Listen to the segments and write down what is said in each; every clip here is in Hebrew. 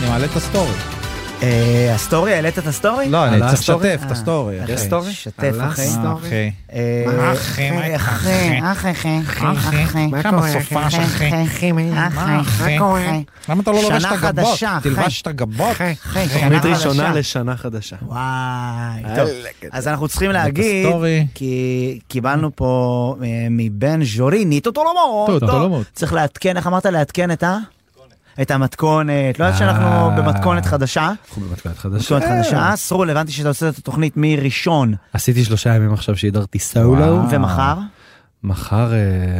אני מעלה את הסטורי. אה, הסטורי, העלית את הסטורי? לא, אני עלה צריך הסטורי? לשתף את הסטורי. אה, אחי. סטורי? שתף, עלה אחי. הסטורי. אחי. אה, מה? אחי, מה איתך, אחי, אחי, אחי, אחי, אחי, מה כמה קורה, סופש, אחי? אחי, אה, מה, אחי? אחי, אחי, למה אתה לא לובש את שנה הגבות? חדשה, אחי. תלבש את הגבות. אחי, שנה תוכנית ראשונה חדשה. לשנה חדשה. אה, וואי, טוב. אה, אז אנחנו צריכים להגיד, הסטורי. כי קיבלנו פה אה, מבן ז'וריני, טוטולומות. טוב, טוטולומות. צריך לעדכן, איך אמרת? לעדכן את ה? את המתכונת. לא יודעת שאנחנו אה. במתכונת חדשה. אנחנו במתכונת חדשה. אה. מתכונת חדשה. סרול, הבנתי שאתה עושה את התוכנית מראשון עשיתי שלושה ימים עכשיו שהידרתי סולו. וואו. ומחר? מחר, אה,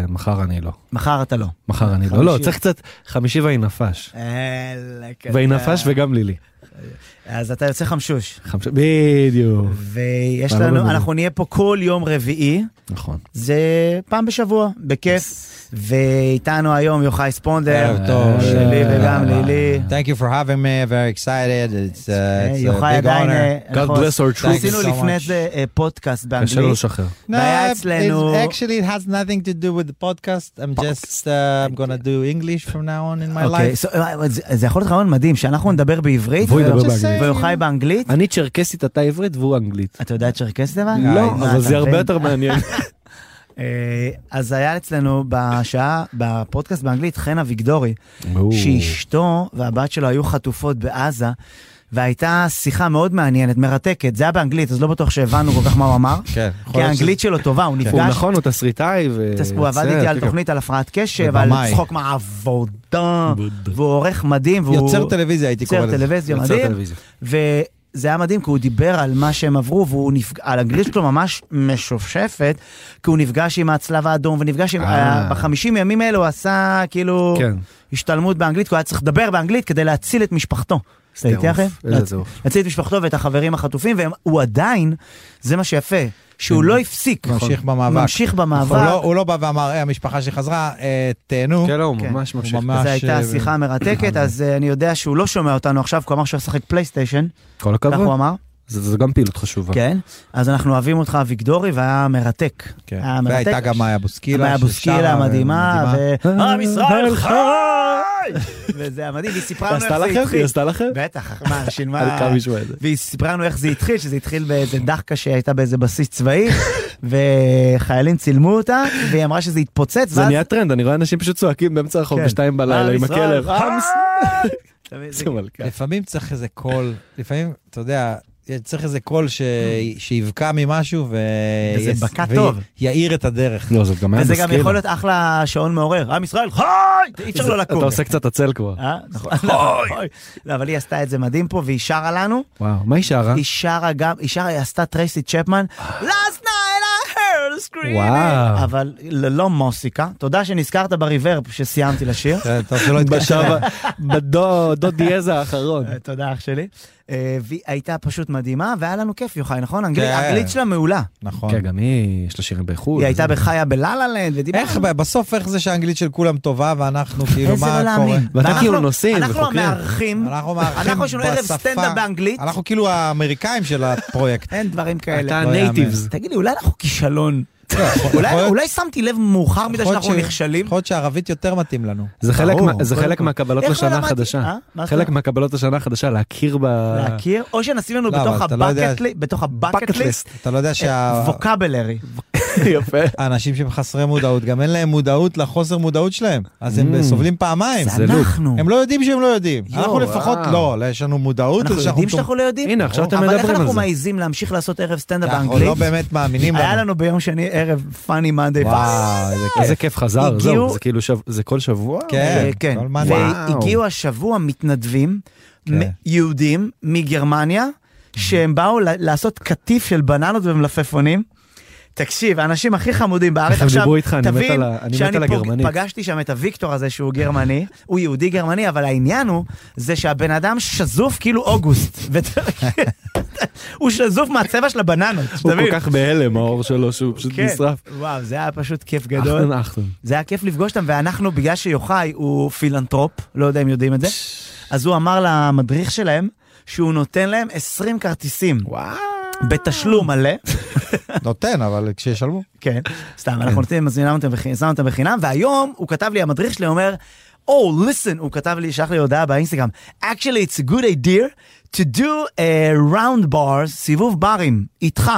מחר אני לא. מחר אתה לא. מחר אני לא. חמישי. לא, צריך קצת חמישי ויינפש. ויינפש וגם לילי. כן, אה. אז אתה יוצא חמשוש. חמש- בדיוק. ויש מה, לא לנו, מבין. אנחנו נהיה פה כל יום רביעי, נכון. זה פעם בשבוע, בכיף. ואיתנו היום יוחאי אה, ספונדר, ערב טוב. שלי וגם אה. לילי. Thank you for having me, very excited, it's uh, it's a אה, יוחאי big עדיין, honor. אה, אנחנו God bless our troops. עשינו Thank you so לפני much. זה אה, פודקאסט קשה לו באנגלית, לשחרר. it's- והיה אצלנו- actually it has nothing to do with the podcast, I'm just, uh, I'm gonna do English from now on in my אוקיי, life. so, אה, זה- זה יכול להיות רעיון מדהים, שאנחנו נדבר בעברית, והוא ידבר ויוחאי- באנגלית. ויוחאי באנגלית, אני צ'רקסית, אתה עברית והוא אנגלית. אתה יודע צ'רקסית אבל? לא, אה, אבל אתה זה הרבה מבין? יותר מעניין. אה, אז היה אצלנו בשעה, בפודקאסט באנגלית, חן אביגדורי, שאשתו והבת שלו היו חטופות בעזה, והייתה שיחה מאוד מעניינת, מרתקת. זה היה באנגלית, אז לא בטוח שהבנו כל כך מה הוא אמר. כן, יכול כי להיות האנגלית שלו טובה, הוא הוא נפגש, נכון, הוא תסריטאי ו... תס- הוא עבד יוצר, איתי על כן, תוכנית על הפרעת קשב, על אה, ובמאי. צחוק מהעבודה, והוא עורך מדהים, והוא יוצר טלוויזיה הייתי קורא יוצר לזה. טלוויזיה יוצר מדהים, טלוויזיה. וזה היה מדהים כי הוא דיבר על מה שהם עברו, והוא נפגע, על האנגלית שלו ממש משופשפת, כי הוא נפגש עם הצלב האדום, ונפגש עם, אה. בחמישים ימים האלה הוא עשה כאילו כן. השתלמות באנגלית, כי הוא היה צריך לדבר באנגלית כדי להציל את משפחתו. אתה איתי אחי? טירוף, איזה טירוף. להציל את משפחתו ואת החברים החטופים, והוא עדיין, זה מה שיפה, שהוא לא הפסיק. Mm. כן. ממשיך במאבק. ממשיך הוא לא- במאבק. הוא לא בא ואמר, "היי, המשפחה שחזרה, אה, תהנו. כן, לא, הוא כן. ממש הוא ממשיך. ממש- זו הייתה אה, שיחה מרתקת, אז אה, אני יודע שהוא לא שומע אותנו עכשיו, כי הוא אמר שהוא ישחק פלייסטיישן, כל כך הוא הכבוד. אמר. זה זה גם פעילות חשובה. כן, אז אנחנו אוהבים אותך אביגדורי, והיה מרתק. כן. היה מרתק. והייתה גם מאיה בוסקילה. מאיה בוסקילה ששרה, המדהימה, ו... עם אה, ישראל חי! חי! וזה היה מדהים, והיא סיפרה היא לנו עשתה איך זה לכם? היא התחיל. עשתה לכם? בטח, מה, שילמה... אני קם לשמוע את זה. והיא סיפרה לנו איך זה התחיל, שזה התחיל באיזה דחקה שהייתה באיזה בסיס צבאי, וחיילים צילמו אותה, והיא אמרה שזה התפוצץ, זה ואז... נהיה טרנד, אני רואה אנשים פשוט צועקים באמצע הרחוב כן. בשתיים עם בלילה עם ישראל הכלב. חי! "חמס!" אתה מבין, זה- זה מלכה. לפעמים צריך איזה קול, לפעמים, אתה יודע, צריך איזה קול ש- שיבקע ממשהו ו... וזה בקע וי- טוב. יאיר את הדרך. לא, זאת גם היה וזה גם בסקילה. יכול להיות אחלה שעון מעורר, עם ישראל חי! אי אפשר לא לקום. אתה עושה קצת עצל כבר. אה? נכון. אוי. לא, אבל היא עשתה את זה מדהים פה, והיא שרה לנו. וואו, מה היא שרה? היא שרה גם, היא שרה, היא עשתה טרייסי צ'פמן. Last night I heard a screaming. וואו. אבל ללא מוסיקה. תודה שנזכרת בריברב שסיימתי לשיר. כן, טוב שלא התקשר. בשעה, בדו דו דיאז האחרון. אה, תודה אח שלי. אה, והיא הייתה פשוט מדהימה, והיה לנו כיף, יוחאי, נכון? האנגלית- כן. האנגלית שלה מעולה. נכון. כן, גם היא, יש לה שירים באיחוד. היא הייתה בחיה בלה-לה לנד, ודיברנו. איך, בסוף איך זה שהאנגלית של כולם טובה ואנחנו כאילו, איזה מה לא קורה? להאמין. ואתה ואנחנו- כאילו נוסעים אנחנו וחוקרים. המארחים, אנחנו מארחים אנחנו יש לנו ערב בשפה- סטנדאפ באנגלית. אנחנו כאילו האמריקאים של הפרויקט. אין דברים הייתה כאלה. לא יאמן. נייטיבס. תגידי, אולי אנחנו כישלון. לא, יכול- יכול אולי להיות- אולי שמתי לב מאוחר מדי יכול להיות שאנחנו ש- נכשלים. יכול להיות שערבית יותר מתאים לנו. זה חלק ברור, מה- זה קודם חלק כל. מהקבלות איך לא לשנה למדתי? אה? החדשה. מה זאת חלק אומרת? מהקבלות לשנה החדשה, להכיר ב... להכיר, או שנשים לנו לא, בתוך אבל אתה לא יודע- הבקט ליסט, בתוך הבקט אה, bucket ליסט, אתה לא יודע שה... ווקאבלרי. יפה. האנשים שהם חסרי מודעות, גם אין להם מודעות לחוסר מודעות שלהם, אז הם Mm. סובלים פעמיים. זה לוק. אנחנו. הם לא יודעים שהם לא יודעים. יואו, אנחנו לפחות וואו. לא, יש לנו מודעות. אנחנו לזה יודעים מטומ- שאנחנו לא יודעים. הנה, עכשיו אתם אבל איך מדברים על אנחנו זה. מעיזים להמשיך לעשות ערב סטנדאפ אנחנו לא באנגלית? באמת מאמינים היה בנו. לנו ביום שני ערב פאני מאנדי. וואו, איזה איזה כיף. כיף חזר, הגיעו- זהו, זה כאילו שב- זה כל שבוע? אה, כן, כן, כל מאני. וואו. והגיעו השבוע מתנדבים, כן. מ- יהודים מגרמניה, שהם באו ל- לעשות קטיף של בננות ומלפפונים. תקשיב, האנשים הכי חמודים בארץ איך הם עכשיו, דיברו איתך? אני מת תבין על ה- אני מת שאני על פוג- הגרמנית. פגשתי שם את הוויקטור הזה שהוא גרמני, הוא יהודי גרמני, אבל העניין הוא, זה שהבן אדם שזוף כאילו אוגוסט. ואתה- הוא שזוף מהצבע של הבננות, הוא שתבין. כל כך בהלם, האור שלו, שהוא פשוט כן. נשרף. וואו, זה היה פשוט כיף גדול. אחתן אחתן. זה היה כיף לפגוש אותם, ואנחנו, בגלל שיוחאי הוא פילנטרופ, לא יודע אם יודעים את זה, אז הוא אמר למדריך שלהם שהוא נותן להם 20 כרטיסים וואו. בתשלום מלא, נותן, אבל כשישלמו. כן. כן, סתם, אנחנו נותנים, מזמינים אותם בחינם, אותם בחינם, והיום הוא כתב לי, המדריך שלי אומר, Oh, listen, הוא כתב לי, שלח לי הודעה באינסטגרם. Actually, it's a good idea to do a round bars, סיבוב ברים, איתך.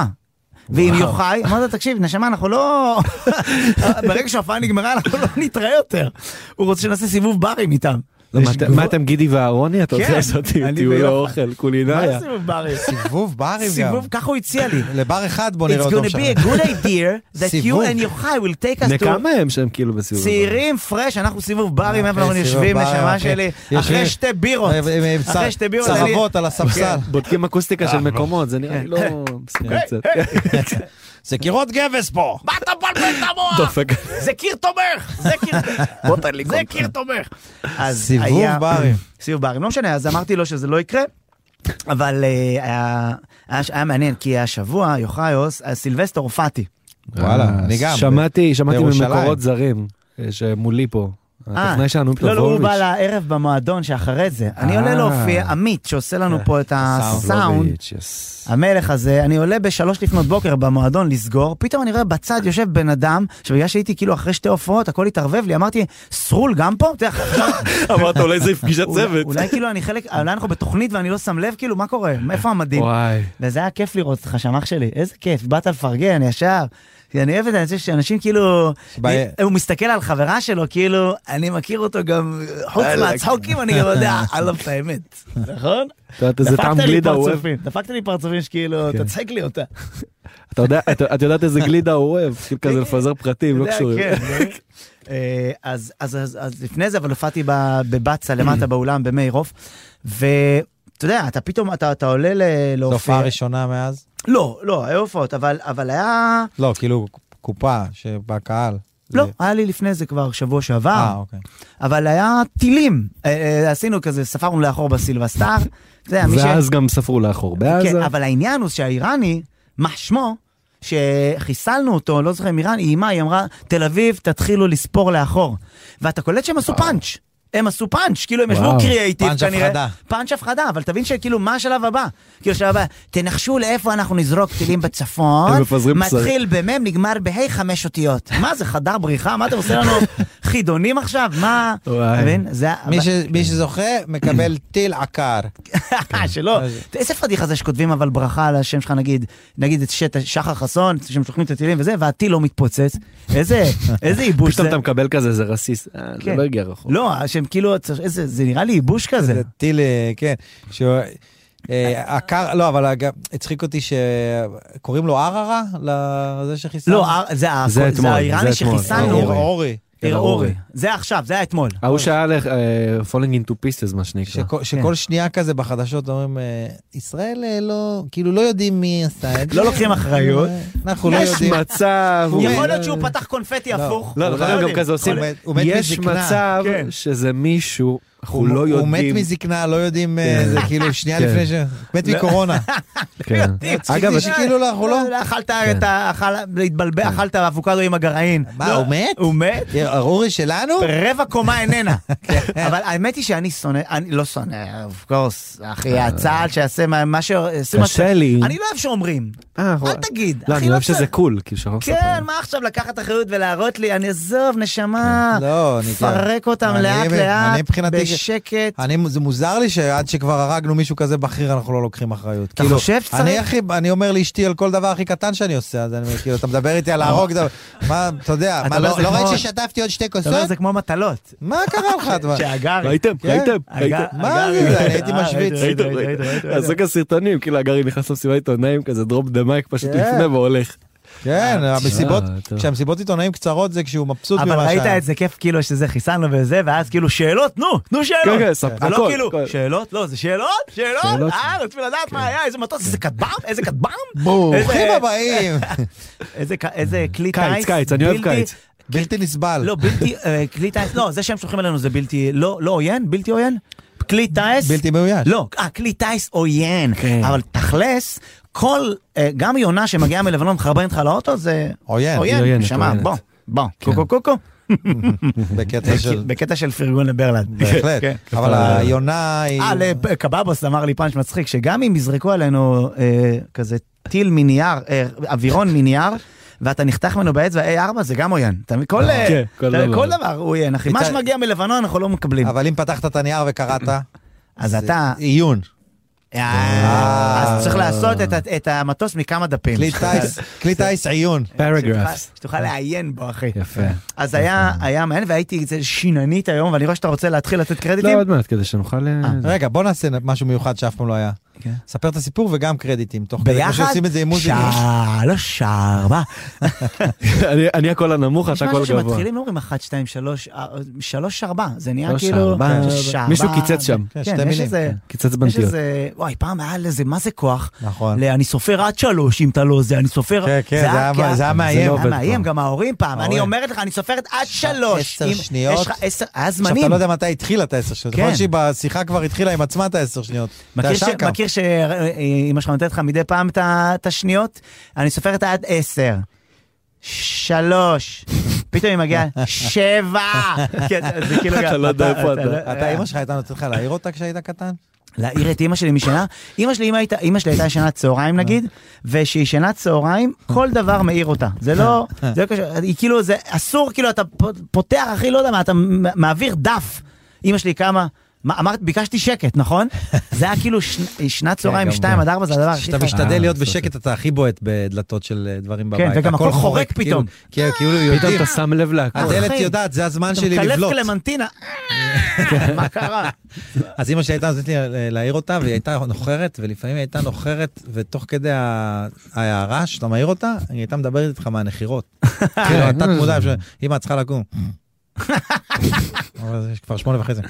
ועם וואו. יוחאי, אמרתי לו, תקשיב, נשמה, אנחנו לא... ברגע שההופעה נגמרה, אנחנו לא נתראה יותר. הוא רוצה שנעשה סיבוב ברים איתם. לא, מה יש אתם- גבול. מה אתם גידי ואהרוני? אתה רוצה כן, לעשות אני טיול ביחד. לא אוכל, מה זה קולינריה? סיבוב ברים? סיבוב ברים גם. סיבוב, ככה הוא הציע לי. לבר אחד בוא נראה It's אותו gonna be a משנה. good idea that you סיבוב. and יוחאי will take us בני to כמה הם שם כאילו בסיבוב? הזה? צעירים, פרש, אנחנו סיבוב ברים, איפה אנחנו אחי, אוקיי, סיבוב יושבים, ברים, אוקיי. נשמה אחי. שלי, יושבים- אחרי שתי בירות. עם- עם- עם אחרי צ- שתי בירות, אני- צרבות אה, על הספסל. כן. בודקים אקוסטיקה אה, של מקומות, זה נראה לי לא... מסוכן קצת. זה קירות גבס פה. מה אתה מבלבל את המוח? דופק. זה קיר תומך! זה קיר... בוא תן לי זה כאילו- קיר תומך! אז סיבוב היה- ברים. סיבוב ברים, לא משנה, אז אמרתי לו שזה לא יקרה. אבל אה, היה- היה היה מעניין, כי השבוע, יוחאיוס, אה, אז סילבסטר הופעתי. וואלה, אני גם. אה, שמעתי, שמעתי בירושלים. ממקורות זרים, אה, שמולי פה. אה, הטכנאי שלנו לא, לא, הוא פלוביץ'. בא לערב במועדון שאחרי זה. אני אה. עולה להופיע, עמית, שעושה לנו פה את הסאונד. יס. המלך הזה, אני עולה בשלוש לפנות בוקר במועדון לסגור, פתאום אני רואה בצד יושב בן אדם, שבגלל שהייתי כאילו אחרי שתי הופעות, הכל התערבב לי, אמרתי, סרול גם פה? אתה יודע, אמרת אולי זה פגישת אולי- אולי כאילו אני חלק, אולי אנחנו בתוכנית ואני לא שם לב, כאילו, מה קורה? איפה המדים? וואי. וזה היה כיף לראות אותך שם, אח שלי, איזה כיף, באת לפרגן, ישר. כי אני אוהב את זה, אני חושב שאנשים כאילו, ביי. הוא מסתכל על חברה שלו, כאילו, אני מכיר אותו גם, חוץ מהצחוקים, אני גם יודע עליו את האמת, נכון? אתה יודע, זה טעם דפקת לי גלידה הוא אוהב. פרצופים, דפקת לי פרצופים שכאילו, כן. תצחק לי אותה. אתה יודע, את את יודעת איזה גלידה הוא אוהב, כאילו כזה לפזר פרטים, לא אתה יודע, קשורים. כן, אה, אז, אז, אז, אז לפני זה, אבל הופעתי ב- בבצה למטה באולם במאיר עוף, ואתה יודע, אתה פתאום, אתה, אתה עולה ל- זו להופיע. הופעה ראשונה מאז? לא, לא, היו הופעות, אבל, אבל היה... לא, כאילו קופה שבקהל. לא, זה- היה לי לפני זה כבר שבוע שעבר, אה, אוקיי. אבל היה טילים. אה, אה, עשינו כזה, ספרנו לאחור בסילבסטר. זה היה מי ש... ואז גם ספרו לאחור כן, בעזה. אבל העניין הוא שהאיראני, מה שמו, שחיסלנו אותו, לא זוכר אם איראן, היא איימה, היא אמרה, תל אביב, תתחילו לספור לאחור. ואתה קולט שהם עשו פאנץ'. הם עשו פאנץ', כאילו הם ישבו וואו. קריאייטיב פאנץ' כנראה. הפחדה. פאנץ' הפחדה, אבל תבין שכאילו מה השלב הבא? כאילו השלב הבא, תנחשו לאיפה אנחנו נזרוק טילים בצפון, הם מפזרים בשרים. מתחיל במם, נגמר בה' חמש אותיות. מה זה, חדר בריחה? מה אתם עושים לנו חידונים עכשיו? מה? וואי. מבין? זה... מי ש- מי שזוכה מקבל טיל עקר. אה, שלא. אז- איזה פדיחה זה שכותבים אבל ברכה על השם שלך, נגיד, נגיד את שט- שחר חסון, שהם שוכנים את הטילים וזה, והטיל לא מתפוצץ. איזה, איזה ייבוש פתאום זה. אתה מקבל כזה, זה רסיס. אה, זה כן. לא הגיע רחוק. לא, שהם כאילו, איזה, זה נראה לי ייבוש כזה. זה טיל, אה, כן. שהוא- אה, עקר, לא, אבל הג- הצחיק אותי שקוראים לו ערערה? לזה שחיסל? לא, אה, זה ה- זה זה אתמול, האיראני זה אתמול. שחיסלנו, אורי. כן, ערעורי. ערעורי. זה עכשיו, זה היה אתמול. כן. ההוא שהיה לך אה, falling into pieces, מה שנקרא. שכל- שכל שנייה כזה בחדשות אומרים, אה, ישראל אה, לא, כאילו לא יודעים מי עשה את זה. לא לוקחים אחריות. אנחנו לא יודעים. מצב... יכול להיות שהוא פתח קונפטי לא. הפוך. לא, אנחנו נכון, גם יודעים. כזה עושים. הוא מת- הוא מת יש מזקנה. מצב כן. שזה מישהו, אנחנו הוא לא הוא מת יודעים. מזקנה, לא יודעים, אה, כן. זה כאילו שנייה כן. לפני ש... מת לא. מקורונה. כן. אגב, אגב, שכאילו לא, אנחנו לא... כן. אכלת כן. את ה... אכל- להתבלבל, אכלת אבוקדו עם הגרעין. מה, לא, הוא מת? הוא מת? אורי שלנו? כן. רבע קומה איננה. אבל האמת היא שאני שונא, אני לא שונא, אוף קורס, אחי, הצה"ל שיעשה מה מה ש... עושים מה ש- קשה לי. אני לא אוהב שאומרים, אה, אל תגיד. לא, אחי, אני אוהב צריך- שזה קול, כאילו שאנחנו כן, מה עכשיו לקחת אחריות ולהראות לי, אני עזוב, נשמה, לא, אני... אה, פרק אותם אני- לאט אני לאט, מבחינתי- בשקט. אני, זה מוזר לי שעד שכבר הרגנו מישהו כזה בכיר, אנחנו לא לוקחים אחריות. אתה כאילו, חושב שצריך? אני, הכי, אני אומר לאשתי על כל דבר הכי קטן שאני עושה, אז אני כאילו, אתה מדבר איתי על להרוג דבר. מה, אתה יודע, אתה מה, אומר, לא, זה לא כמו- ראית ששטפתי עוד שתי אתה לא אומר, כוסות? זה כמו מטלות. מה קרה לך? אתה- שהגרי. ראיתם? כן. ראיתם? הגר- ראיתם? מה הגרי. זה? אני הייתי אה, משוויץ. ראיתם, ראיתם? ראיתם, ראיתם? ראיתם, אז ראיתם. זה כסרטונים, כאילו הגרי נכנס למסיבת עיתונאים כזה דרופ דה מייק, פשוט כן. לפני והולך. כן, המסיבות, אה, טוב. כשהמסיבות עיתונאים קצרות זה כשהוא מבסוט אבל ממה ראית שהיה. את זה כיף כאילו שזה חיסלנו וזה, ואז כאילו שאלות, נו, תנו שאלות. כן, כן, ספ- זה לא הכל, כאילו, הכל. שאלות? לא, זה שאלות? שאלות? שאלות. אה, רוצים לדעת מה היה, איזה מטוס, איזה כטב"ם? איזה כטב"ם? ברוכים איזה- הבאים, איזה כ- איזה כלי טיס? קיץ, קיץ, אני אוהב בלתי- קיץ. בלתי נסבל. לא, בלתי, אה, כלי טיס, לא, זה שהם שולחים אלינו זה בלתי, לא לא עוין? בלתי עוין? כלי טיס? בלתי מאויש. לא, אה, כלי טיס עוין. כן. אבל תכלס, כל, אה, גם יונה שמגיעה מלבנון ומחרבנת לך לאוטו, זה עוין, היא עוין. עוינת, שמע, עוינת. בוא, בוא, קוקו קוקו. כן. בקטע של... בקטע של פרגון לברלנד. בהחלט. כן. אבל היונה היא... אה, לפ- קבבוס אמר לי פאנץ' מצחיק, שגם אם יזרקו עלינו אה, כזה טיל מנייר, אה, אווירון מנייר, ואתה נחתך ממנו באצבע A4 זה גם עוין. אתה מבין? כל, אה, כן, כל אתה- דבר. כל דבר הוא עוין, אחי. מה מצד- שמגיע מלבנון אנחנו לא מקבלים. כן. אבל אם פתחת את הנייר וקראת, אז זה אתה, עיון. אה, אז צריך לעשות את ה- את המטוס מכמה דפים. כלי טיס, כלי טיס עיון. פרגרפס. אה, שתוכל- שתוכל לעיין בו, אחי. יפה. אז היה היה מעניין, והייתי אצל שיננית היום, ואני רואה שאתה רוצה להתחיל לתת לא, קרדיטים. עוד מעט, כדי שנוכל... אה, זה. רגע, בוא נעשה משהו מיוחד שאף פעם לא היה. כן. ספר את הסיפור וגם קרדיטים, תוך כדי כמו ביחד? שעושים את זה עם מוזיקה. שלוש, ארבע. אני- אני הקול הנמוך, יש אתה הקול משהו גבוה. שמתחילים, לא אומרים אחת, שתיים, שלוש, אה, שלוש, ארבע. זה נהיה שלוש, כאילו... ארבע. שלוש, ארבע. מישהו קיצץ שם. כן, כן, שתי יש מילים. איזה... קיצץ יש בנטיות. איזה... וואי, פעם היה לזה, מה זה כוח? נכון. ל- אני סופר עד שלוש, אם אתה לא זה, אני סופר... כן, כן, זה היה- כי ה- זה היה זה מאיים. היה לא עובד מאיים, כבר. גם ההורים פעם. אני ההורים. אומרת לך, אני סופרת עד שלוש. עשר אם- שניות. יש לך עשר... היה עכשיו, זמנים. אתה לא יודע מתי התחילה את העשר שניות. כן. יכול להיות שהיא בשיחה כבר התחילה עם עצמה את העשר שניות. אתה מכיר, ש... ישר קם. מכיר שאימא שלך נותנת לך מדי פעם את ה- את השניות? אני סופרת עד עשר. שלוש. פתאום היא מגיעה, שבע. כן, זה- זה כאילו גם... אתה לא יודע איפה אתה. אתה, אימא שלך הייתה נותנת לך להעיר אותה כשהיית קטן? להעיר את אימא שלי משינה. אימא שלי, אם הייתה- אימא שלי הייתה ישנה צהריים נגיד, וכשהיא ישנה צהריים, כל דבר מעיר אותה. זה לא, זה לא קשור, היא כאילו, זה אסור, כאילו, אתה פ- פותח, אחי, לא יודע מה, אתה מ- מעביר דף. אימא שלי קמה, מה, אמרת, ביקשתי שקט, נכון? זה היה כאילו שני- שנת צהריים, כן, גם שתיים גם. עד ארבע, זה הדבר הכי כשאתה חשוב. משתדל כן, אה, להיות בסדר. בשקט, אתה הכי בועט בדלתות של אה, דברים כן, בבית. וגם הכל חורק פתאום. כאילו, כאילו פתאום יודעים, אתה שם לב להכל. אה, הדלת אחי. יודעת, זה הזמן שלי אתה מקלף לבלוט. קלמנטינה, מה קרה? אז אימא שלי הייתה נותנת לי אה, להעיר אותה, והיא הייתה נוחרת, ולפעמים היא הייתה נוחרת, ותוך כדי ה- ההערה שאתה מעיר אותה, היא הייתה מדברת איתך מהנחירות. כאילו, כן. הייתה תמודה, ש- אמא, את צריכה לקום. אבל זה כבר שמונה וחצי.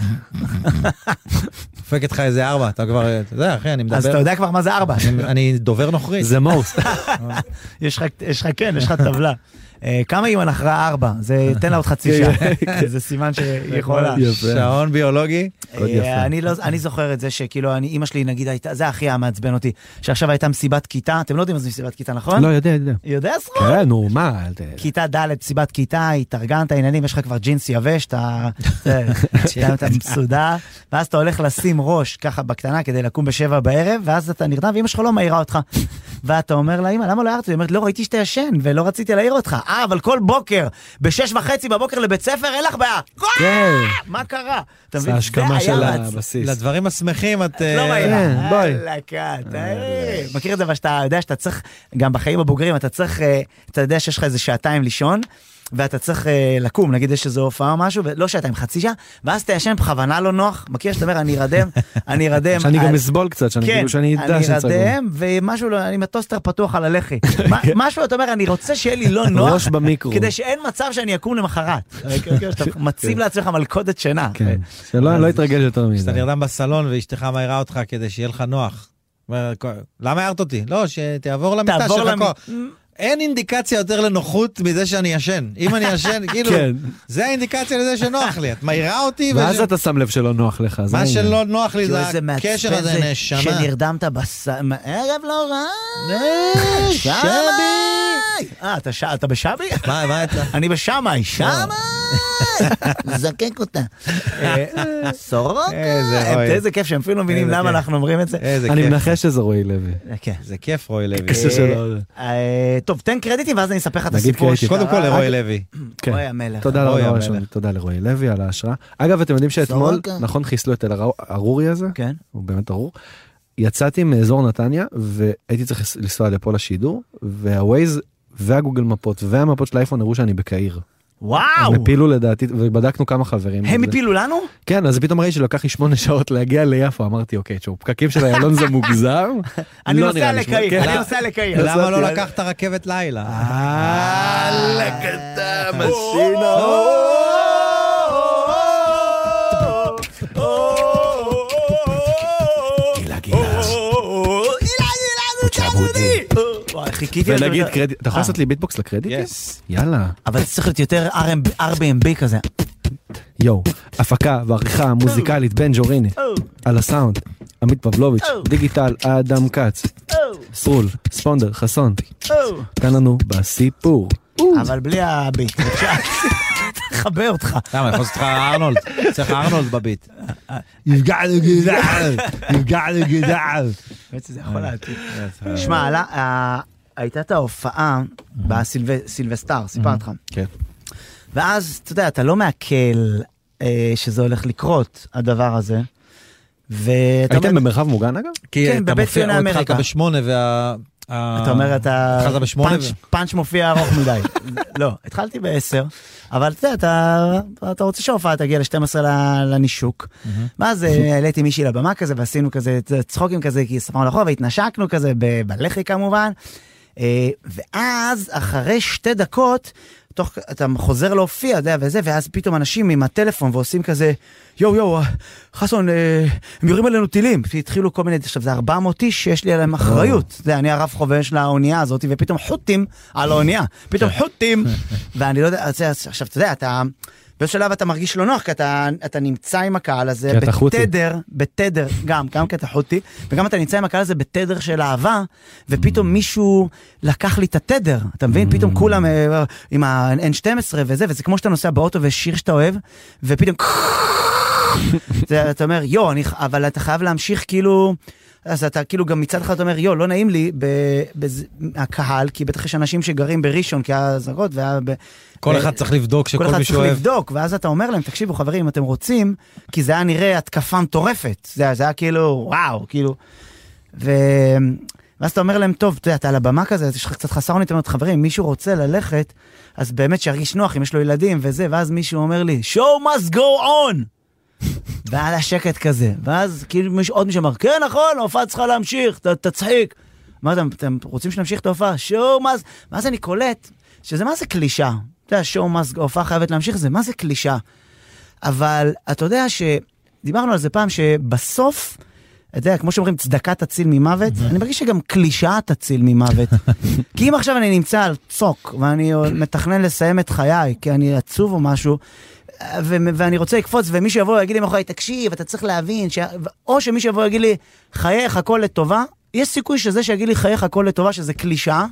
דופקת לך איזה ארבע, אתה כבר, אתה יודע, אחי, אני אז אתה מדבר, יודע כבר מה זה ארבע. אני- אני דובר נוכרי. זה מוסט. יש לך, יש לך, כן, יש לך טבלה. אה, כמה אימא נחרה ארבע? זה, תן לה עוד חצי שעה. זה סימן שהיא יכולה. כן, יפה. שעון ביולוגי. מאוד יפה. אה, אני, לא, אני זוכר את זה שכאילו, אני, אימא שלי נגיד הייתה, זה הכי היה מעצבן אותי, שעכשיו הייתה מסיבת כיתה, אתם לא יודעים מה זה מסיבת כיתה, נכון? לא, יודע, יודע. יודע סרוק? כן, נו, מה? אל ת- כיתה ד', מסיבת כיתה, התארגנת, עניינים, יש לך כבר ג'ינס יבש, אתה זה, אתה- אתה מסודר, ואז אתה הולך לשים ראש ככה בקטנה כדי לקום בשבע בערב, ואז אתה נרדם, ואימא שלך לא מעירה אותך. ואתה אומר לה, אמא, למה לא הערת אותי? היא אומרת, לא, ראיתי שאתה ישן, ולא רציתי להעיר אותך. אה, אבל כל בוקר, בשש וחצי בבוקר לבית ספר, אין לך בעיה. כן. מה קרה? אתה זה מבין? ההשכמה היה של מעצבן. הבסיס. לדברים השמחים את... אה, לא מעירה. כן, בואי. אה, הלקה, טעים. מכיר את זה, אבל שאתה יודע שאתה צריך, גם בחיים הבוגרים אתה צריך, אה, אתה יודע שיש לך איזה שעתיים לישון. ואתה צריך אה, לקום, נגיד יש איזו הופעה או משהו, ולא שעתיים, חצי שעה, ואז אתה ישן בכוונה לא נוח, מכיר שאתה אומר, אני ארדם, אני ארדם. שאני גם על- אסבול קצת, שאני כן, כאילו שאני אדע אני שאני צגור. ארדם, ומשהו, לא- אני עם הטוסטר פתוח על הלחי. מה- משהו, אתה אומר, אני רוצה שיהיה לי לא נוח, ראש במיקרו. כדי שאין מצב שאני אקום למחרת. כן, כן, שאתה מציב לעצמך מלכודת שינה. כן. שלא לא יתרגל יותר מזה. כשאתה נרדם בסלון ואשתך מעירה אותך כדי שיהיה לך נוח. אומר, למה הערת אותי? לא, שתעבור למיטה, תעבור שיהיה לך למ- כוח. אין אינדיקציה יותר לנוחות מזה שאני ישן. אם אני ישן, כאילו, כן. זה האינדיקציה לזה שנוח לי. את מעירה אותי, ואז וש- אתה שם לב שלא נוח לך. זה מה העניין. שלא נוח לי תראו זה כאילו איזה מעצבן הקשר הזה, זה נשמה. שנרדמת בס... ערב לא רע. אה, שבי! אה, אתה ש- אתה בשבי? מה, מה אתה? לא. אני בשמאי, שמאי! זקק אותה. אה, סורוקה! אה, איזה רועי. איזה כיף שהם אפילו לא מבינים איזה למה כיף. אנחנו אומרים את זה. איזה אני כיף. מנחש שזה רועי לוי. כן. זה כיף, רוי לוי. קשה שלא. אה, טוב, תן קרדיטים ואז אני אספר לך את נגיד הסיפור. אה, קרדיטים. קודם כל שקרה. לרוי לוי. כן. רועי המלך. תודה רועי לרועי המלך. הראשון, תודה לרועי לוי על ההשראה. אגב, אתם יודעים שאתמול, סורוקה. נכון, חיסלו את אל-ערורי הזה? כן. הוא באמת ארור. יצאתי מאזור נתניה והייתי צריך לס- לנסוע לפה לשידור והווייז והגוגל מפות והמפות של האייפון הראו שאני בקהיר. וואו! הם הפילו לדעתי ובדקנו כמה חברים. הם וזה- הפילו לנו? כן אז פתאום ראיתי שלקח לי שמונה שעות להגיע ליפו אמרתי אוקיי תשמעו פקקים של איילון זה מוגזם. אני לא נוסע נראה לי שמונה- לקהיר, כן. אני נוסע לקהיר. למה לא לקחת רכבת לילה? יאללה קטן, עשינו. גילה, גילה. צ'אבודי. וואי, חיכיתי לזה. ונגיד קרדיט, אתה יכול אה. לעשות לי ביטבוקס לקרדיטים? Yes. יאללה. אבל זה צריך להיות יותר R&B R&B כזה. יואו, הפקה ועריכה מוזיקלית בן ג'וריני. Oh. על הסאונד, עמית פבלוביץ', דיגיטל, אדם כץ, Oh. סרול, ספונדר, חסון. תן לנו בסיפור. אבל בלי הביט. תכבה אותך. למה, אני יכול לעשות לך ארנולד? צריך ארנולד בביט. יפגענו גזען. יפגע לגדל. זה יכול להתאים. שמע, עלה- ה- הייתה את ההופעה בסילבסטר, סיפרתי לך. כן. ואז, אתה יודע, אתה לא מעכל אה, שזה הולך לקרות, הדבר הזה. ואתה הייתם אומר, במרחב מוגן אגב? כי כן, אתה בבית מופיע- ציוני או התחלת אמריקה. בשמונה וה... אה, אתה אומר, אתה... התחלת בשמונה? פאנץ'- פאנץ' מופיע ארוך מדי. לא, התחלתי בעשר, אבל אתה יודע, אתה- אתה רוצה שההופעה תגיע ל-12 לנישוק. ואז אה, העליתי מישהי לבמה כזה, ועשינו כזה צחוקים כזה, כי ספרנו לחוב, והתנשקנו כזה, ב- בלחי כמובן. אה, ואז, אחרי שתי דקות, תוך, אתה חוזר להופיע, אתה יודע, וזה, ואז פתאום אנשים עם הטלפון ועושים כזה, יואו, יואו, חסון, אה, הם יורים עלינו טילים. התחילו כל מיני, עכשיו זה 400 איש שיש לי עליהם אחריות. אתה יודע, אני הרב חובל של האונייה הזאת, ופתאום חות'ים על האונייה. פתאום חות'ים, ואני לא יודע, אז זה- עכשיו, אתה יודע, אתה... באיזשהו שלב אתה מרגיש לא נוח, כי אתה, אתה נמצא עם הקהל הזה כי אתה חותי. בתדר, בתדר, גם, גם כי אתה חותי, וגם אתה נמצא עם הקהל הזה בתדר של אהבה, ופתאום מישהו לקח לי את התדר, אתה מבין? פתאום כולם אה, עם ה-N12 וזה, וזה כמו שאתה נוסע באוטו ויש שיר שאתה אוהב, ופתאום... זה, אתה אומר, יו, אני, ח- אבל אתה חייב להמשיך כאילו... אז אתה כאילו גם מצד אחד אתה אומר, יו, לא נעים לי בקהל, כי בטח יש אנשים שגרים בראשון, כי היה אזעקות, והיה... ב- כל אה, אחד צריך לבדוק כל שכל אחד מי צריך שאוהב... לבדוק, ואז אתה אומר להם, תקשיבו חברים, אם אתם רוצים, כי זה היה נראה התקפה מטורפת. זה היה- זה היה כאילו, וואו, כאילו... ו... ואז אתה אומר להם, טוב, אתה יודע, אתה על הבמה כזה, אז יש לך קצת חסר אונים, אתה אומר, חברים, אם מישהו רוצה ללכת, אז באמת שירגיש נוח אם יש לו ילדים וזה, ואז מישהו אומר לי, show must go on! והיה שקט כזה, ואז כאילו מישהו- עוד מישהו אמר, כן, נכון, ההופעה צריכה להמשיך, ת- תצחיק. מה אתם, אתם רוצים שנמשיך את ההופעה? show must... ואז אני קולט שזה מה זה קלישה. אתה יודע, show must, ההופעה חייבת להמשיך, זה מה זה קלישה. אבל אתה יודע שדיברנו על זה פעם, שבסוף, אתה יודע, כמו שאומרים, צדקה תציל ממוות, אני מרגיש שגם קלישאה תציל ממוות. כי אם עכשיו אני נמצא על צוק, ואני מתכנן לסיים את חיי, כי אני עצוב או משהו, ו- ואני רוצה לקפוץ, ומישהו יבוא ויגיד לי מאחורי, תקשיב, אתה צריך להבין, ש... או שמישהו יבוא ויגיד לי, חייך, הכל לטובה, יש סיכוי שזה שיגיד לי, חייך, הכל לטובה, שזה קלישאה,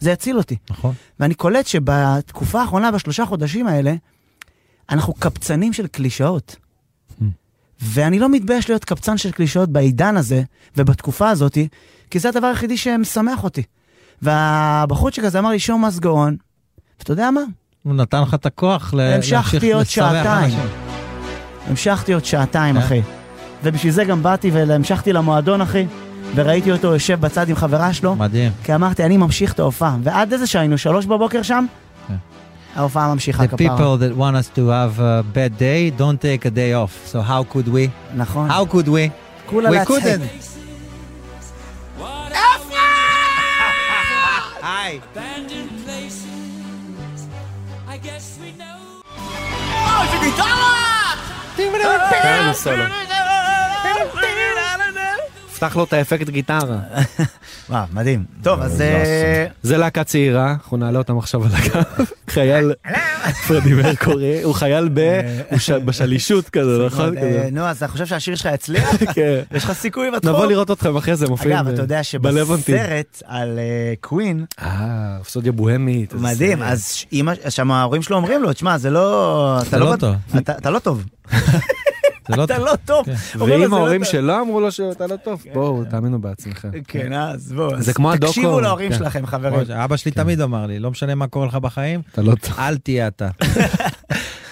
זה יציל אותי. נכון. ואני קולט שבתקופה האחרונה, בשלושה חודשים האלה, אנחנו קבצנים של קלישאות. ואני לא מתבייש להיות קבצן של קלישאות בעידן הזה ובתקופה הזאת, כי זה הדבר היחידי שמשמח אותי. והבחורצ'יק הזה אמר לי, שום מס גאון, ואתה יודע מה? הוא נתן לך את הכוח ל- המשכתי להמשיך עוד לשמח שעתיים. אנשים. המשכתי עוד שעתיים, כן. אה? אחי. ובשביל זה גם באתי והמשכתי למועדון, אחי, וראיתי אותו יושב בצד עם חברה שלו, מדהים. כי אמרתי, אני ממשיך את ההופעה. ועד איזה שהיינו, שלוש בבוקר שם, כן. ההופעה ממשיכה The כפרה. people that want us to have a bad day don't take a day off. So how could we? נכון. How could we? כולה We להצחיק. couldn't. היי. abandoned places. I guess we know. פתח לו את האפקט גיטרה. וואו, מדהים. טוב, אז... אה, זה להקה צעירה, אנחנו נעלה אותם עכשיו על הקו. חייל, פרדי מרקורי, הוא חייל ב... הוא ש- בשלישות כזה, נכון? אה, כזה. נו, אז אתה חושב שהשיר שלך יצליח? כן. יש לך סיכוי בתחום? נבוא לראות אתכם אחרי זה, מופיעים אה, אגב, אתה יודע בלוונטין. שבסרט על אה, קווין, אה, רפסודיה בוהמית. איזה מדהים, סרט. אז ש- אמא- שם ההורים שלו אומרים לו, תשמע, זה לא... אתה לא טוב." אתה- אתה לא טוב. זה לא אתה טוב. לא טוב. אומרים לו, "זה כן. ואם לא ההורים טוב." שלו אמרו לו שאתה לא טוב, בואו, תאמינו בעצמכם. כן, אז בואו. זה אז כמו הדוקו. תקשיבו להורים כן. שלכם, חברים. כמו אבא שלי תמיד אמר לי, לא משנה מה קורה לך בחיים, אתה לא טוב. אל תהיה אתה.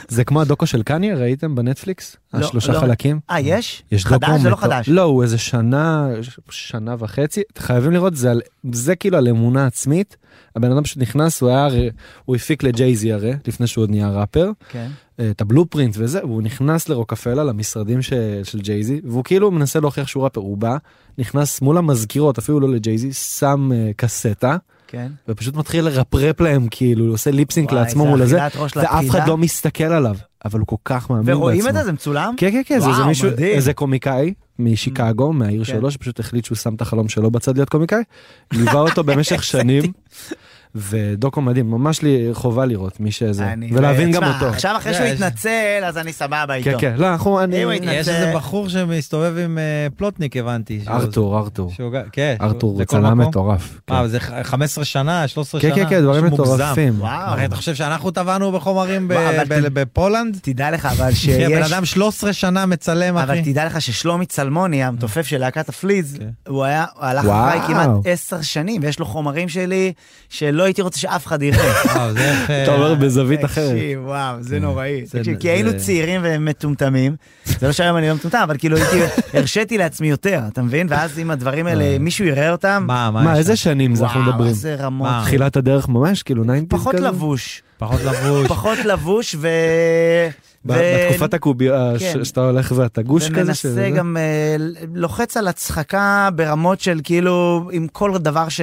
זה כמו הדוקו של קניה, ראיתם בנטפליקס? לא, השלושה לא. חלקים? אה, יש? יש דוקו חדש? זה לא מטור- חדש. לא, הוא איזה שנה, שנה וחצי, חייבים לראות, זה, על, זה כאילו על אמונה עצמית. הבן אדם פשוט נכנס, הוא היה, הרי- הוא הפיק לג'ייזי הרי, לפני שהוא עוד נהיה ראפר, כן. אה, את הבלופרינט וזה, והוא נכנס לרוקפלה, למשרדים ש, של ג'ייזי, והוא כאילו מנסה להוכיח שהוא ראפר, הוא בא, נכנס מול המזכירות, אפילו לא לג'ייזי, שם אה, קסטה, כן. ופשוט מתחיל לרפרפ להם, כאילו, הוא עושה ליפסינק וואי, לעצמו זה מול הזה, אכילת ראש ואף אחד לפקידה. לא מסתכל עליו, אבל הוא כל כך מאמין בעצמו. ורואים את זה? זה מצולם? כן כן כן זה זה וואו, מישהו מדהים. איזה קומיקאי משיקגו מהעיר כן. שלו שפשוט החליט שהוא שם את החלום שלו בצד להיות קומיקאי ליווה אותו במשך שנים ודוקו מדהים, ממש לי חובה לראות מי שזה, אני- ולהבין גם תשמע, אותו. עכשיו אחרי שהוא יש- התנצל, אז אני סבבה איתו. כן, כן, לא, אנחנו, אני... אם הוא התנצל- יש איזה בחור שמסתובב עם אה, פלוטניק, הבנתי. שהוא- ארתור, ארתור. שהוא גם- כן. ארתור זה הוא כל צלם מקום? מטורף. כן. מה, אה, זה ח- 15 שנה, 13 כן, שנה? כן, כן, דברים משהו מוגזם. מטורפים. וואו. אחי, אתה חושב שאנחנו טבענו בחומרים ב- וואו, אבל ב- בפולנד? תדע לך, אבל אחי, הבן שיש... אדם 13 שנה מצלם, אבל אחי. כן. תדע לך ששלומי צלמוני, המתופף של להקת הפליז, הוא היה, הוא הלך וואו. אחריי כמעט עשר שנים, ויש לו חומרים שלי שלא הייתי רוצה שאף אחד יראה. וואו, זה איך, אה, אתה אומר בזווית אחרת. תקשיב, וואו, זה נוראי. זה- תקשיב, כי זה- היינו צעירים ומטומטמים, זה לא שהיום אני לא מטומטם, אבל כאילו הייתי, הרשיתי לעצמי יותר, אתה מבין? ואז אם הדברים האלה, מישהו יראה אותם, אה. מה, מה, מה, יש איזה לך? שנים זה אנחנו וואו, מדברים? איזה רמות. אה. מה? תחילת הדרך ממש, כאילו ניינטיז פחות כזה? לבוש, פחות לבוש. פחות לבוש ו... ב- ו- בתקופת הקובייה, ש- כן. שאתה הולך ואתה גוש כזה? ומנסה שזה- גם, אה, לוחץ על הצחקה ברמות של כאילו, עם כל דבר ש...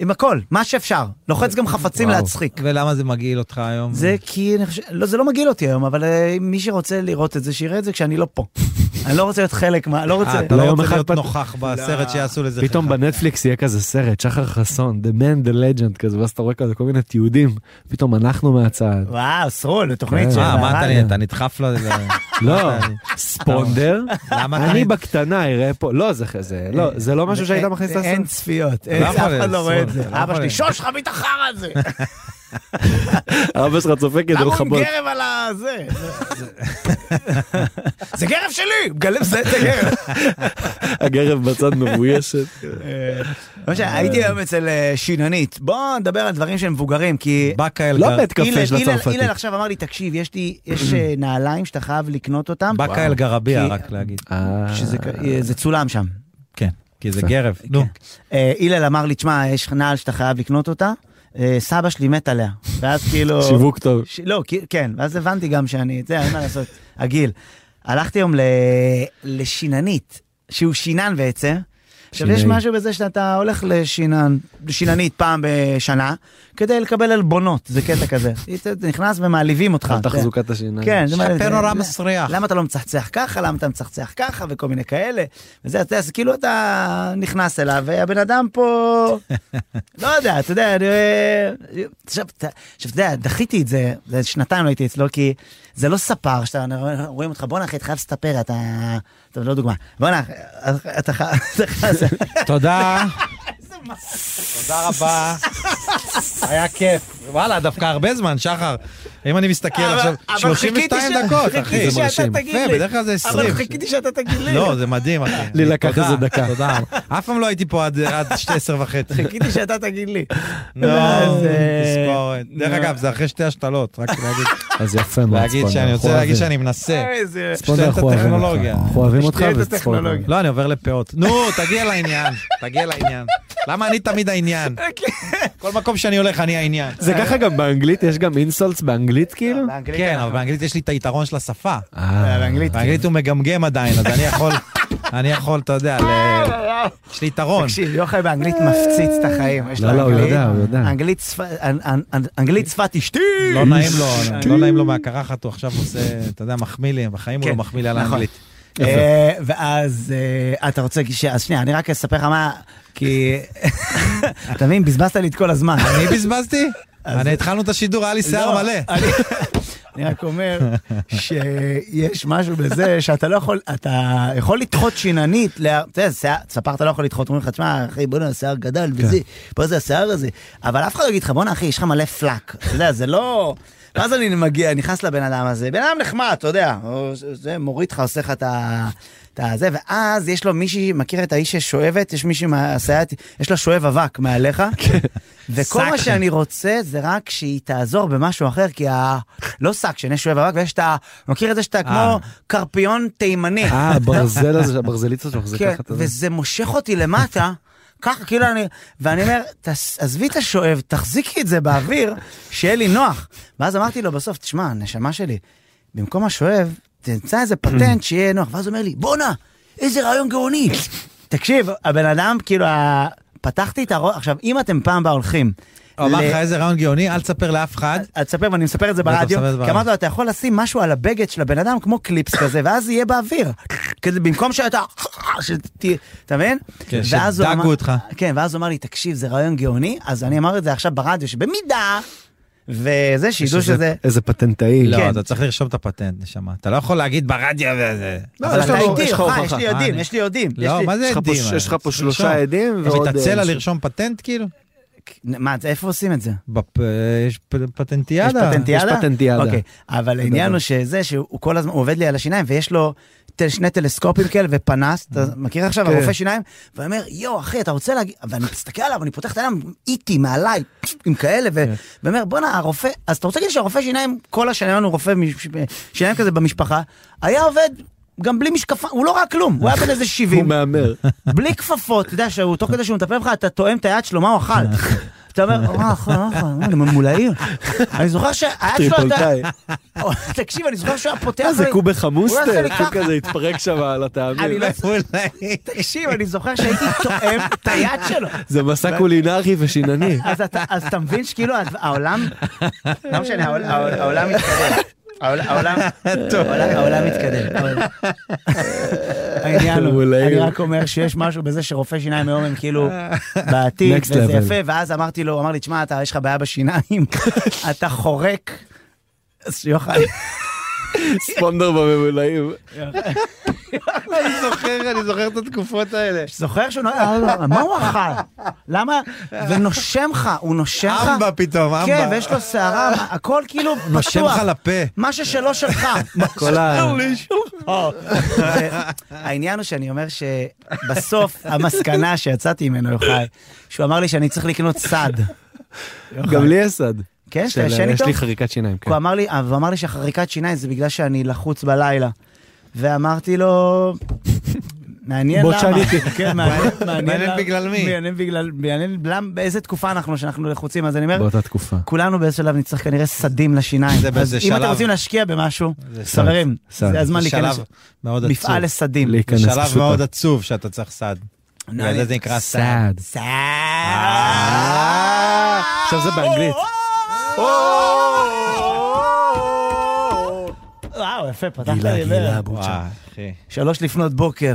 עם הכל, מה שאפשר. לוחץ גם חפצים וואו. להצחיק. ולמה זה מגעיל אותך היום? זה כי, אני חושב, לא, זה לא מגעיל אותי היום, אבל אה, מי שרוצה לראות את זה, שיראה את זה כשאני לא פה. אני לא רוצה להיות חלק מה... לא רוצה... אה, אתה לא ליום רוצה אחד להיות פת- לא. נוכח לא. בסרט שיעשו לזה פתאום בנטפליקס יהיה כזה סרט, שחר חסון, The Man, The Legend כזה, ואז אתה רואה כזה כל מיני תיעודים, פתאום אנחנו מהצד. וואו, סרול, בתוכנית כן. של... אה, מה אתה נהיה? הרדיו. אתה נדחף לו? אה, לא, ספונדר, אה, למה אתה אני נת- בקטנה אראה פה, לא, זה זה לא, זה לא משהו שהיית אין- מכניס אה, אין לעשות. צפיות, אין- לא אף יכול אחד לא רואה את לסרול, זה. לא אבא יכול. שלי, שוש לך מתחר הזה! אבא שלך צופה כדי למה הוא עם לכבות. גרב על ה... זה? זה גרב שלי! מגלם זה את הגרב. הגרב בצד מבוישת. לא משנה, הייתי היום אצל אה, שיננית, בוא נדבר על דברים שהם מבוגרים, כי... באקה אל לא גר- בית הלל- קפה של הלל- הצרפתי. הלל עכשיו אמר לי, תקשיב, יש לי, יש אה, נעליים שאתה חייב לקנות אותם, באקה אל גרבייה, כי- רק להגיד. אה, שזה כ- אה, זה צולם שם. כן, כי זה גרב. נו, אה, הלל אמר לי, תשמע, יש לך נעל שאתה חייב לקנות אותה, אה, סבא שלי מת עליה. ואז כאילו... שיווק טוב. ש... לא, כי- כן, ואז הבנתי גם שאני, זה, אין מה לעשות, הגיל. הלכתי היום ל... לשיננית, שהוא שינן בעצם. עכשיו, יש שינאי. משהו בזה שאתה הולך לשינן, לשיננית פעם בשנה, כדי לקבל עלבונות, זה קטע כזה. אתה נכנס ומעליבים אותך. על אתה- תחזוקת השיניים. כן, זה מעליב. פנורמה זה- מסריח. למה אתה לא מצחצח ככה, למה אתה מצחצח ככה, וכל מיני כאלה. וזה, אתה יודע, זה כאילו אתה נכנס אליו, והבן אדם פה, לא יודע, אתה יודע, אני... עכשיו, אתה עכשיו, אתה יודע, דחיתי את זה, זה שנתיים לא הייתי אצלו, כי זה לא ספר, שאתה, רואים אותך, בואנה אחי, אתה חייב לספר, אתה... טוב, לא דוגמה. בואנה, אתה חייב... אתה חייב- תודה. תודה רבה. היה כיף. וואלה, דווקא הרבה זמן, שחר. אם אני מסתכל אבל- כן, עכשיו, אבל 32 חיכיתי ש- דקות, אחי. חיכיתי זה שאתה מרשים. תגיד יפה, לי. בדרך כלל זה 20. אבל חיכיתי שאתה תגיד לי. לא, זה מדהים, אחי. לי לקח תודה, איזה דקה. תודה. אף פעם לא הייתי פה עד- עד 12 וחצי. חיכיתי שאתה תגיד לי. נו, ואז, אה, תספורת. דרך נו. אגב, זה אחרי שתי השתלות, רק להגיד- אז יפה מאוד. להגיד ספונדר. שאני אנחנו רוצה להגיד אוהבים. שאני מנסה. אה, אה, איזה... ספונדר, שתיהן את אנחנו אוהבים אותך. הטכנולוגיה. אנחנו אוהבים אותך שתיהן את וספונדר. הטכנולוגיה. לא, אני עובר לפאות. נו, תגיע לעניין, תגיע לעניין. למה אני תמיד אה, העניין? כן. כל מקום שאני הולך אני העניין. זה ככה גם באנגלית? יש גם אינסולטס באנגלית כאילו? לא, באנגלית כן, אנחנו- אבל באנגלית יש לי את היתרון של השפה. אה, באנגלית. כן. באנגלית הוא מגמגם עדיין, אז אני יכול, אני יכול, אתה יודע, ל- יש לי יתרון. תקשיב, יוחאי לא באנגלית מפציץ את החיים. יש לו לא, לא, הוא אנגלית- יודע, הוא יודע. אנגלית שפת- אנ- אנ- אנ- אנגלית שפת אשתי! לא נעים לו, לא נעים לו מהקרחת, הוא עכשיו עושה, אתה יודע, מחמיא לי, בחיים הוא כן, לא מחמיא לי על נכון. האנגלית. אה, ואז אה, אתה רוצה, ש- אז שנייה, אני רק אספר לך מה, כי... אתה מבין, בזבזת לי את כל הזמן. אני בזבזתי? אני התחלנו את השידור, היה לי שיער לא, מלא. אני- אני רק אומר שיש משהו בזה שאתה לא יכול, אתה יכול לדחות שיננית, לה- אתה יודע, שיער- ספר אתה לא יכול לדחות, אומרים לך, תשמע, אחי, בוא'נה, השיער גדל וזה, פה זה השיער הזה, אבל אף אחד לא יגיד לך, בוא'נה, אחי, יש לך מלא פלאק, אתה יודע, זה לא... ואז אני מגיע, נכנס לבן אדם הזה, בן אדם נחמד, אתה יודע, או זה מוריד לך, עושה לך את ה... את הזה, ואז יש לו מישהי, מכיר את האיש ששואבת? יש מישהי מהסייעת, יש לה שואב אבק מעליך, וכל מה שק. שאני רוצה זה רק שהיא תעזור במשהו אחר, כי ה... לא שק, שאני שואב אבק, ויש את ה... מכיר את זה שאתה כמו קרפיון תימני. אה, הברזל הזה, הברזליצה שלך, זה כן, ככה. אתה יודע. וזה מושך אותי למטה, ככה כאילו אני, ואני אומר, "תס- עזבי את השואב, תחזיקי את זה באוויר, שיהיה לי נוח. ואז אמרתי לו בסוף, תשמע, נשמה שלי, במקום השואב, תמצא איזה פטנט שיהיה נוח. ואז הוא אומר לי, בואנה, איזה רעיון גאוני. תקשיב, הבן אדם, כאילו, ה- פתחתי את הראש, עכשיו, אם אתם פעם בה הולכים... הוא אמר ל- לך איזה רעיון גאוני, אל תספר לאף אחד. אז תספר, ואני מספר את זה בטח, ברדיו, מספר את זה כי ברדיו. אמרתי לו, אתה יכול לשים משהו על הבגד של הבן אדם כמו קליפס כזה, ואז יהיה באוויר. כזה, במקום שאתה... שת- אתה מבין? כן, ואז הוא שדגו אמר- אותך. כן, ואז הוא אמר לי, תקשיב, זה רעיון גאוני, אז אני אמר את זה עכשיו ברדיו, שבמידה, וזה, שידעו שזה... איזה פטנטאי. לא, כן. אתה צריך לרשום את הפטנט, נשמה. אתה לא יכול להגיד ברדיו וזה. לא, אבל אבל אתה יש לו- איתי, יש לך אה, הוכחה. יש לי עדים, אה, יש לי עדים. יש לא, לי- מה זה יש לך פה- עדים? יש לך פה לרשום. שלושה עדים ועוד, יש לי את הצלע אה, לרשום פטנט כאילו? מה, אז איפה עושים את זה? בפ- אה, יש פ- פטנטיאדה. יש פטנטיאדה? יש פטנטיאדה. אוקיי, אבל העניין הוא שזה שהוא כל הזמן, הוא עובד לי על השיניים ויש לו טל- שני טלסקופים כאלה ופנס, אתה מכיר כן. עכשיו, הרופא שיניים? ואני אומר, יואו אחי, אתה רוצה להגיד, ואני מסתכל עליו, אני פותח את העיניים איטי מעליי, עם כאלה, כן. ו- ואומר, בואנה, הרופא, אז אתה רוצה להגיד שהרופא שיניים, כל השיניים הוא רופא מש- שיניים כזה במשפחה, היה עובד. גם בלי משקפה, הוא לא ראה כלום, הוא היה בן איזה 70. הוא מהמר. בלי כפפות, אתה יודע, שהוא- תוך כדי שהוא מטפל בך, אתה תואם את היד שלו, מה הוא אכל. אתה אומר, אה, אכל, אה, אכל, אה, אני ממולאי. אני זוכר שהיד שלו הייתה... טריפולטאי. תקשיב, אני זוכר שהוא היה פותח... איזה לי- הוא קובי עשה חמוסטר, לי הוא ככה. כזה התפרק שם על הטעמים. אני לא- אולי. תקשיב, אני זוכר שהייתי תואם את היד שלו. זה מסע קולינרי ושינני. אז אתה אז אתה מבין שכאילו העולם... לא משנה, העול- העול- העולם מתקדם. העול- העולם העולם- העולם מתקדם. אבל- העניין הוא, מעולה. אני רק אומר שיש משהו בזה שרופא שיניים היום הם כאילו בעתיד, Next וזה level. יפה, ואז אמרתי לו, הוא אמר לי, תשמע, אתה, יש לך בעיה בשיניים, אתה חורק. אז יוחאי, ספונדר בממולאים. אני זוכר, אני זוכר את התקופות האלה. זוכר שהוא נוהג, אה, לא, מה הוא אכל? למה? ונושם לך, הוא נושם לך. אמבה פתאום, אמבה. כן, ויש לו שערה, הכל כאילו פתוח. נושם לך לפה. מה ששלו שלך. אה, כל ה... העניין הוא שאני אומר שבסוף המסקנה שיצאתי ממנו, יוחאי, שהוא אמר לי שאני צריך לקנות סד. נכון. גם לי יש סד. כן, אתה של- ישן יש איתו? לי חריקת שיניים, כן. הוא אמר לי, הוא אמר לי שחריקת שיניים זה בגלל שאני לחוץ בלילה. ואמרתי לו, מעניין בוא למה. תשאלי. כן, מעניין- מעניין למה. בגלל מי. מעניין בגלל, מעניין למה, באיזה תקופה אנחנו שאנחנו לחוצים, אז אני אומר, באותה תקופה. כולנו באיזשהו שלב נצטרך כנראה סדים לשיניים. זה באיזה אז אם אתם שלב. רוצים להשקיע במשהו, סד, חברים, סד. זה הזמן זה להיכנס. שלב מאוד עצוב. מפעל לסדים. להיכנס זה שלב פשוט. מאוד עצוב שאתה צריך סעד. נעמי. בגלל זה זה נקרא סעד. אה! סד. סד. עכשיו זה באנגלית. וואו, אה, יפה, פתחת גילה, לי גילה, בערב. בוא. וואי, אחי. שלוש לפנות בוקר.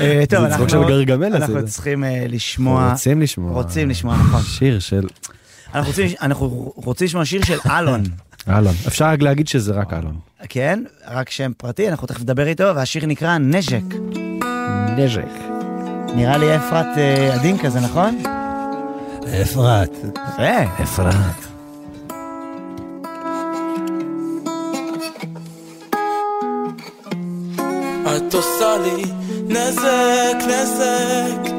אה, טוב, זה צחוק של אנחנו- גרגמל הזה, אנחנו זה. צריכים אה, לשמוע, רוצים לשמוע. רוצים לשמוע, נכון. שיר של אנחנו רוצים- אנחנו רוצים לשמוע שיר של אלון, אלון. אפשר רק להגיד שזה רק אלון. כן? רק שם פרטי, אנחנו תכף נדבר איתו, והשיר נקרא נשק. נז'ק. נראה לי אפרת אה, עדין כזה, נכון? אפרת. יפה. אפרת. את עושה לי נזק, נזק.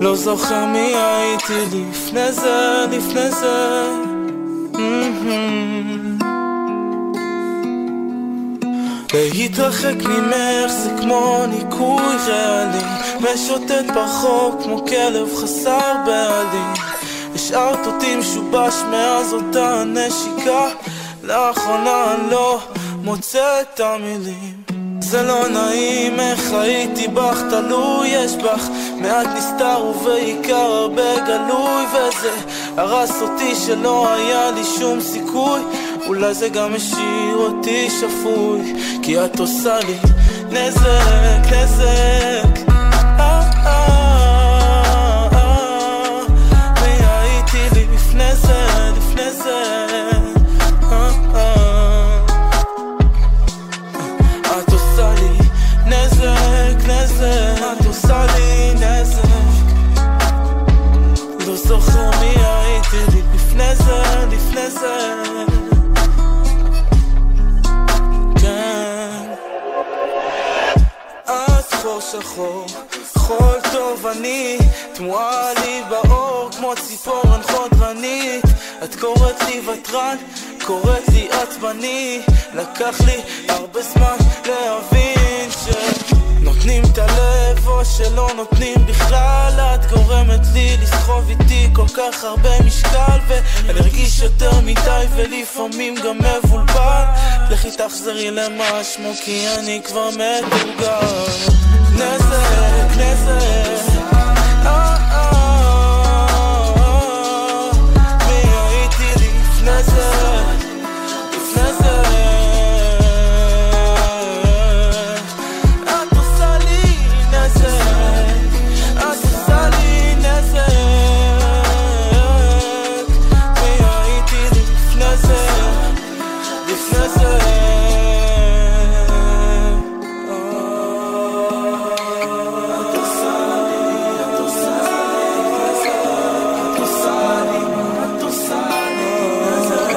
לא זוכר מי הייתי לפני זה, לפני זה. מהמם. להתרחק ממך זה כמו ניקוי רעלים משוטט ברחוב כמו כלב חסר בעלים השארת אותי משובש מאז אותה נשיקה לאחרונה אני לא מוצא את המילים זה לא נעים איך הייתי בך תלוי יש בך מעט נסתר ובעיקר הרבה גלוי וזה הרס אותי שלא היה לי שום סיכוי אולי זה גם השאיר אותי שפוי כי את עושה לי נזק, נזק אה, אה, אה, מי הייתי לי לפני זה, לפני זה אה, אה. את עושה לי נזק, נזק, את עושה לי נזק. לא זוכר מי הייתי לי לפני זה, לפני זה. כן. את חור שחור, חול תובעני, תמוהה לי באור כמו ציפורן חודרנית. את קוראת לי ותרן, קוראת לי עצבני, לקח לי הרבה זמן להבין ש... נותנים את הלב או שלא נותנים בכלל את גורמת לי לסחוב איתי כל כך הרבה משקל ואני ארגיש יותר מדי ולפעמים גם מבולבל לכי תחזרי למשמו כי אני כבר מתורגל נזק, נזק אה, אה, אה, מי הייתי לפני זה? לפני זה את עושה לי נזק, את עושה לי נזק. מי הייתי לפני זה? לפני זה. את עושה לי, את עושה לי נזק, את עושה לי, את עושה לי נזק.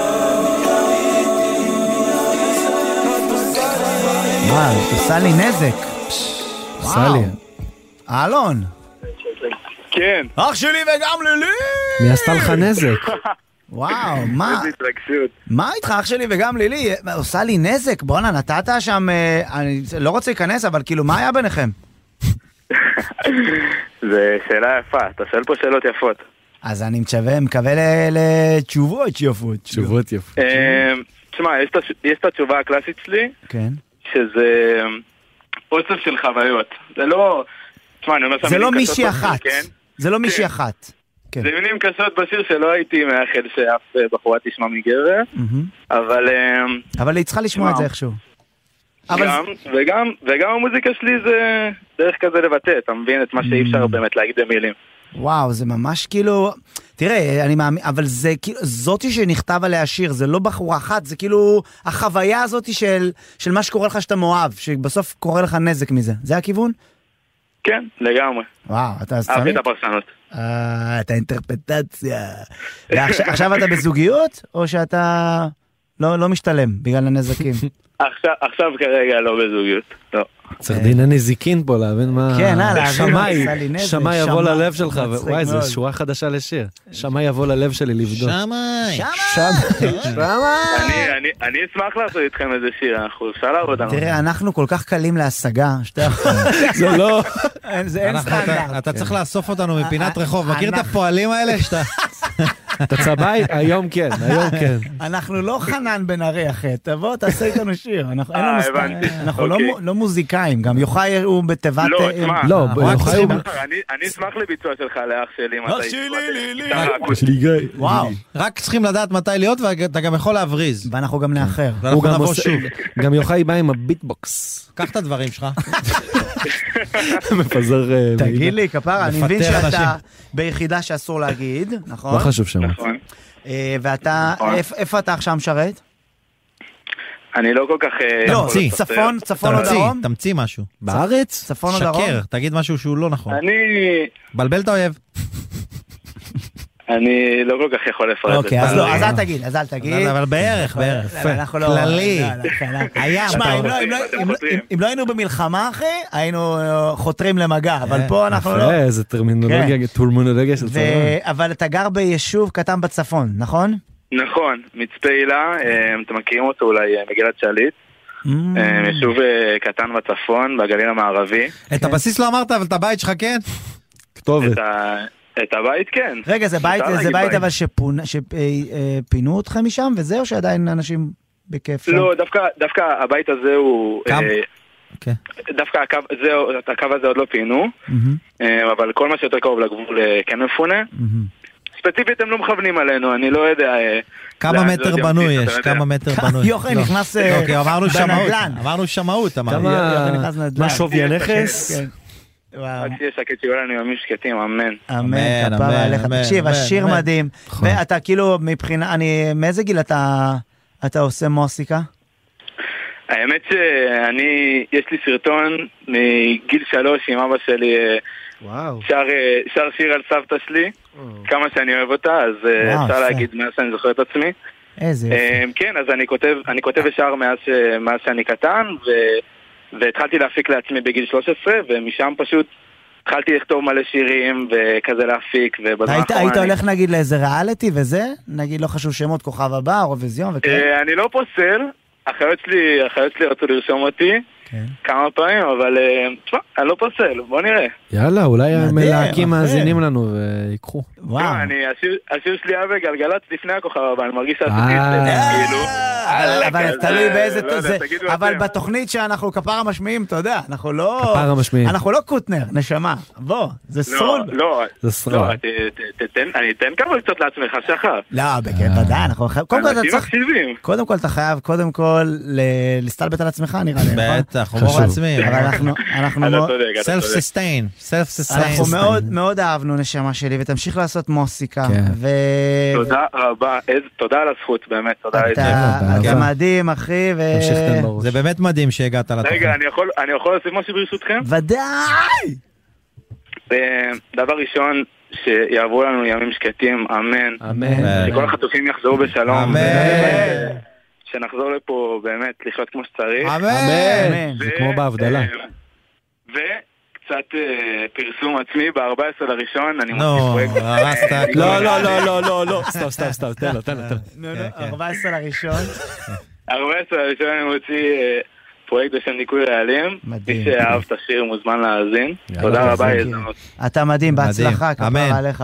וואו, את עושה לי נזק. עשה לי. אלון, כן, אח שלי וגם לילי! מי עשתה לך נזק? וואו, מה? איזה התרגשות. מה איתך אח שלי וגם לילי? עושה לי נזק, בואנה, נתת שם, אה, אני לא רוצה להיכנס, אבל כאילו, מה היה ביניכם? זו שאלה יפה, אתה שואל פה שאלות יפות. אז אני מקווה, מקווה ל- לתשובות יפות. תשובות יפות. אמ, תשמע, יש את הש- יש את התשובה הקלאסית שלי, כן. שזה אמ, אוסף של חוויות. זה לא... תשמע, אני אומר שם זה לא מילים קשות מישהי בשיר, אחת. כן? זה לא מישהי אחת. כן. זה מילים קשות בשיר שלא הייתי מאחל שאף אה, בחורה תשמע מגבר, מהמם. אבל אמ, אבל היא צריכה לשמוע את זה וואו. איכשהו. אבל גם, וגם, וגם המוזיקה שלי זה דרך כזה לבטא, אתה מבין? את מה שאי Mm. אפשר באמת להגיד במילים. וואו, זה ממש כאילו... תראה, אני מאמין, אבל זה כאילו, זאתי שנכתב עליה שיר, זה לא בחורה אחת, זה כאילו החוויה הזאת של, של מה שקורה לך שאתה מאוהב, שבסוף קורה לך נזק מזה. זה הכיוון? כן, לגמרי. וואו, אתה אז אהבתי את צריך... הפרשנות. אה, את האינטרפטציה. ועכשיו עכשיו אתה בזוגיות, או שאתה לא, לא משתלם בגלל הנזקים? עכשיו- עכשיו כרגע לא בזוגיות. לא. צריך דין הנזיקין פה להבין מה... כן, הלאה, אז שמאי, עשה לי נזק, שמאי יבוא שמאי. ללב שלך, מצחיק וואי, זו מאוד. שורה חדשה לשיר. שמאי יבוא ללב שלי לבדוק. שמאי. אני- אני- אני אשמח לעשות איתכם איזה שיר, אנחנו אפשר לעבוד עליו. תראה, אנחנו כל כך קלים להשגה, שאתה... זה לא... אין- זה אין אנחנו- אתה- סטנדרט. כן. אתה צריך לאסוף אותנו מפינת אה, רחוב, מכיר את אנחנו- הפועלים האלה? שאתה... אתה צבעי? היום כן, היום כן. אנחנו לא חנן בן ארי אחי, תבוא, תעשה איתנו שיר. אנחנו- אין אה, לנו סט- הבנתי. אנחנו לא אוקיי. מו- לא מוזיקאים, גם יוחאי הוא בתיבת... לא, אה, תשמע, לא, אנחנו רק ביוחאי הוא... צריכים- אני- אני אשמח לביצוע שלך לאח שלי. אם אתה שלי, ישמע את זה. לא, לי, לי. ככה, אקוסטי. וואו, רק צריכים לדעת מתי להיות, ואתה גם יכול להבריז. ואנחנו גם נאחר. כן. הוא ואנחנו גם נבוא עושה... שוב. גם יוחאי בא עם הביטבוקס. קח את הדברים שלך. מפזר... אה, תגיד מידע. לי, כפרה, אני מבין לפטר שאתה אנשים. ביחידה שאסור להגיד, נכון? לא חשוב שם. נכון. אה, ואתה, נכון. איפ- איפה אתה עכשיו משרת? אני לא כל כך... אה, לא, יכול לספר. צפון, צפון או תמציא, דרום? תמציא משהו. בארץ? צפון או דרום? שקר, תגיד משהו שהוא לא נכון. אני... בלבל את האויב. אני לא כל כך יכול לפרט את זה. אוקיי, אז לא, אז אני- אל תגיד, אז אל תגיד. אבל בערך, בערך. לא, אנחנו לא... כללי. לא, לא, כלל. היה, שמע, אם אתה- לא- אם לא- אתם אם לא- חותרים. אם לא היינו במלחמה, אחי, היינו אה, חותרים למגע, אבל פה אנחנו לא. יפה, איזה טרמינולוגיה, טורמונולוגיה של צבא. ו- אבל אתה גר ביישוב קטן בצפון, נכון? נכון, מצפה הילה, אה, אתם מכירים אותו אולי, אה, מגילת שליט. Mm. אה, כן. יישוב אה, קטן בצפון, בגליל המערבי. את הבסיס לא אמרת, אבל את הבית שלך כן? כתובת. את ה- את הבית כן. רגע, זה בית, אפשר זה להגיד בית בית. אבל שפונה- שפינו אתכם משם, וזהו שעדיין אנשים בכיף שם? לא, דווקא, דווקא הבית הזה הוא... קם. אה, אוקיי. דווקא הקו, זהו, את הקו הזה עוד לא פינו, מהמם, אה, אבל כל מה שיותר קרוב לגבול אה, כן מפונה. מהמם. ספציפית הם לא מכוונים עלינו, אני לא יודע. אה, כמה לאן זה מטר עוד בנוי ימשיך, יש? אתה יודע. כמה מטר בנוי? יוחאי לא. נכנס, אה, אוקיי, אמרנו שמאות. בנדלן. אמרנו שמאות, אמרנו. כמה... נכנס לנדל"ן. מה שווי הנכס? כן. וואו. רק שיהיה שקט שיהיו לנו ימים שקטים, אמן. אמן, אמן, כפרה אמן, עליך. אמן, תקשיב, אמן, השיר אמן. מדהים. נכון. ואתה כאילו, מבחינה, אני, מאיזה גיל אתה אתה עושה מוסיקה? האמת שאני, יש לי סרטון מגיל שלוש עם אבא שלי אה, וואו. שר, אה, שר שיר על סבתא שלי, כמה שאני אוהב אותה, אז אה, וואו, אפשר יפה. להגיד מאז שאני זוכר את עצמי. איזה יופי. אה, כן, אז אני כותב, אני כותב ושר מאז, ש- מאז שאני קטן, ו- והתחלתי להפיק לעצמי בגיל 13, ומשם פשוט התחלתי לכתוב מלא שירים, וכזה להפיק, אתה ובזמן היית- האחרון היית אני- הולך נגיד לאיזה ריאליטי וזה? נגיד לא חשוב שמות, כוכב הבא, אירוויזיון וכאלה? אה, אני לא פוסל, אחיות שלי, אחיות שלי רצו לרשום אותי, כן. כמה פעמים, אבל אה, תשמע, אני לא פוסל, בוא נראה. יאללה, אולי נדיר, המלהקים יפה. מאזינים לנו ויקחו. וואו. תשמע, אני- השיר- השיר שלי היה בגלגלצ לפני הכוכב הבא, אני מרגיש שעשיתי אה. את זה, כאילו. אבל- אבל אז, תלוי אה, באיזה... לא יודע, זה- תגידו אבל אתם. בתוכנית שאנחנו כפרה משמיעים, אתה יודע, אנחנו לא... כפרה משמיעים. אנחנו לא קוטנר, נשמה. בוא, זה לא, סרול. לא, זה סרק. לא, ת- ת- תתן- אני אתן כמה קצת לעצמך, שחר. לא, בכן, ודאי, אנחנו... חייב- קודם כל אתה אנשים צריך... מקשיבים. קודם כל אתה חייב, קודם כל, ל- להסתלבט על עצמך, נראה לי, נכון? בטח, הומור חשוב. עצמי. אבל אנחנו... אנחנו אתה מאוד- צודק, אתה סלף צודק. ססטיין, סלף ססטיין. אנחנו מאוד מאוד אהבנו, נשמה שלי, ותמשיך לעשות מוסיקה. כן. ו... תודה רבה, איזה- תודה על הזכות, באמת, תודה. אתה- באהבה. אתה מדהים, אחי, ו... תמשיך תן בראש. זה באמת מדהים שהגעת לתוכנית. רגע, אני יכול- אני יכול להוסיף משהו ברשותכם? ודאי! אה, דבר ראשון, שיעברו לנו ימים שקטים, אמן. אמן. שכל החטופים יחזרו בשלום. אמן. ובאמת, אה, שנחזור לפה באמת לחיות כמו שצריך. אמן. אמן. זה כמו בהבדלה. אה, וקצת אה, פרסום עצמי, ב-14 לראשון, אני מוציא נו, פרויקט. הרסת הכל. לא, לא, לא, לא, לא, לא, סתם, סתם, סתם, תן לו, תן לו, תן לו. נו, נו, כן, כן. 14 לראשון. 14 לראשון אני מוציא אה, פרויקט בשם ניקוי רעלים. מדהים. מי שאהב את השיר מוזמן להאזין. יאללה, תודה רבה, תודה. הזדמנות. אתה מדהים, בהצלחה, אמן. כפרה עליך.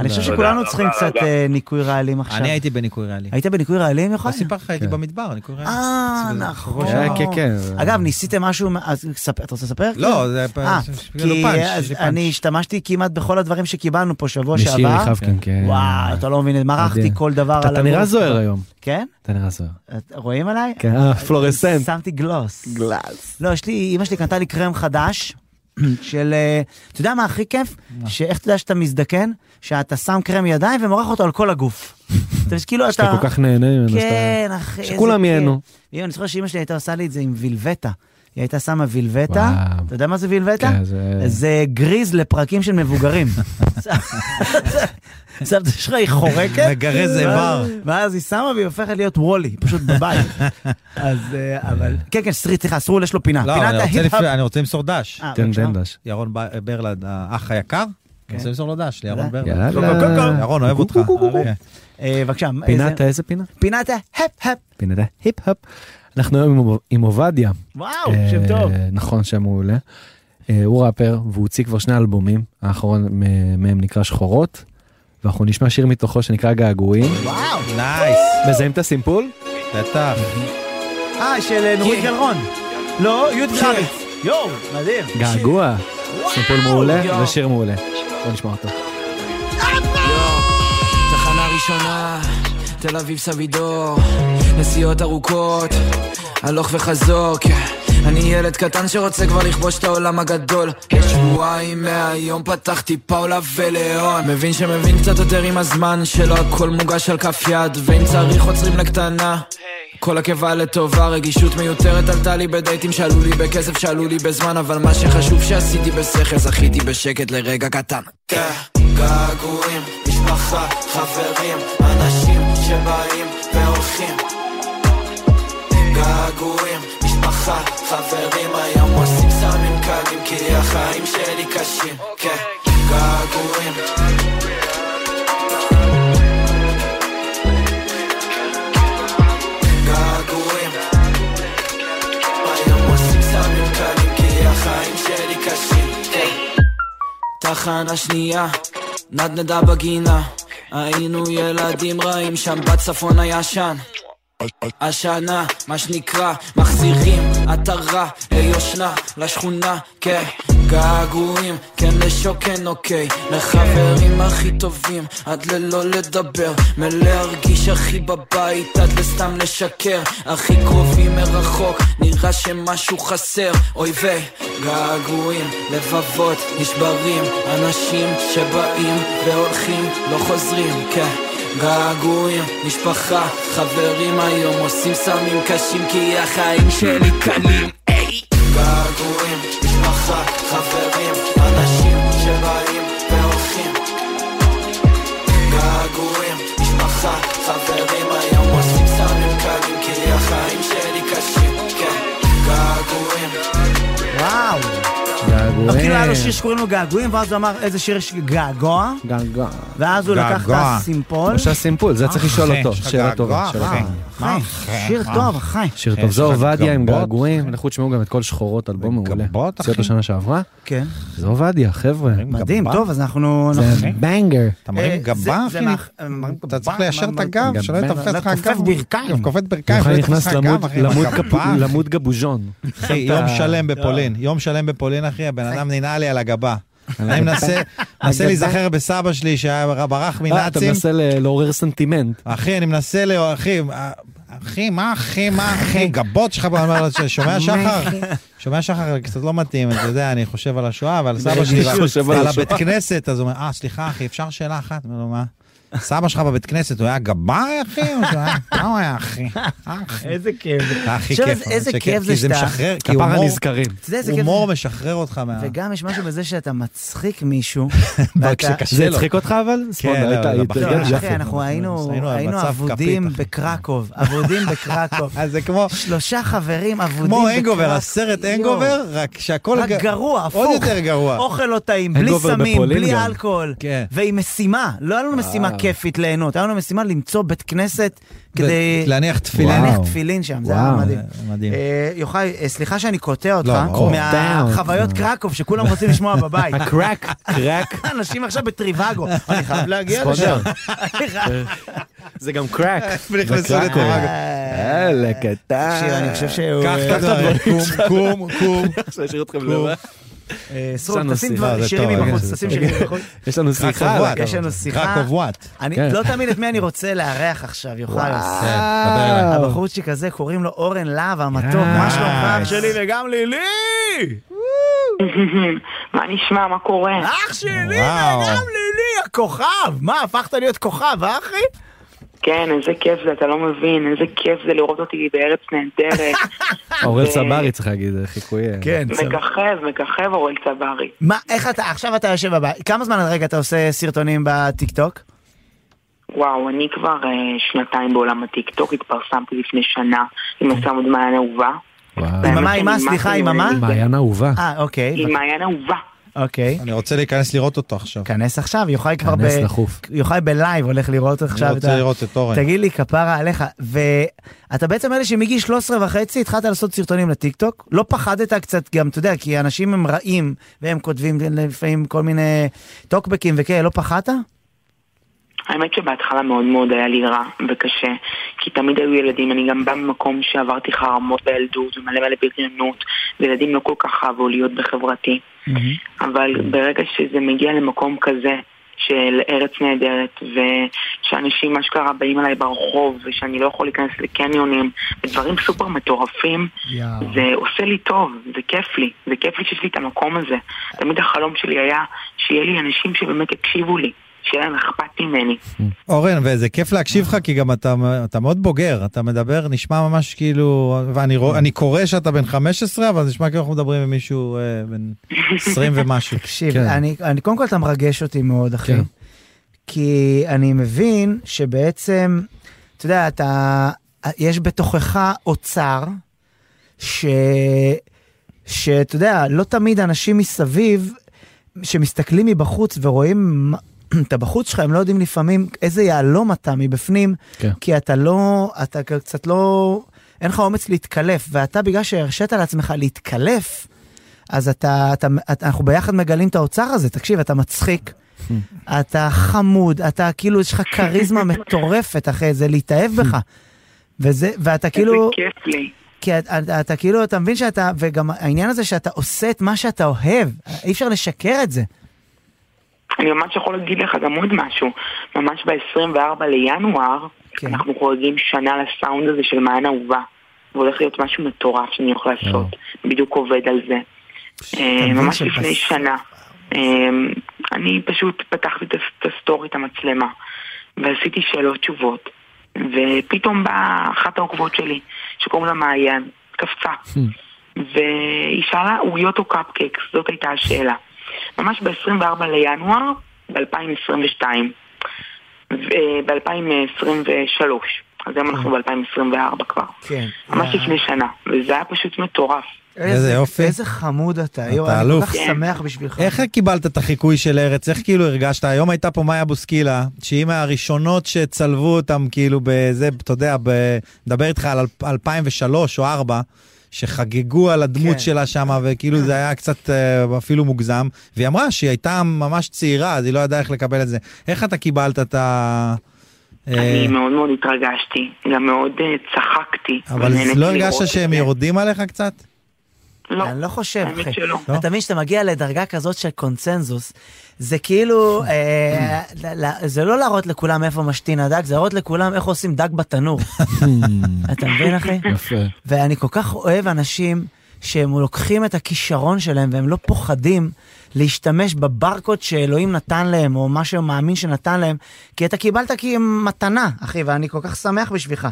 אני חושב תודה שכולנו רבה, צריכים רבה. קצת אה, ניקוי רעלים עכשיו. אני הייתי בניקוי ריאלי. היית בניקוי רעלים, לא יוחאי? כן. סיפרתי לך, הייתי במדבר, ניקוי ריאלי. אה, נכון. כן, כן, כן. אגב, ניסיתם משהו, מה- אז ספר- אתה רוצה לספר? לא, זה פ- אה, ש- כאילו כי פאנץ', אז יש לי פאנץ'. אני השתמשתי כמעט בכל הדברים שקיבלנו פה שבוע שעבר. משירי חבקין, כן. וואו, אתה לא מבין, מרחתי מדהים. כל דבר אתה- על אתה נראה הגוף. זוהר היום. כן? אתה נראה זוהר. את- רואים עליי? כן, אה, פלורסנט. שמתי גלוס. גלס. לא, יש לי, אמא שלי קנתה לי קרם חדש. של, אה, אתה יודע מה הכי כיף? שאיך אתה יודע שאתה מזדקן? שאתה שם קרם ידיים ומורח אותו על כל הגוף. אתה מבין, כאילו אתה... לא, שאתה כל כך נהנה ממנו. שאתה- כן, אחי. איזה שכולם כיף. ייהנו. יואו, אני זוכר שאימא שלי הייתה עושה לי את זה עם וילבטה. היא הייתה שמה וילבטה, וואו. אתה יודע מה זה וילבטה? כן, זה- זה גריז לפרקים של מבוגרים. סבתא שלך היא חורקת, מגרז איבר. ואז היא שמה והיא הופכת להיות וולי, פשוט בבית. אז אה, אבל, כן כן, סריט, סליחה, סרול יש לו פינה. לא, אבל פינת אני רוצה ההיפ-הפ. לפ- אני רוצה למסור דש. אה, תן בבקשה. כן. תן דש. ירון ב- ברלד, האח היקר. אני רוצה למסור לו דש, לירון ברלד. יאללה. ירון, אוהב אותך. כן. אה, בבקשה. איזה- פינת, ה- איזה פינה? פינת ההפ-הפ. פינת ההיפ-הופ. אנחנו היום עם- עם עובדיה. וואו, אה, שם טוב. נכון, שם מעולה. אה, הוא ראפר והוא הוציא כבר שני אלבומים, האחרון מ- מהם נקרא שחורות, ואנחנו נשמע שיר מתוכו שנקרא געגועים. וואו. נייס, מזהים את הסימפול? בטח. אה, של אה, כן. נורית גלרון. לא, יוד חריץ. יואו, מדהים. געגוע. סימפול מעולה ושיר מעולה. בוא נשמע אותו. תחנה ראשונה, תל אביב סבידור, נסיעות ארוכות, הלוך וחזור, כן. אני ילד קטן שרוצה כבר לכבוש את העולם הגדול. שבועיים מהיום פתחתי פאולה ולאון. מבין שמבין קצת יותר עם הזמן, שלא הכל מוגש על כף יד, ואם צריך עוצרים לקטנה. כל עקבה לטובה, רגישות מיותרת עלתה לי בדייטים שעלו לי בכסף, שעלו לי בזמן, אבל מה שחשוב שעשיתי בשכל, זכיתי בשקט לרגע קטן. געגועים, משפחה, חברים, אנשים שבאים והולכים. געגועים, משפחה, חברים, היום עושים סמים קלים, כי החיים שלי קשים, כן. געגועים. געגועים. היום עושים סמים קלים, כי החיים שלי קשים, כן. תחנה שנייה, נדנדה בגינה. היינו ילדים רעים, שם בצפון הישן. השנה, מה שנקרא, מחזירים עטרה ליושנה, לשכונה, כן. געגועים, כן לשוקן, אוקיי. לחברים הכי טובים, עד ללא לדבר. מלהרגיש הכי בבית, עד לסתם לשקר. הכי קרובים מרחוק, נראה שמשהו חסר. אויבי געגועים, לבבות נשברים. אנשים שבאים והולכים, לא חוזרים, כן. געגועים, משפחה, חברים היום עושים סמים קשים כי החיים שלי קלים, היי! געגועים, משפחה, חברים, אנשים שבאים והולכים. געגועים, משפחה, חברים היום עושים סמים קלים כי החיים שלי קשים, כן. געגועים, וואו. לא, כאילו היה לו שיר שקוראים לו געגועים, ואז הוא אמר איזה שיר יש לי? געגוע, געגוע. ואז הוא לקח את געגוע. הסימפול. אה, משה סימפול, זה צריך לשאול אותו. שאלה טובה. שאלה טובה. אה, אחי, שיר אה, טוב, אחי. שיר אחי, טוב, יש זו לך עובדיה עם גבות? געגועים, לכו תשמעו גם את כל שחורות, אלבום מעולה. גבות, הוציאו אותו אחי. שנה שעברה. כן, זו עובדיה, חבר'ה. מדהים, טוב, אז אנחנו... זה אנחנו- בנגר. אתה מרים אה, זה- גבה, זה אחי? מאח- מרים אתה גבה, צריך ליישר את מרים- הגב, שלא גבה, יתפקס לך הגב. לכופף ברכיים. לכופף ברכיים, אה, כולך שלא יתפקס נכנס לך למוד- הגב, אחי. עם למוד הגבה, קפ- אחי. למוד גבוז'ון. אחי, יום שלם בפולין, יום שלם בפולין, אחי, הבן אדם ננעל לי על הגבה. אה. אני מנסה מנסה להיזכר בסבא שלי שהיה ברח אה, אתה מנאצים. מנסה ל- לעורר סנטימנט. אחי, אני מנסה ל... אחי, אה, אחי, מה אחי, מה אחי, גבות שלך, אני אומר לו, ש- שומע שחר? שומע שחר, קצת לא מתאים, אתה יודע, אני חושב על השואה ועל סבא שלי, ועל- חושב על ועל השואה. הבית כנסת, אז הוא אומר, אה, סליחה, אחי, אפשר שאלה אחת? אומר לו, מה? סבא שלך בבית כנסת, הוא היה גבאי, אחי? או שהוא היה- מה הוא היה, אחי? אה, אחי. איזה כיף. אה, הכי עכשיו, כיף. איזה שכיף, כיף זה כי זה שאתה- משחרר, כי כפרה הומור- נזכרים. אתה יודע איזה כיף הומור זה? משחרר אותך מה... וגם יש משהו בזה שאתה מצחיק מישהו. ואתה- זה הצחיק אותך אבל? ספונדר, לא, היית- לא, היית- לא, היית- בחיים. לא, יפה. אחי, אנחנו היינו היינו על היינו מצב אבודים כפית, אחי. בקרקוב, אבודים בקרקוב. אז זה כמו... שלושה חברים אבודים כמו בקרקוב. אנגובר, הסרט יואו. אנגובר, רק שהכל... רק ג- גרוע, הפוך. עוד יותר גרוע. אוכל לא טעים, בלי הנגובר סמים, בפולין בלי גם. אלכוהול. כן. אה. ועם משימה, לא היה לנו משימה כיפית ליהנות, היה לנו משימה למצוא בית כנסת כדי להניח תפילין. להניח וואו. תפילין שם, זה היה וואו. מדהים. מדהים. אה, יוחאי, אה, סליחה שאני קוטע אותך, לא, ברור. מהחוויות קרקוב שכולם רוצים לשמוע בבית. הקרק, קרק, אנשים עכשיו בטריווגו, אני חייב להגיע לשם. ספונדר. זה גם קרק. ונכנסו זה קרק. לטוראגו. יאללה, קטן. תקשיב, אני חושב שהוא... אה, קח את הדברים, קום, קום, קום. עכשיו אשאיר אתכם קום. לבד. אה, יש סרוק, לנו תשים שיחה. לא, דבר- זה שירים טוב, מבחוץ, רגע, תשים זה שירים מבחוץ. יש לנו שיחה. קרקוב וואט. יש לנו שיחה. קרקוב וואט. אני כן. לא תמיד את מי אני רוצה לארח עכשיו, יוחאי. כן, דבר אליי. הבחורצ'יק הזה, קוראים לו אורן להב המתוק, מה שלומך אח שלי וגם לילי! מה נשמע, מה קורה? אח שלי וואו. וגם לילי, הכוכב! מה, הפכת להיות כוכב, אה, אחי? כן, איזה כיף זה, אתה לא מבין, איזה כיף זה לראות אותי בארץ נהדרת. אוראל ו- סברי צריך להגיד, זה חיקוי. אה. כן, מככב, מככב אורל צברי. מה, איך אתה, עכשיו אתה יושב בבית, כמה זמן רגע אתה עושה סרטונים בטיקטוק? וואו, אני כבר אה, שנתיים בעולם הטיקטוק, התפרסמתי לפני שנה עם הסאונד מעיין אהובה. וואו. והאמת מה, כן. עם מה? שאני סליחה, עם ממש מה? נהנית. מעיין אהובה. אה, אוקיי, עם מעיין אהובה. אוקיי. אני רוצה להיכנס לראות אותו עכשיו. כנס עכשיו, יוחאי כבר ב... כנס דחוף. יוחאי בלייב הולך לראות עכשיו אני רוצה ה- לראות את אורן. תגיד לי, כפרה עליך, ואתה בעצם אלה שמגיל 13 וחצי התחלת לעשות סרטונים לטיקטוק, לא פחדת קצת גם, אתה יודע, כי אנשים הם רעים, והם כותבים לפעמים כל מיני טוקבקים וכאלה, לא פחדת? האמת שבהתחלה מאוד מאוד היה לי רע וקשה, כי תמיד היו ילדים, אני גם באה ממקום שעברתי חרמות בילדות ומלא מלא בריונות, וילדים לא כל כך אהבו להיות בחברתי. אבל ברגע שזה מגיע למקום כזה של ארץ נהדרת, ושאנשים אשכרה באים אליי ברחוב, ושאני לא יכול להיכנס לקניונים, ודברים סופר מטורפים, זה עושה לי טוב, זה כיף לי, זה כיף לי שיש לי את המקום הזה. תמיד החלום שלי היה שיהיה לי אנשים שבאמת יקשיבו לי, שיהיה להם אכפת ממני. אורן, וזה כיף להקשיב לך, כי גם אתה, אתה מאוד בוגר, אתה מדבר, נשמע ממש כאילו, ואני רוא, אני קורא שאתה בן 15, אבל זה נשמע כאילו אנחנו מדברים עם מישהו אה, בן 20 ומשהו. תקשיב, כן. אני, אני קודם כל אתה מרגש אותי מאוד, אחי. כן. כי אני מבין שבעצם, אתה יודע, אתה, יש בתוכך אוצר, ש... שאתה יודע, לא תמיד אנשים מסביב שמסתכלים מבחוץ ורואים מה- את הבחוץ שלך, הם לא יודעים לפעמים איזה יהלום אתה מבפנים, כן. כי אתה לא, אתה קצת לא, אין לך אומץ להתקלף, ואתה בגלל שהרשית לעצמך להתקלף, אז אתה, אתה, אתה, אנחנו ביחד מגלים את האוצר הזה, תקשיב, אתה מצחיק, אתה חמוד, אתה כאילו, יש לך כריזמה מטורפת אחרי זה, להתאהב בך. וזה, ואתה כאילו, איזה כיף לי. כי אתה, אתה, אתה כאילו, אתה מבין שאתה, וגם העניין הזה שאתה עושה את מה שאתה אוהב, אי אפשר לשקר את זה. אני ממש יכול להגיד לך גם עוד משהו. ממש ב-24 לינואר, כן. כן. אנחנו חוגגים שנה לסאונד הזה של מעיין אהובה. והולך להיות משהו מטורף שאני הולך לעשות. בדיוק עובד על זה. אה, מבין ממש שבס- לפני שנה. אה, אני פשוט פתחתי את הס- את הסטורי, את המצלמה, ועשיתי שאלות תשובות. ופתאום באה אחת העוקבות שלי, שקוראים לה מעיין, קפצה. והיא שאלה עוגיות או קפקקס, זאת הייתה השאלה. ממש ב-24 אה, לינואר ב-2022, ב-2023. אז היום כן. אנחנו ב-2024 כבר. כן. ממש אה. לפני שנה, וזה היה פשוט מטורף. איזה יופי. איזה חמוד אתה, יואו, אתה אני כל אלוף. כך שמח בשבילך. איך קיבלת את החיקוי של ארץ? איך כאילו הרגשת? היום הייתה פה מאיה בוסקילה, שהיא מהראשונות שצלבו אותם כאילו בזה, אתה יודע, ב- מדבר איתך על אלפ- 2003 או 2004, שחגגו על הדמות כן. שלה שמה, וכאילו זה היה קצת אה, אפילו מוגזם, והיא אמרה שהיא הייתה ממש צעירה, אז היא לא ידעה איך לקבל את זה. איך אתה קיבלת את ה... אה, אני מאוד מאוד התרגשתי, גם מאוד אה, צחקתי. אבל ונהניתי לא לראות הרגשת את שהם זה. יורדים עליך קצת? לא, אני לא חושב, האמת אחי. שלא. לא? אתה מבין שאתה מגיע לדרגה כזאת של קונצנזוס, זה כאילו, אה, ל- ל- זה לא להראות לכולם איפה משתין הדג, זה להראות לכולם איך עושים דג בתנור. אתה מבין, אחי? יפה. ואני כל כך אוהב אנשים שהם לוקחים את הכישרון שלהם והם לא פוחדים להשתמש בברקוד שאלוהים נתן להם, או מה שהוא מאמין שנתן להם, כי אתה קיבלת כי מתנה, אחי, ואני כל כך שמח בשבילך.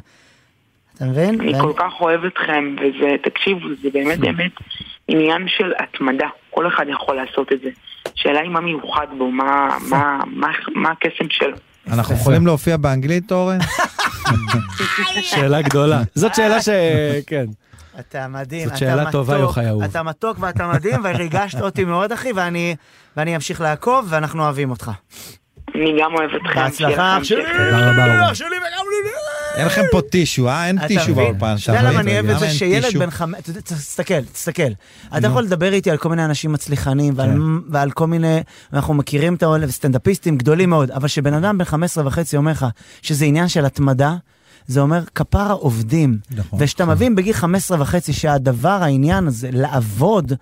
אתה מבין? אני ואני- כל כך אוהב אתכם, וזה, תקשיבו, זה באמת באמת עניין של התמדה. כל אחד יכול לעשות את זה. שאלה היא מה מיוחד בו, מה- מה- מה- מה הקסם שלו. אנחנו יכולים להופיע באנגלית, אורן? שאלה גדולה. זאת שאלה ש... כן. אתה מדהים, זאת אתה שאלה מתוק, טובה, יוחאי אהוב. אתה מתוק ואתה מדהים, וריגשת אותי מאוד, אחי, ואני, ואני אמשיך לעקוב, ואנחנו אוהבים אותך. אני גם אוהב אתכם. בהצלחה. שיהיה לכם שלי, כיף. תודה רבה, אורן. אין לכם פה טישו, אה? אין אתה טישו מבין? באולפן. אתה יודע אתה למה מבין? אני אוהב את למה זה אין שילד טישו? בן חמש... אתה יודע, תסתכל, תסתכל. אתה יכול לדבר איתי על כל מיני אנשים מצליחנים, ועל- כן. ועל כל מיני... אנחנו מכירים את העולם, סטנדאפיסטים גדולים מאוד, אבל כשבן אדם בן 15 וחצי אומר לך שזה עניין של התמדה, זה אומר כפרה עובדים. נכון. ושאתה מבין בגיל 15 וחצי שהדבר, העניין הזה, לעבוד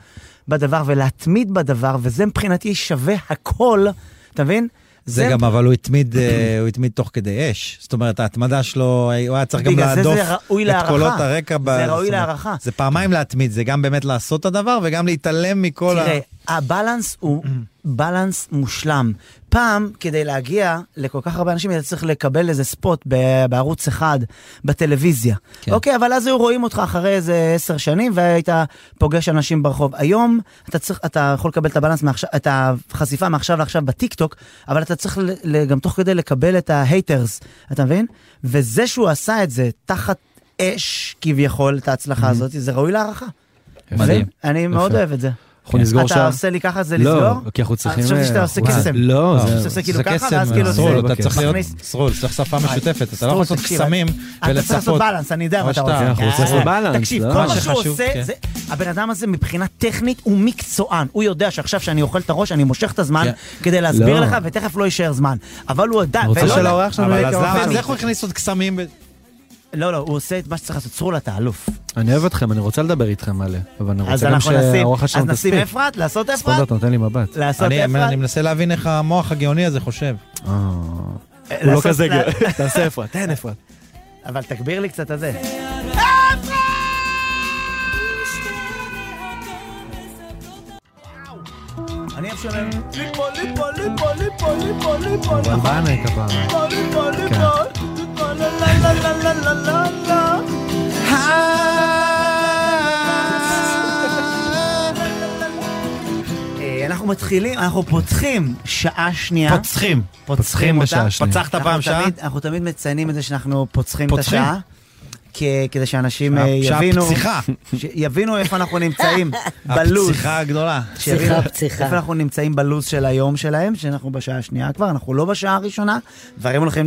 בדבר ולהתמיד בדבר, וזה מבחינתי שווה הכל, אתה מבין? זה גם, אבל הוא התמיד, אה, הוא התמיד תוך כדי אש. זאת אומרת, ההתמדה שלו, הוא היה צריך גם בגלל זה זה להדוף ראוי את להערכה. קולות הרקע. ב- זה ראוי זאת אומרת, להערכה. זה פעמיים להתמיד, זה גם באמת לעשות את הדבר, וגם להתעלם מכל ה... תראה, הבלנס הוא בלנס מושלם. פעם, כדי להגיע לכל כך הרבה אנשים, היית צריך לקבל איזה ספוט ב- בערוץ אחד, בטלוויזיה. כן. אוקיי, אבל אז היו רואים אותך אחרי איזה עשר שנים, והיית פוגש אנשים ברחוב. היום אתה, צריך, אתה יכול לקבל את הבלנס, מעכשיו, את החשיפה מעכשיו לעכשיו בטיקטוק, אבל אתה צריך ל- ל- גם תוך כדי לקבל את ההייטרס, אתה מבין? וזה שהוא עשה את זה תחת אש, כביכול, את ההצלחה הזאת, זה ראוי להערכה. מדהים. אני מאוד אוהב את זה. אנחנו נסגור אתה שעה. עושה לי ככה זה לסגור? לא, כי אנחנו צריכים... חשבתי שאתה עושה וואי, קסם. לא, חשבתי זה... שאתה עושה כאילו ככה, ואז כאילו זה... אה, סרול, אתה צריך להיות... מכניס- אה, סרול, צריך שפה משותפת, אתה לא יכול לעשות תקשיב, אה, קסמים אתה צריך לעשות ולצפות. בלנס, אני יודע מה או אתה שאתה- כן, רוצה. אנחנו רוצים אה, לעשות בלנס, תקשיב, לא? כל מה מה שהוא שחשוב, עושה, כן. זה- הבן אדם הזה מבחינה טכנית הוא מקצוען. הוא יודע שעכשיו שאני אוכל את הראש, אני מושך את הזמן כדי להסביר לא. לך, ותכף לא יישאר זמן. אבל הוא יודע... רוצה ולא- שלאורח שלנו אבל יהיה אז כמה למה- אז פעמים. איך הוא הכניס עוד קסמים? ב- לא, לא, הוא עושה את מה שצריך לעשות. צרול, אתה אלוף. אני אוהב אתכם, אני רוצה לדבר איתכם מלא. אבל אני אז רוצה גם אנחנו נשים, שהאורחת אז שלנו נשים תספיק. אפרת, לעשות ספונדר, אפרת, אתה נותן לי מבט. לעשות אני אפרת. אני מנסה להבין איך המוח הגאוני הזה חושב. אה, הוא לא לעשות- כזה לה- גאה. תעשה אפרת, תן אפרת. אבל תגביר לי קצת את זה. אני אוהב שלהם. ליפו, ליפו, ליפו, ליפו, ליפו, ליפו, אבל נכון? בנה כפרה. ליפו, ליפו, כן. ליפו, ליפו, לה, לה, לה, לה, לה, לה, לה. אה, אנחנו מתחילים, אנחנו פותחים שעה שנייה. פוצחים. פותחים אותה. בשעה שנייה. פצחת אנחנו פעם שעה? תמיד- אנחנו תמיד מציינים את זה שאנחנו פוצחים את פוצחים? השעה. כ- כדי שאנשים אה, שעה יבינו, פציחה. יבינו איפה אנחנו נמצאים בלוז. הפציחה הגדולה. שיבינו פציחה, פציחה. איפה אנחנו נמצאים בלוז של היום שלהם, שאנחנו בשעה השנייה כבר, אנחנו לא בשעה הראשונה, דברים הולכים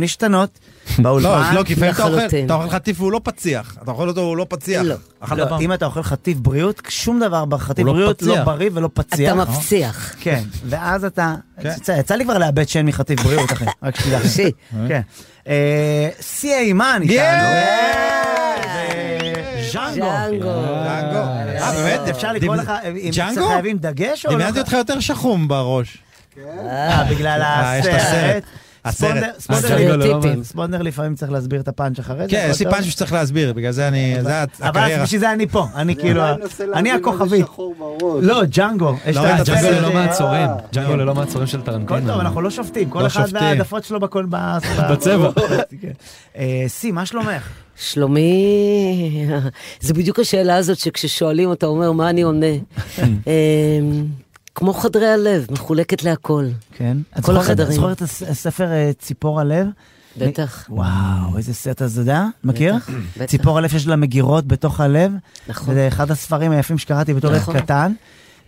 להשתנות לא, באולפן. אז לא, כי לפעמים אתה אוכל, לחלוטין. אתה אוכל חטיף והוא לא פציח. אתה אוכל אותו, הוא לא פציח. לא. אכלת לא, פעם? אם אתה אוכל חטיף בריאות, שום דבר בחטיף הוא לא בריאות לא פציע. בריא ולא אתה פציע. מבטיח. כן, ואז אתה, כן. יצא- יצא לי כבר לאבד שן מחטיף בריאות, אחי, רק שתדע. אישי. כן. אה, סי אימן איתנו. אה, ז'אנגו. ז'אנגו. דאגו. אה, באמת? אפשר לקרוא דמ- לך, אה, אם ג'אנגו? צריך חייבים דגש או לא? דמיינתי אותך יותר שחום בראש. אה, בגלל אה, יש את הסרט. הסרט. ספונדר- הסרט. ספונדר- הסרט. סטריאוטיפים. ספונדר לפעמים צריך להסביר את הפאנץ' אחרי זה. כן, אבל יש לי טוב. פאנץ' שצריך להסביר, בגלל זה אני... זה הת- אבל הקריירה. בשביל זה אני פה, אני כאילו, לא, אני מנסה אני להבין מה זה הכוכבית. שחור בראש. לא, ג'אנגו. יש לא את ראית הסרט, ג'אנגו אה, ללא מעצורים. ג'אנגו ללא מעצורים של טרנטינו. הכל טוב, אנחנו לא שופטים, כל לא אחד שופטים. והעדפות שלו בכל... ב- בצבע. כן. אה, סי, מה שלומך? שלומי, זה בדיוק השאלה הזאת שכששואלים אתה אומר מה אני עונה. אמ, כמו חדרי הלב, מחולקת להכל. כן. את כל זוכרת- החדרים. את זוכרת את הס- הספר אה, ציפור הלב? בטח. וואו, איזה סט הזדה. מכיר? בטח. ציפור הלב שיש לה מגירות בתוך הלב. נכון. זה אחד הספרים היפים שקראתי בתור ילד נכון. קטן.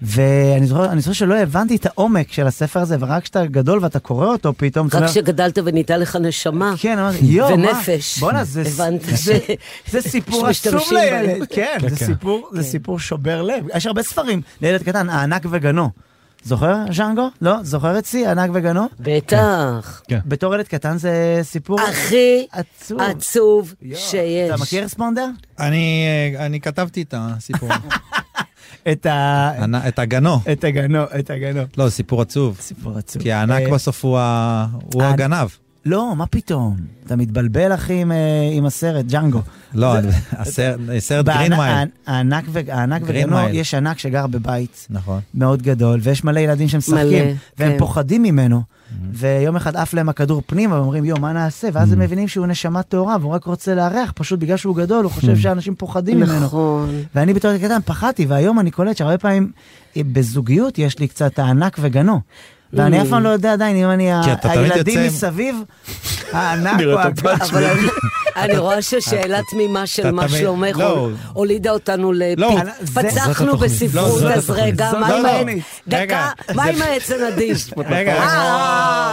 ואני זוכר, אני זוכר שלא הבנתי את העומק של הספר הזה, ורק כשאתה גדול ואתה קורא אותו פתאום, אתה רק אומר, כשגדלת ונהייתה לך נשמה. כן, אמרתי, יואו, מה? ונפש. בואנה, זה- הבנת ש... זה סיפור שמשתמשים עצום לילד. בהם. כן, זה כן. סיפור- זה סיפור שובר לב. יש הרבה ספרים לילד קטן, הענק וגנו. זוכר, ז'אנגו? לא? זוכר אצלי, הענק וגנו? בטח. כן. בתור ילד קטן זה סיפור הכי עצוב. עצוב יואו, שיש. אתה מכיר ספונדר? אני, אה, אני כתבתי את הסיפור, את ה... הנ- את הגנו. את הגנו, את הגנו. לא, סיפור עצוב. סיפור עצוב. כי הענק אה, בסוף הוא ה- הוא אה, הגנב. לא, מה פתאום? אתה מתבלבל, אחי, עם, אה, עם הסרט, ג'אנגו. לא, הסרט- סרט בענ- גרין מייל. הענ- הענק ו- הענק גרין וגנו, מייל. יש ענק שגר בבית נכון. מאוד גדול, ויש מלא ילדים שמשחקים, מלא, והם כן. פוחדים ממנו. ויום אחד עף להם הכדור פנימה, ואומרים, יואו, מה נעשה? ואז הם מבינים שהוא נשמה טהורה, והוא רק רוצה לארח, פשוט בגלל שהוא גדול, הוא חושב שאנשים פוחדים ממנו. נכון. ואני בתור ילד קטן פחדתי, והיום אני קולט שהרבה פעמים אה, בזוגיות יש לי קצת הענק וגנו. ואני אף פעם לא יודע עדיין אם אני ה- אה. כי אתה תמיד הילדים יוצא עם- מסביב, אה, הענק או הגנו. אבל אני- אני רואה ששאלה תמימה של אתה מה תמיד- שלומך לא. הול- הולידה אותנו לא, לפיד. זאת פצחנו התוכנית. לא, בספרות, זאת אז התוכנית. רגע, זאת- מה לא, עם לא. העץ? דקה, רגע, מה זה- עם העץ הנדיב? רגע, אה,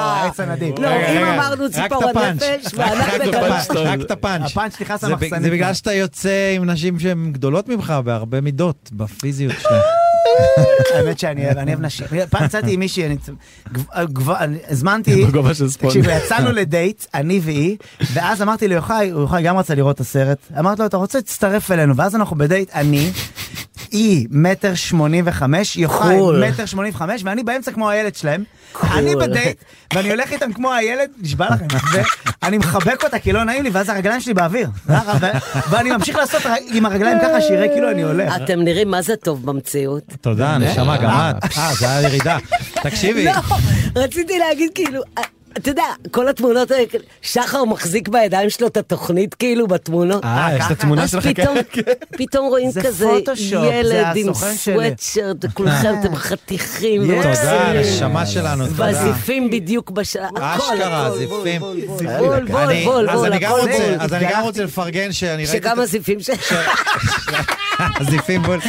העץ הנדיב. לא, רגע, אם רגע. אמרנו רק ציפור את הפאנץ'. רק הנפש, וענק רק את וגדול. הפאנץ', רק את הפאנץ'. הפאנץ' נכנס זה ב- למחסנית. זה בגלל שאתה יוצא עם נשים שהן גדולות ממך בהרבה מידות, בפיזיות שלהן. האמת שאני אוהב, אני אוהב נשים. פעם יצאתי עם מישהי, אני צ- גב- אה, גב- אני- הזמנתי, בגובה של ספונדר. תקשיבו, יצאנו לדייט, אני והיא, ואז אמרתי ליוחאי, יוחאי גם רצה לראות את הסרט, אמרתי לו, אתה רוצה, תצטרף אלינו, ואז אנחנו בדייט, אני, היא מטר שמונים וחמש, יוחאי קול. מטר שמונים וחמש, ואני באמצע כמו הילד שלהם, אני בדייט, ואני הולך איתם כמו הילד, נשבע לכם, ואני מחבק אותה כי לא נעים לי, ואז הרגליים שלי באוויר, ו- ואני ממשיך לעשות ר- עם הרגליים ככה, שיראה כאילו אני הולך. אתם נראים מה זה טוב במציאות. תודה, נשמה, גם את. אה, זה היה ירידה. תקשיבי, לא, רציתי להגיד כאילו, אה, אתה יודע, כל התמונות האלה, כאילו, שחר מחזיק בידיים שלו את התוכנית כאילו בתמונות. אה, יש את התמונה אז שלך פתאום, פתאום רואים זה כזה פוטושופ, זה ילד עם הסוכן שלי. אה. סוואטשרט, וכולכם אתם חתיכים תודה, תודה, ומקסימים. נשמה שלנו, תודה. והזיפים בדיוק בשעה. אשכרה, הכל, הכל, זיפים. בול, בול, זיפים. בול, בול, אני- בול, אז בול, אני גם הכל רוצה- בול. אז אני גם רוצה לפרגן שאני ראיתי שגם את הזיפים ש... הזיפים בול.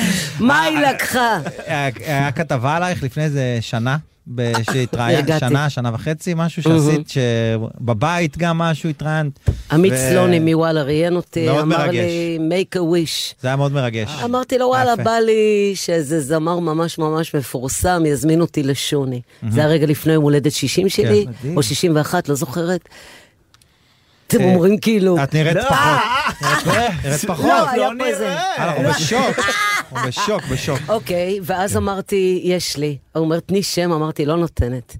מה היא לקחה? היה- היה כתבה עלייך לפני איזה שנה. ב- שהתראיינת, הרגעתי. שנה, שנה וחצי, משהו שעשית, שבבית גם משהו התראיינת. עמית ו- סלוני מוואלה ראיין אותי, מאוד אמר מרגש. לי, make a wish. זה היה מאוד מרגש. אמרתי לו, וואלה, יפה. בא לי שאיזה זמר ממש ממש מפורסם יזמין אותי לשוני. זה הרגע לפני יום הולדת 60 שלי, מדהים. או 61, לא זוכרת. אתם אה, אומרים כאילו... את נראית לא, פחות. נראית- נראית פחות. לא, היה פה איזה... אנחנו אה, בשוק. אנחנו בשוק, בשוק. אוקיי, כן. ואז אמרתי, יש לי. הוא אומר, תני שם, אמרתי, לא נותנת.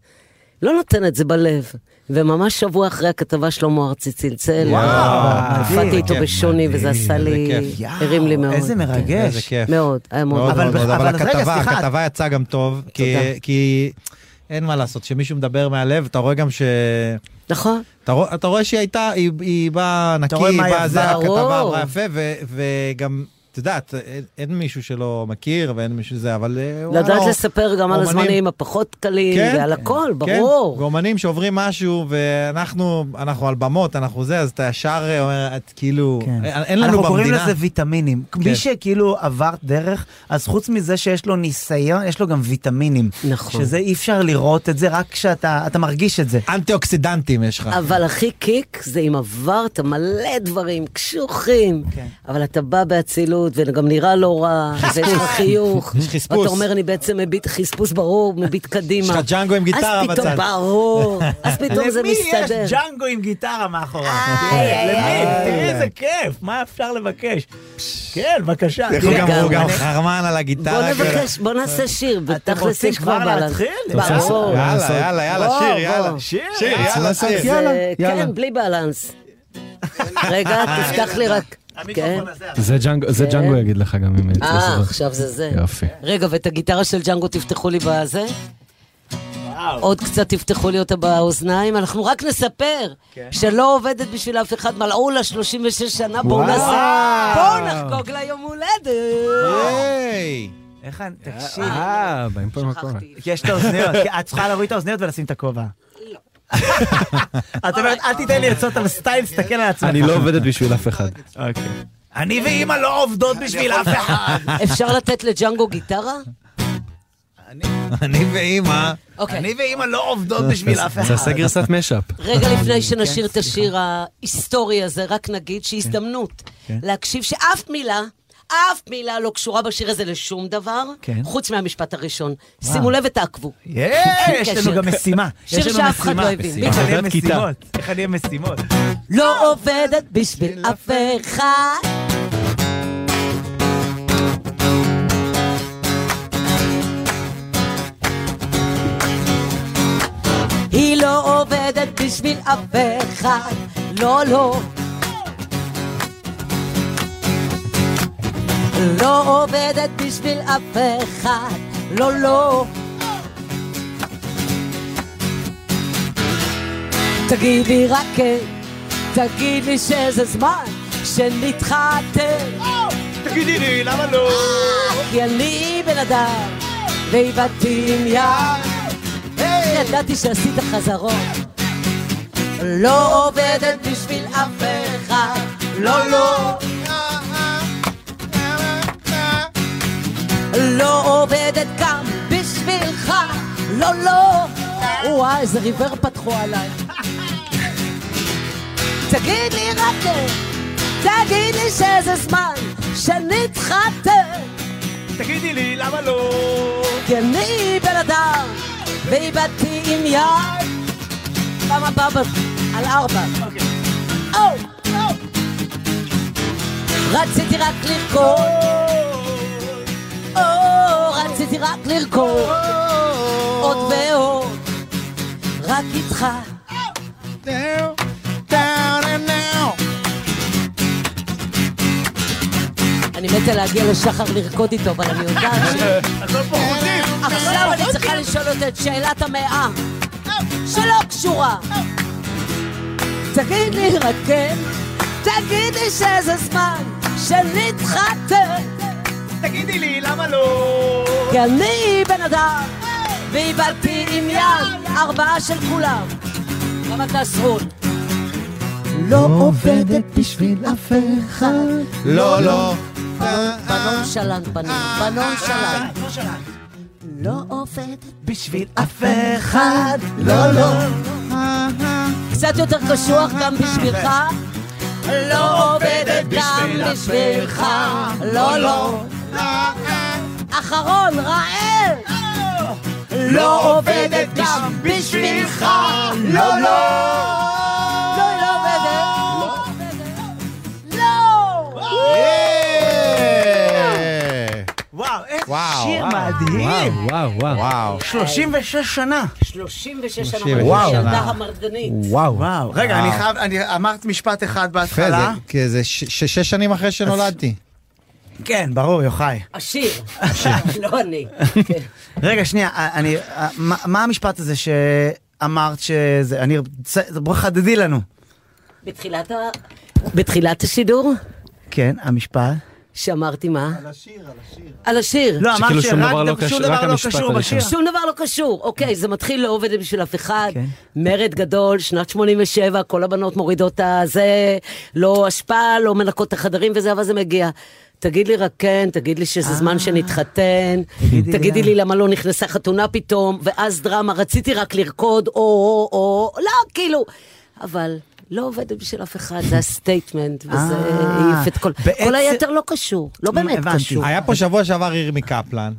לא נותנת, זה בלב. וממש שבוע אחרי הכתבה שלמה ארצי צלצל. וואו, הופעתי מדהים. איתו בשוני, מדהים, וזה עשה איזה לי... כיף. הרים לי מאוד. איזה מרגש. איזה כיף. מאוד, היה אה, מאוד מאוד אבל מאוד בח- מאוד, אבל אבל אז רגע, הכתבה, סליחה. הכתבה יצאה גם טוב, כי- תודה. כי אין מה לעשות, כשמישהו מדבר מהלב, אתה רואה גם ש... נכון. אתה רוא- אתה רואה שהיא הייתה, היא- היא באה נקי, רואה מה היא באה היא זה, עברה. הכתבה ברור. אמרה יפה, ו- וגם, את יודעת, אין- אין מישהו שלא מכיר ואין מישהו זה, אבל... אה, וואלה, לדעת או- לספר גם על אומנים- הזמנים הפחות קלים, כן, ועל הכל, כן, ברור. ואומנים שעוברים משהו, ואנחנו אנחנו על במות, אנחנו זה, אז אתה ישר אה, אומר, את כאילו, כן. אין אין לנו אנחנו קוראים במדינה. כן. לזה ויטמינים. מי שכאילו עבר דרך, אז חוץ מזה שיש לו ניסיון, יש לו גם ויטמינים. נכון. שזה אי אפשר לראות את זה, רק כשאתה אתה מרגיש את זה. אנטי אוקסידנטים יש לך. אבל הכי קיק זה אם עברת מלא דברים קשוחים, כן. אבל אתה בא באצילות וגם נראה לא רע, ויש לך חיוך, יש חספוס. ואתה אומר אני בעצם מביט חספוס ברור, מביט קדימה. יש לך ג'אנגו עם גיטרה אז פתאום בצד. ברור, אז פתאום זה למי מסתדר. יש ג'אנגו עם גיטרה מאחוריו? איי, איי, למי? איי. תראי איזה כיף, מה אפשר לבקש? כן, בבקשה. הוא גם- הוא לגמרי. גם חרמן על הגיטרה. בוא כאילו. נבקש, בוא נעשה שיר, ותכלס רוצים יש כבר כבר בלנס. להתחיל? ברור. יאללה, יאללה, יאללה, בוא, שיר, בוא. יאללה. שיר, שיר, יאללה. יאללה, אז- שיר. יאללה, זה- יאללה. אה, כן, בלי בלנס. רגע, תפתח לי רק. כן. המיקרופון הזה, זה ג'אנגו, אה, זה ג'אנגו יגיד לך גם אם... אתה אה, זוכר. עכשיו זה זה. יופי. רגע, ואת הגיטרה של ג'אנגו תפתחו לי בזה? עוד קצת תפתחו לי אותה באוזניים, אנחנו רק נספר כן. שלא עובדת בשביל אף אחד, מלאו לה 36 שנה, בואו נעשה, בואו נחגוג לה יום הולדת. היי. איך אני... תקשיב. אה, באים פה למקום. שכחתי. לא. כי יש את האוזניות, כי את צריכה להוריד את האוזניות ולשים את הכובע. את אומרת, אל תיתן לי עצות על סטייל, תסתכל על עצמך. אני לא עובדת בשביל אף אחד. אוקיי. אני ואימא לא עובדות בשביל אף אחד. אפשר לתת לג'אנגו גיטרה? אני ואימא, אוקיי. אני ואימא לא עובדות בשביל אף אחד. תעשה גרסת משאפ. רגע אה, כן, לפני שנשיר את השיר ההיסטורי הזה, רק נגיד שהזדמנות כן, להקשיב שאף מילה... אף מילה לא קשורה בשיר הזה לשום דבר, כן. חוץ מהמשפט הראשון. שימו לב ותעקבו. יש לנו גם משימה. שיר יש לנו שאף אחד משימה. לא הבין. משימה. איך אני אהיה עבודת כיתה. משימות? איך אני אהיה משימות? לא עובדת בשביל אף אחד. היא לא עובדת בשביל אף אחד, לא, לא. לא עובדת בשביל אף אחד, לא, לא. תגידי רק כן, תגיד לי שזה זמן שנתחתן. תגידי לי, למה לא? כי אני בן אדם, ואיבדתי עניין. ידעתי שעשית חזרות. לא עובדת בשביל אף אחד, לא, לא. לא עובדת גם בשבילך, לא, לא. אה. וואי, איזה ריבר פתחו עליי. תגיד לי רק, תגיד לי שזה זמן שנתחתן. תגידי לי, למה לא? כי אני בן אדם, ואיבדתי עם יד. פעם הבאה ב- על ארבע. אוו, אוו. רציתי רק לרקוד. או, רציתי רק לרקוד. עוד ועוד. רק איתך. אני מתה להגיע לשחר לרקוד איתו, אבל אני יודעת ש... עכשיו אני אה, צריכה לשאול אותה את שאלת המאה, שלא קשורה. אה, תגיד לי רק כן, תגיד לי שזה זמן שנתחתן. תגידי לי, למה לא? אה, כי אני בן אדם, ואיבדתי עם יד ארבעה של כולם. גם אתה סרול. לא עובדת בשביל אף אחד. לא, לא. אה, בנון שלן, בנון, בנון שלן. לא עובדת אה, בשביל אף אחד, לא, לא. קצת יותר קשוח גם בשבילך. לא עובדת גם בשבילך, לא, לא. אחרון, ראל! לא עובדת גם בשבילך, לא, לא. לא, היא לא עובדת. לא! אה. וואו, איזה וואו, שיר וואו, מדהים. וואו, וואו, וואו. וואו. 36 שנה. 36 שנה, וואו. ילדה המרגנית. וואו. וואו. רגע, אני חייב, אני אמרת משפט אחד יפה, זה- בהתחלה. כי זה ש- ש- שש שנים אחרי שנולדתי. כן, ברור, יוחאי. השיר. לא אני. כן. רגע, שנייה, אני, מה- מה המשפט הזה שאמרת שזה, אני, צ- בוא חדדי לנו. בתחילת ה... בתחילת השידור? כן, המשפט. שאמרתי מה? על השיר, על השיר. על השיר. לא, אמרת שכאילו שום דבר לא שרק קשור- שום רק דבר לא המשפט קשור הראשון. אה. בשיר. שום דבר לא קשור. אוקיי, זה מתחיל לא עובד בשביל אף אחד. אוקיי. כן. מרד גדול, שנת 87, כל הבנות מורידות את הזה, לא אשפה, לא מנקות את החדרים וזה, אבל זה מגיע. תגיד לי רק כן, תגיד לי שזה אה. זמן שנתחתן, תגידי לי תגידי למה. לי למה לא נכנסה חתונה פתאום, ואז דרמה, רציתי רק לרקוד, או, או, או, לא, כאילו. אבל לא עובדת בשביל אף אחד, זה הסטייטמנט, וזה אה, העיף את כל... בעצם- כל היתר לא קשור, לא באמת הבנתי. קשור. היה פה שבוע שעבר ירמי קפלן,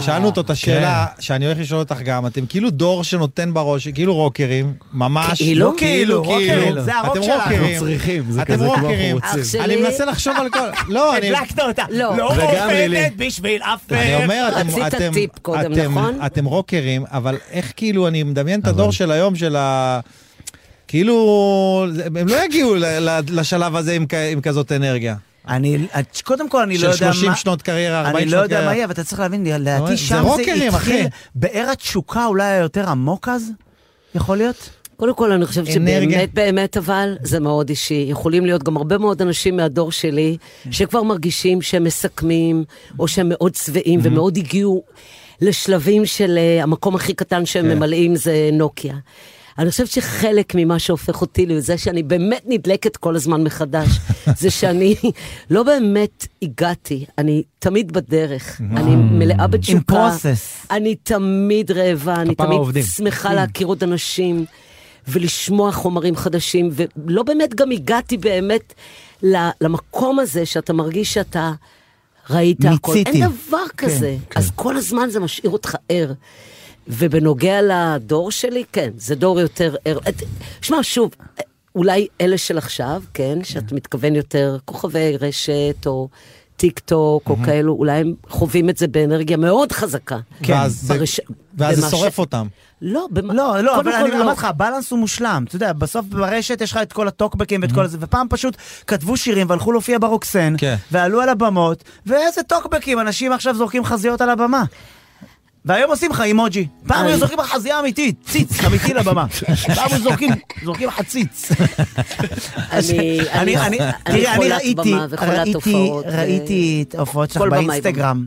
ושאלנו אותו את השאלה כן. שאני הולך לשאול אותך גם, אתם כאילו דור שנותן בראש, כאילו רוקרים, ממש. כאילו? לא כאילו, כאילו, כאילו. רוקרים, זה הרוק אתם שלנו. רוקרים. צריכים, זה אתם כזה כמו אנחנו רוקרים. רוצים. אח שלי. אני מנסה לחשוב על כל... לא, אני... הדלקת אותה. לא. לא וגם לילי. עובדת בשביל אף אני אחד. אומר, אתם, רצית אתם, טיפ קודם, אתם, נכון? אתם רוקרים, אבל איך כאילו, אני מדמיין נכון. את הדור של היום, של ה... כאילו, זה- הם לא יגיעו ל- ל- לשלב הזה עם, כ- עם כזאת אנרגיה. אני, את- קודם כל, אני לא של יודע מה... 30 שנות קריירה, 40 אני לא שנות יודע מה קריירה. יהיה, אבל אתה צריך להבין, לא, זה לדעתי שם זה רוקרים, אחי. התחיל באר התשוקה אולי היותר עמוק אז, יכול להיות? קודם כל, אני חושבת אנרגיה. שבאמת, באמת, אבל, זה מאוד אישי. יכולים להיות גם הרבה מאוד אנשים מהדור שלי, שכבר מרגישים שהם מסכמים, או שהם מאוד שבעים, ומאוד הגיעו לשלבים של אה, המקום הכי קטן שהם ממלאים זה נוקיה. אני חושבת שחלק ממה שהופך אותי לזה שאני באמת נדלקת כל הזמן מחדש, זה שאני לא באמת הגעתי, אני תמיד בדרך, אני מלאה בתשוקה. process. אני תמיד רעבה, אני כפרה תמיד עובדים. שמחה להכיר עוד אנשים ולשמוע חומרים חדשים, ולא באמת גם הגעתי באמת ל- למקום הזה שאתה מרגיש שאתה ראית הכל. מיציתי. אין דבר כזה. אז כל הזמן זה משאיר אותך ער. ובנוגע לדור שלי, כן, זה דור יותר ער. את- שמע, שוב, אולי אלה של עכשיו, כן, שאת מתכוון יותר כוכבי רשת או... טיק טוק או כאלו, אולי הם חווים את זה באנרגיה מאוד חזקה. ואז זה- ברש- ואז זה במה ש- שורף אותם. לא, במה... לא, לא, קודם אבל כל אני אמרתי לך, הבלנס הוא מושלם. אתה יודע, בסוף ברשת יש לך את כל הטוקבקים ואת כל זה, ופעם פשוט כתבו שירים והלכו להופיע ברוקסן, Mm-hmm. כן. ועלו על הבמות, ואיזה טוקבקים, אנשים עכשיו זורקים חזיות על הבמה. והיום עושים לך אימוג'י. פעם היו זורקים לך חזייה אמיתית, ציץ, אמיתי לבמה. פעם היו זורקים, זורקים לך ציץ. אני, אני, אני, אני אני, תראה, אני חולת ראיתי, במה וחולת ראיתי, הופעות, ראיתי את ההופעות שלך כל במאי באינסטגרם,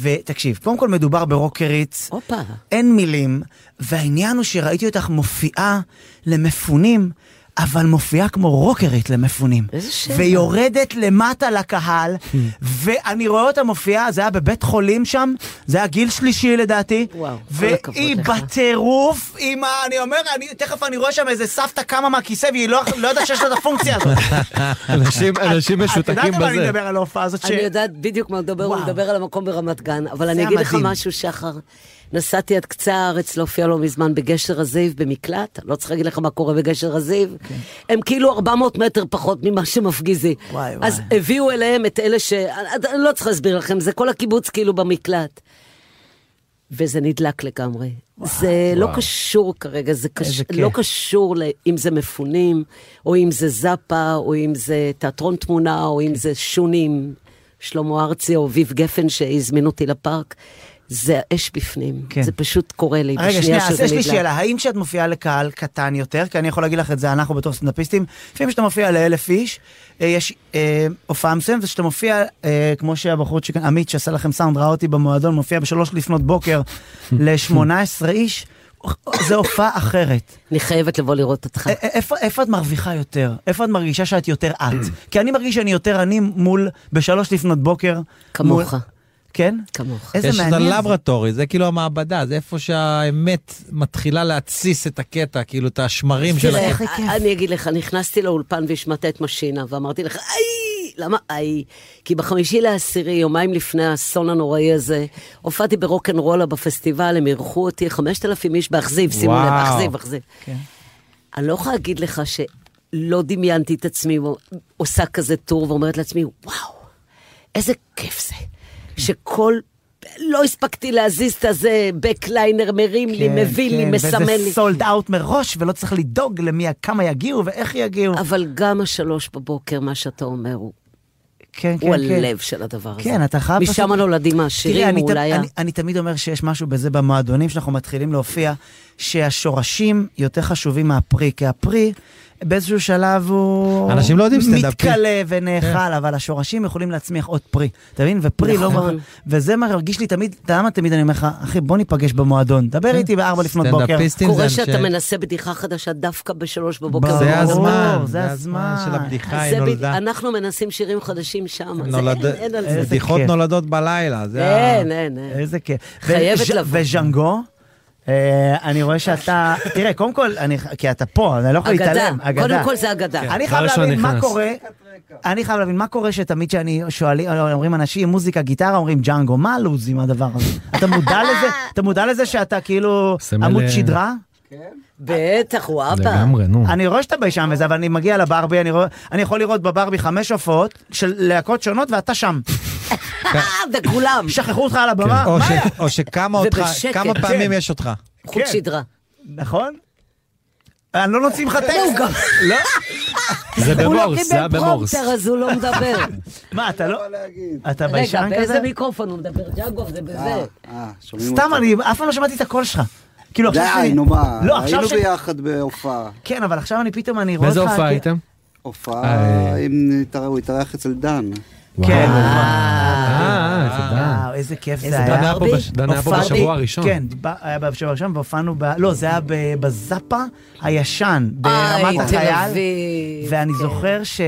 ותקשיב, קודם כל מדובר ברוקרית, הופה. אין מילים, והעניין הוא שראיתי אותך מופיעה למפונים. אבל מופיעה כמו רוקרית למפונים. איזה שם. ויורדת למטה לקהל, ואני רואה אותה מופיעה, זה היה בבית חולים שם, זה היה גיל שלישי לדעתי. וואו, כל הכבוד והיא לך. בטירוף עם ה... אני אומר, אני, תכף אני רואה שם איזה סבתא קמה מהכיסא, והיא לא, לא יודעת שיש לה את הפונקציה הזאת. אנשים- אנשים את יודעת משותקים על מה אני בזה. מדבר על ההופעה הזאת? ש- אני יודעת בדיוק מה הוא מדבר, הוא וואו. מדבר על המקום ברמת גן, אבל זה אני אגיד לך המדהים. משהו, שחר. נסעתי עד קצה הארץ להופיע לא מזמן בגשר הזיו במקלט, אני לא צריכה להגיד לך מה קורה בגשר הזיו, כן. הם כאילו 400 מטר פחות ממה שמפגיזי. וואי, אז וואי. הביאו אליהם את אלה ש... אה, אני אני לא צריכה להסביר לכם, זה כל הקיבוץ כאילו במקלט. וזה נדלק לגמרי. זה לא קשור כרגע, זה קש... איזה כיף. לא קשור ל- אם זה מפונים, או אם זה זאפה, או אם זה תיאטרון תמונה, או כן. אם זה שונים, שלמה ארצי או אביב גפן שהזמין אותי לפארק. זה האש בפנים, כן. זה פשוט קורה לי רגע, בשנייה שנייה, אז שזה יש לי נדלק. שאלה, האם כשאת מופיעה לקהל קטן יותר, כי אני יכול להגיד לך את זה, אנחנו בתור סטנדאפיסטים, לפעמים כשאתה מופיע לאלף איש, אה, יש אה, הופעה מסוימת, וכשאתה מופיע, אה, כמו שהבחור שכאן, עמית שעשה לכם סאונד, ראה אותי במועדון, מופיע בשלוש לפנות בוקר ל-18 איש, זה הופעה אחרת. אני חייבת לבוא לראות אותך. א- א- איפה, איפה את מרוויחה יותר? איפה את מרגישה שאת יותר את? כי אני מרגיש שאני יותר אני מול, בשלוש לפנות בוקר. כמוך. מול- כן? כמוך. איזה יש את מעניין. זה. הלברטורי, זה כאילו המעבדה, זה איפה שהאמת מתחילה להתסיס את הקטע, כאילו את השמרים של תראה, הקטע. אני אגיד לך, נכנסתי לאולפן והשמעת את משינה, ואמרתי לך, איי, למה איי? כי בחמישי לעשירי, יומיים לפני האסון הנוראי הזה, הופעתי ברוקנרולה בפסטיבל, הם אירחו אותי, 5,000 איש באכזיב, שימו לב, וואו. אכזיב, אכזיב. כן. אני לא יכולה להגיד לך שלא דמיינתי את עצמי עושה כזה טור ואומרת לעצמי, וואו, איזה כיף זה, שכל... לא הספקתי להזיז את הזה, בקליינר מרים לי, כן, מביא לי, כן, מסמן לי. וזה סולד אאוט מראש, ולא צריך לדאוג למי, כמה יגיעו ואיך יגיעו. אבל גם השלוש בבוקר, מה שאתה אומר, הוא, כן, הוא הלב של הדבר הזה. כן, אתה חייב משם פשוט- נולדים תראי, העשירים, אני הוא תמ- אולי אה. ה... אני, אני תמיד אומר שיש משהו בזה במועדונים שאנחנו מתחילים להופיע, שהשורשים יותר חשובים מהפרי, כי הפרי באיזשהו שלב הוא... אנשים לא יודעים סטנדאפ, כן. מתכלה ונאכל, אבל השורשים יכולים להצמיח עוד פרי, אתה מבין? ופרי לא... נכון. מר- וזה מרגיש לי תמיד, אתה יודע מה תמיד אני אומר לך, אחי, בוא ניפגש במועדון, דבר איתי בארבע לפנות בוקר. כן. סטנדאפיסטים זה קורה אנשי... שאתה מנסה בדיחה חדשה דווקא בשלוש בבוקר. ברור, זה בבוקר. הזמן, זה זה הזמן. הזמן של הבדיחה, אז היא זה בד- נולדה. אנחנו מנסים שירים חדשים שם, אז נולד- אין- אין על זה. בדיחות כיף. נולדות בלילה, זה ה... אין, אין, אין. איזה כיף. חייבת וז'- לבוא. וז'אנגו? אה, אני רואה שאתה, תראה, קודם כל, אני- כי אתה פה, אני לא יכול אגדה, להתעלם. קודם כל זה אגדה. אני לא, חייב ראשון להבין מה כן. נכנס. קורה, אני חייב להבין מה קורה שתמיד שאני שואלים, אומרים אנשים מוזיקה, גיטרה, אומרים ג'אנגו, מה הלו"ז עם הדבר הזה? אתה מודע לזה? אתה מודע לזה שאתה כאילו סמל, עמוד אה, שדרה? כן. בטח, הוא אבא. לגמרי, נו. אני רואה שאתה ביישן וזה, אבל אני מגיע לברבי, אני רואה- אני יכול לראות בברבי חמש הופעות של להקות שונות ואתה שם. אה, וכולם, שכחו אותך על כן. הבמה, או כן. מה ש- היה? או שכמה אותך, ובשקט. כמה פעמים כן. יש אותך. חוט כן. שדרה. נכון? אני לא נוציא לך טקסט. זה הוא לא במורס, זה היה קיבל במורס. פרומטר, אז הוא לא מדבר. מה, אתה לא... אתה רגע, ביישן כזה? באיזה מיקרופון הוא מדבר? ג'אגוב, זה בזה. אה, שומעים אותי. סתם, אני אף פעם לא שמעתי את הקול שלך. כאילו עכשיו... די, שאני- נו מה, לא, עכשיו היינו ש- ביחד בהופעה. כן, אבל עכשיו אני פתאום, אני רואה אותך... באיזה הופעה כי- הייתם? אה, אה, אה. הופעה, אם נתאר- הוא התארח אצל דן. כן, אה, אה, זה דן. וואו, איזה כיף איזה זה היה. דן היה פה בש- דן היה פה הופעתי- בשבוע הראשון. כן, ב- היה בשבוע הראשון, והופענו ב... לא, זה היה ב- בזאפה הישן, ברמת אה, תל החייל. אביב. כן. ואני זוכר ש...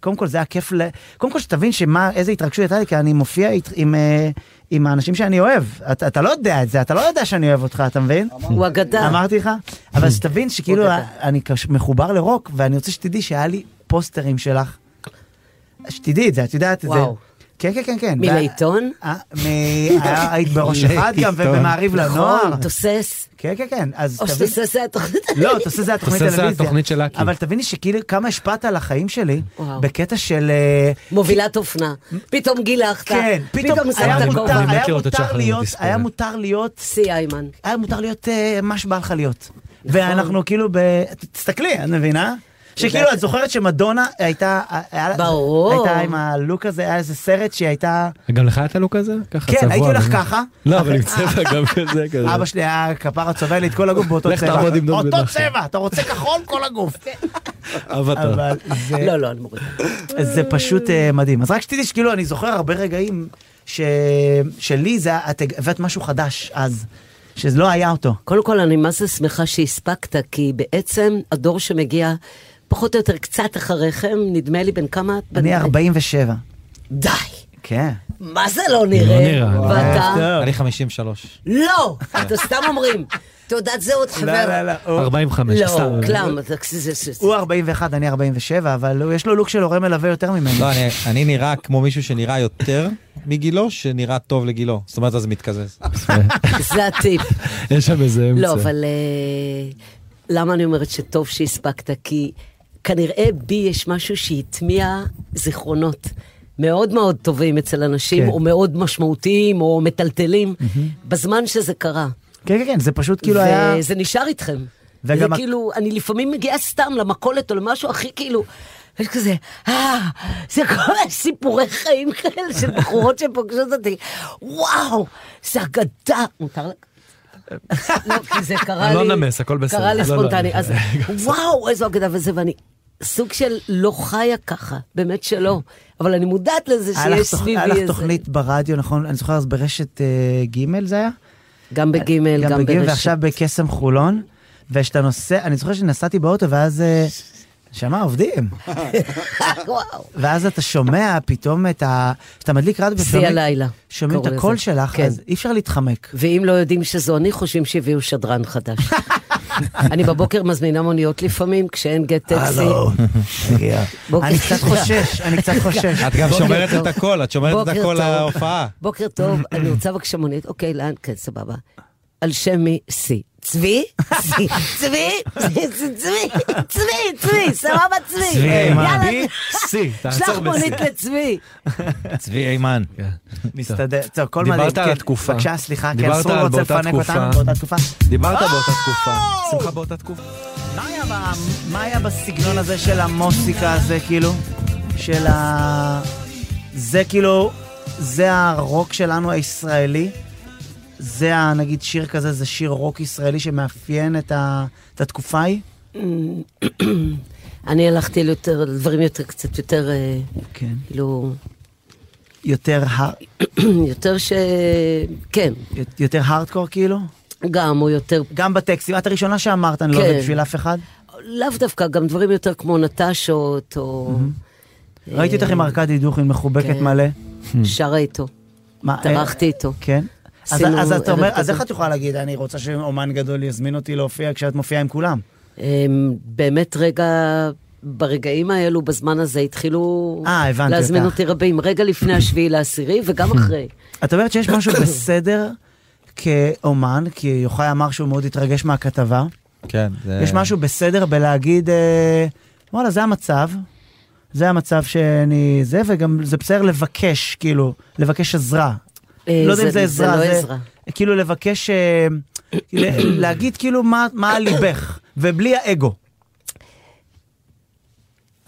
קודם כל זה היה כיף ל... קודם כל שתבין שמה, איזה התרגשות הייתה לי, כי אני מופיע אית- עם... אה, עם האנשים שאני אוהב, אתה, אתה לא יודע את זה, אתה לא יודע שאני אוהב אותך, אתה מבין? הוא אגדה. אמרתי לך? אבל שתבין שכאילו הוא אגדה. אני קש- מחובר לרוק, ואני רוצה שתדעי שהיה לי פוסטרים שלך. שתדעי את זה, את יודעת את זה. וואו. כן, כן, כן, כן. מלעיתון? אה, מ- היה- היית בראש אחד גם, לעיתון. ובמעריב לנוער. נכון, תוסס. כן, כן, כן. אז או תבין- שתוסס היה תוכנית. לא, תעשה זה התוכנית תעשה זה טלוויזיה. התוכנית של אקי. אבל תביני שכאילו כמה השפעת על החיים שלי, וואו. בקטע של... אה, מובילת אופנה. פתאום גילחת. כן, פתאום שמת היה את מותר- הכובע. אני היה מכיר אותה מותר שחר להיות, מדיספלת. היה מותר להיות, סי איימן. נכון. היה מותר להיות אה, מה שבא לך להיות. ואנחנו כאילו ב... תסתכלי, את מבינה? שכאילו את זוכרת שמדונה הייתה, היה- ברור. הייתה עם הלוק הזה, היה איזה סרט שהיא הייתה, גם לך היה את לא הלוק הזה? ככה צבוע. כן, הייתי הולך באמת. ככה, אה, לא, אבל עם צבע גם כזה כזה. אבא שלי היה כפרה צובע לי את כל הגוף באותו לך צבע, תעבוד עם דוד אותו מנחם. צבע, אתה רוצה כחול כל הגוף, אבטר. אבל זה- לא, לא, אני מורידה. זה פשוט אה, מדהים. אז רק שתדעי שכאילו אני זוכר הרבה רגעים ש... שלי זה, היה- את הבאת משהו חדש אז, שזה לא היה אותו. קודם כל, אני מה זה שמחה שהספקת, כי בעצם הדור שמגיע פחות או יותר קצת אחריכם, נדמה לי בן כמה... את? בן- אני 47. די! כן. מה זה לא נראה? לא נראה, לא. ואתה? אני 53. לא! אתם סתם אומרים. תעודת זהות, חבר. לא. הוא- 45, סתם. לא, כלום. זה- זה- זה- זה- הוא 41, אני 47, אבל הוא- יש לו לוק של הורה מלווה יותר ממני. לא, אני- אני נראה כמו מישהו שנראה יותר מגילו, שנראה טוב לגילו. זאת אומרת, אז מתקזז. זה הטיפ. יש שם איזה אמצע. לא, אבל אה, למה אני אומרת שטוב שהספקת? כי כנראה בי יש משהו שהטמיע זיכרונות. מאוד מאוד טובים אצל אנשים, כן. או מאוד משמעותיים, או מטלטלים, בזמן שזה קרה. כן, כן, כן, זה פשוט כאילו היה... וזה נשאר איתכם. וגם וגם... הק- זה כאילו, אני לפעמים מגיעה סתם למכולת או למשהו הכי כאילו, יש כזה, אה, זה כל הסיפורי חיים כאלה של בחורות שפוגשות אותי. וואו, זה אגדה. מותר ל... לא, כי זה קרה לי... אני לא נמס, הכל בסדר. קרה לי לא, לא, ספונטני. אני- אז וואו, איזו אגדה וזה, ואני סוג של לא חיה ככה, באמת שלא. אבל אני מודעת לזה היה לך שיש תוכ- סביבי היה איזה... לך תוכנית ברדיו, נכון? אני זוכר אז ברשת אה, ג' זה היה? גם בגימל, גם בגיל, ברשת. ועכשיו בקסם חולון, ושאתה נוסע, אני זוכר שנסעתי באוטו ואז... אה, שמע, עובדים. וואו. ואז אתה שומע פתאום את ה... כשאתה מדליק רדיו שיא הלילה, שומעים את קורא הקול לזה. שלך, כן. אז אי אפשר להתחמק. ואם לא יודעים שזו אני, חושבים שהביאו שדרן חדש. אני בבוקר מזמינה מוניות לפעמים, כשאין גט אה, טקסי. לא. לא. תגיע. בוקר אני קצת טוב. חושש, אני קצת חושש. את גם בוקר שומרת טוב. את הכל, את שומרת את בוקר הכל טוב. להופעה. בוקר טוב, אני רוצה בבקשה מונית. אוקיי, לאן? כן, סבבה. על שם מי? סי. צבי? סי. צבי? צבי, צבי, צבי, צבי, סבבה צבי. צבי, יאללה, מה? סי, שלח תעצור בסי. מונית לצבי. צבי אימן. מסתדר. טוב, כל דיברת מדהים, על כן. התקופה. בבקשה, סליחה, כי דיברת אסור על רוצה באותה לפנק תקופה. אותנו באותה תקופה. אה! דיברת באותה תקופה. שמחה באותה תקופה. מה היה ב- מה היה בסגנון הזה של המוסיקה הזה, כאילו? של ה... זה כאילו, זה הרוק שלנו הישראלי. זה, ה- נגיד, שיר כזה, זה שיר רוק ישראלי שמאפיין את ה- את התקופה ההיא? אני הלכתי ליותר- לדברים יותר, קצת יותר, אה, כן. כאילו, יותר ה- יותר ש... כן, יותר הארדקור כאילו? גם, או יותר גם בטקסטים, את הראשונה שאמרת, אני לא כן. עובד בשביל אף אחד. לאו דווקא, גם דברים יותר כמו נטשות, או Mm-hmm. אה, ראיתי אותך עם ארכדי דוכין מחובקת כן. מלא. שרה איתו, מה, דרכתי איתו. אה, כן. אז- עשינו אז אתה ערב אומר, אז כזה. איך את יכולה להגיד, אני רוצה שאומן גדול יזמין אותי להופיע כשאת מופיעה עם כולם? אמ, באמת רגע, ברגעים האלו, בזמן הזה, התחילו אה, הבנתי להזמין אותך. אותי רבים, רגע לפני השביעי לעשירי וגם אחרי. את אומרת שיש משהו בסדר כאומן, כי יוחאי אמר שהוא מאוד התרגש מהכתבה. כן. זה- יש משהו בסדר בלהגיד, אה, וואלה, זה המצב. זה המצב שאני... זה, וגם זה בסדר לבקש, כאילו, לבקש עזרה. אה, לא יודע אם זה זה עזרה, לא זה... עזרה. כאילו לבקש, אה, ל- להגיד כאילו מה מה על ליבך, ובלי האגו.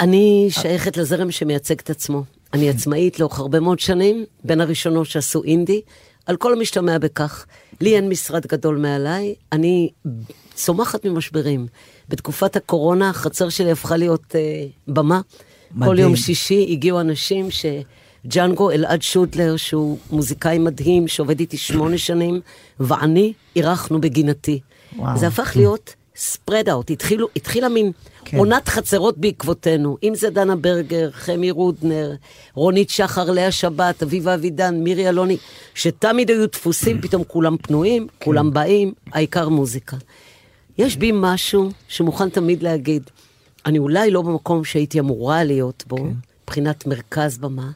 אני שייכת לזרם שמייצג את עצמו. אני עצמאית לאורך הרבה מאוד שנים, בין הראשונות שעשו אינדי, על כל המשתמע בכך. לי אין משרד גדול מעליי, אני צומחת ממשברים. בתקופת הקורונה החצר שלי הפכה להיות אה, במה. מדהים. כל יום שישי הגיעו אנשים ש... ג'אנגו אלעד שוטלר, שהוא מוזיקאי מדהים, שעובד איתי שמונה שנים, ואני אירחנו בגינתי. וואו. זה הפך להיות ספרד אאוט, התחילה מין כן. עונת חצרות בעקבותינו. אם זה דנה ברגר, חמי רודנר, רונית שחר, לאה שבת, אביבה אבידן, מירי אלוני, שתמיד היו דפוסים, פתאום כולם פנויים, כן. כולם באים, העיקר מוזיקה. יש בי משהו שמוכן תמיד להגיד, אני אולי לא במקום שהייתי אמורה להיות כן. בו, מבחינת מרכז במה,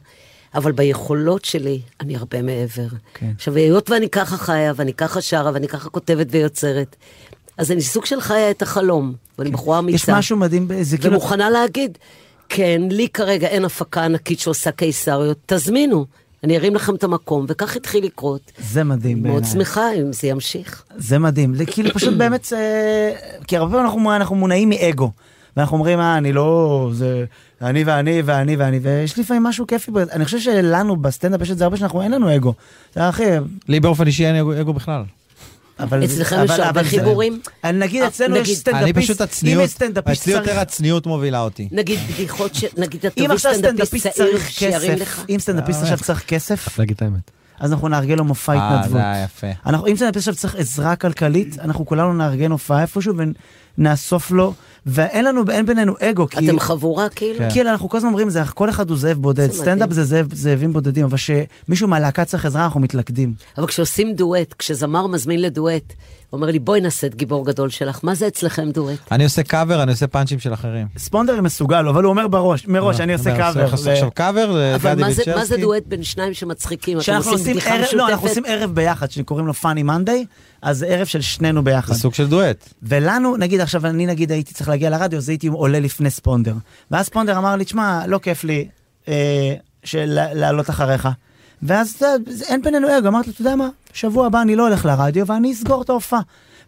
אבל ביכולות שלי אני הרבה מעבר. כן. עכשיו, היות ואני ככה חיה, ואני ככה שרה, ואני ככה כותבת ויוצרת, אז אני סוג של חיה את החלום, ואני בחורה אמיצה. כן. יש משהו מדהים, ב- זה כאילו... ומוכנה להגיד, כן, לי כרגע אין הפקה ענקית שעושה קיסריות, תזמינו, אני ארים לכם את המקום, וכך התחיל לקרות. זה מדהים בעיניי. מאוד שמחה אם זה ימשיך. זה מדהים, זה כאילו פשוט באמת, אה, כי הרבה פעמים אנחנו, אנחנו מונעים מאגו. ואנחנו אומרים, אה, אני לא, זה אני ואני ואני ואני, ויש לפעמים משהו כיפי, ב- אני חושב שלנו בסטנדאפ יש את זה הרבה שאנחנו, אין לנו אגו. אתה יודע, אחי, לי באופן אישי אין אגו- אגו בכלל. אבל... אצלכם אבל- יש הרבה אבל זה- חיבורים? אני- נגיד אה, אצלנו יש נגיד- אני סטנדאפיסט, פשוט הצניעות, אם יש סטנדאפיסט אצלי יותר צריך... הצניעות מובילה אותי. נגיד בדיחות, ש... נגיד אתה אם תביא עכשיו סטנדאפיסט סטנדאפיסט צעיר צריך שירים לך. כסף, אם סטנדאפיסט עכשיו צריך כסף, להגיד את האמת. אז אנחנו נארגן לו מופע התנדבות. אה. אה, זה יפה. אנחנו, אם סטנדאפיסט עכשיו צריך עזרה כלכלית, אנחנו כולנו נארגן הופעה איפשהו ונאסוף לו, ואין לנו, אין בינינו אגו, כי... אתם חבורה כאילו? כן. כאילו אנחנו כל הזמן אומרים, זה כל אחד הוא זאב בודד, זה סטנדאפ מדהים. זה זאב, זאבים בודדים, אבל כשמישהו מהלהקה צריך עזרה, אנחנו מתלכדים. אבל כשעושים דואט, כשזמר מזמין לדואט, הוא אומר לי בואי נעשה את גיבור גדול שלך, מה זה אצלכם דואט? אני עושה קאבר, אני עושה פאנצ'ים של אחרים. ספונדר מסוגל, אבל הוא אומר בראש, מראש, אני עושה לא, אני קאבר. עושה עכשיו קאבר אבל לגדי מה זה, מה זה ויצ'רסקי. דואט בין שניים שמצחיקים? אתם כשאנחנו עושים עושים בדיחה ערב, משותפת? לא, אנחנו עושים ערב ביחד, שקוראים לו פאני מנדי, אז זה ערב של שנינו ביחד. זה סוג של דואט. ולנו, נגיד עכשיו, אני נגיד הייתי צריך להגיע לרדיו, אז הייתי עולה לפני ספונדר. ואז ספונדר אמר לי, תשמע, לא כיף לי אה, של- לעלות אחריך. ואז אתה יודע, זה- אין בינינו אגו, אמרתי לו, אתה יודע מה, שבוע הבא אני לא הולך לרדיו ואני אסגור את ההופעה.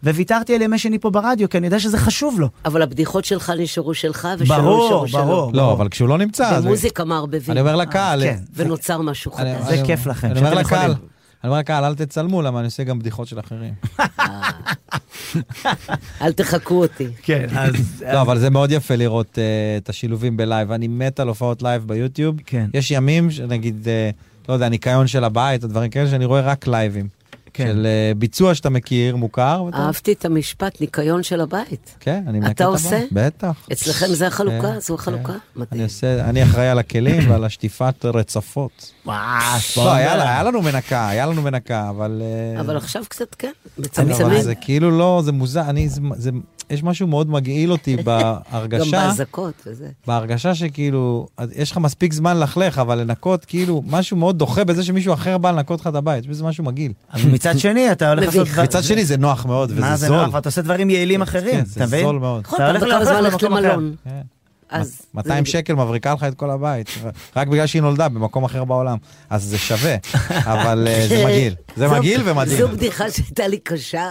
וויתרתי על ימי שני פה ברדיו, כי אני יודע שזה חשוב לו. אבל הבדיחות שלך נשארו שלך, ושלו ברור, נשארו שלו. ברור. לא, אבל כשהוא לא נמצא, אז- במוזיקה מערבבים, אה, אני אומר לקהל, אה, כן. ונוצר משהו אני- חדש. זה אני- כיף לכם, אני אומר שאתם לקהל, יכולים. אני אומר לקהל, אל תצלמו, למה אני עושה גם בדיחות של אחרים. אל תחקו אותי. כן, אז... לא, אבל זה מאוד יפה לראות אה, את השילובים בלייב. אני מת על הופעות לייב ביוטיוב. כן. יש ימים, שנגיד, אה, לא יודע, ניקיון של הבית, או דברים כאלה, שאני רואה רק לייבים. כן. של אה, ביצוע שאתה מכיר, מוכר. ואתה- אהבתי את המשפט, ניקיון של הבית. כן, אני מנקה את אתה הבית. עושה? בטח. אצלכם זה החלוקה? כן, זו החלוקה? אני מדהים. עושה, אני אחראי על הכלים ועל השטיפת רצפות. וואו, לא, היה לה- היה לנו מנקה, היה לנו מנקה, אבל... אה, אבל עכשיו קצת כן, אבל מצמצמים. זה כאילו לא, זה מוזר, אני, זה- זה, יש משהו מאוד מגעיל אותי גם בהרגשה, באזעקות וזה. בהרגשה שכאילו, אז יש לך מספיק זמן ללכלך, אבל לנקות, כאילו, משהו מאוד דוחה בזה שמישהו אחר בא לנקות לך את הבית, יש בזה משהו מגעיל. אבל מצד שני, אתה הולך לעשות... מביך. מצד שני זה נוח מאוד, וזה מה זה זול. נורא? ואתה עושה דברים יעילים אחרים, כן, אתה זה מבין? זול מאוד. נכון, אתה אתה הולך וכמה לאכול זמן ללכת במקום אחר. למלון. כן. אה, אז... 200 שקל מבריקה לך את כל הבית, רק בגלל שהיא נולדה במקום אחר בעולם. אז זה שווה, אבל אה, זה מגעיל. זה זו- מגעיל ומדהים. זו בדיחה שהייתה לי קשה.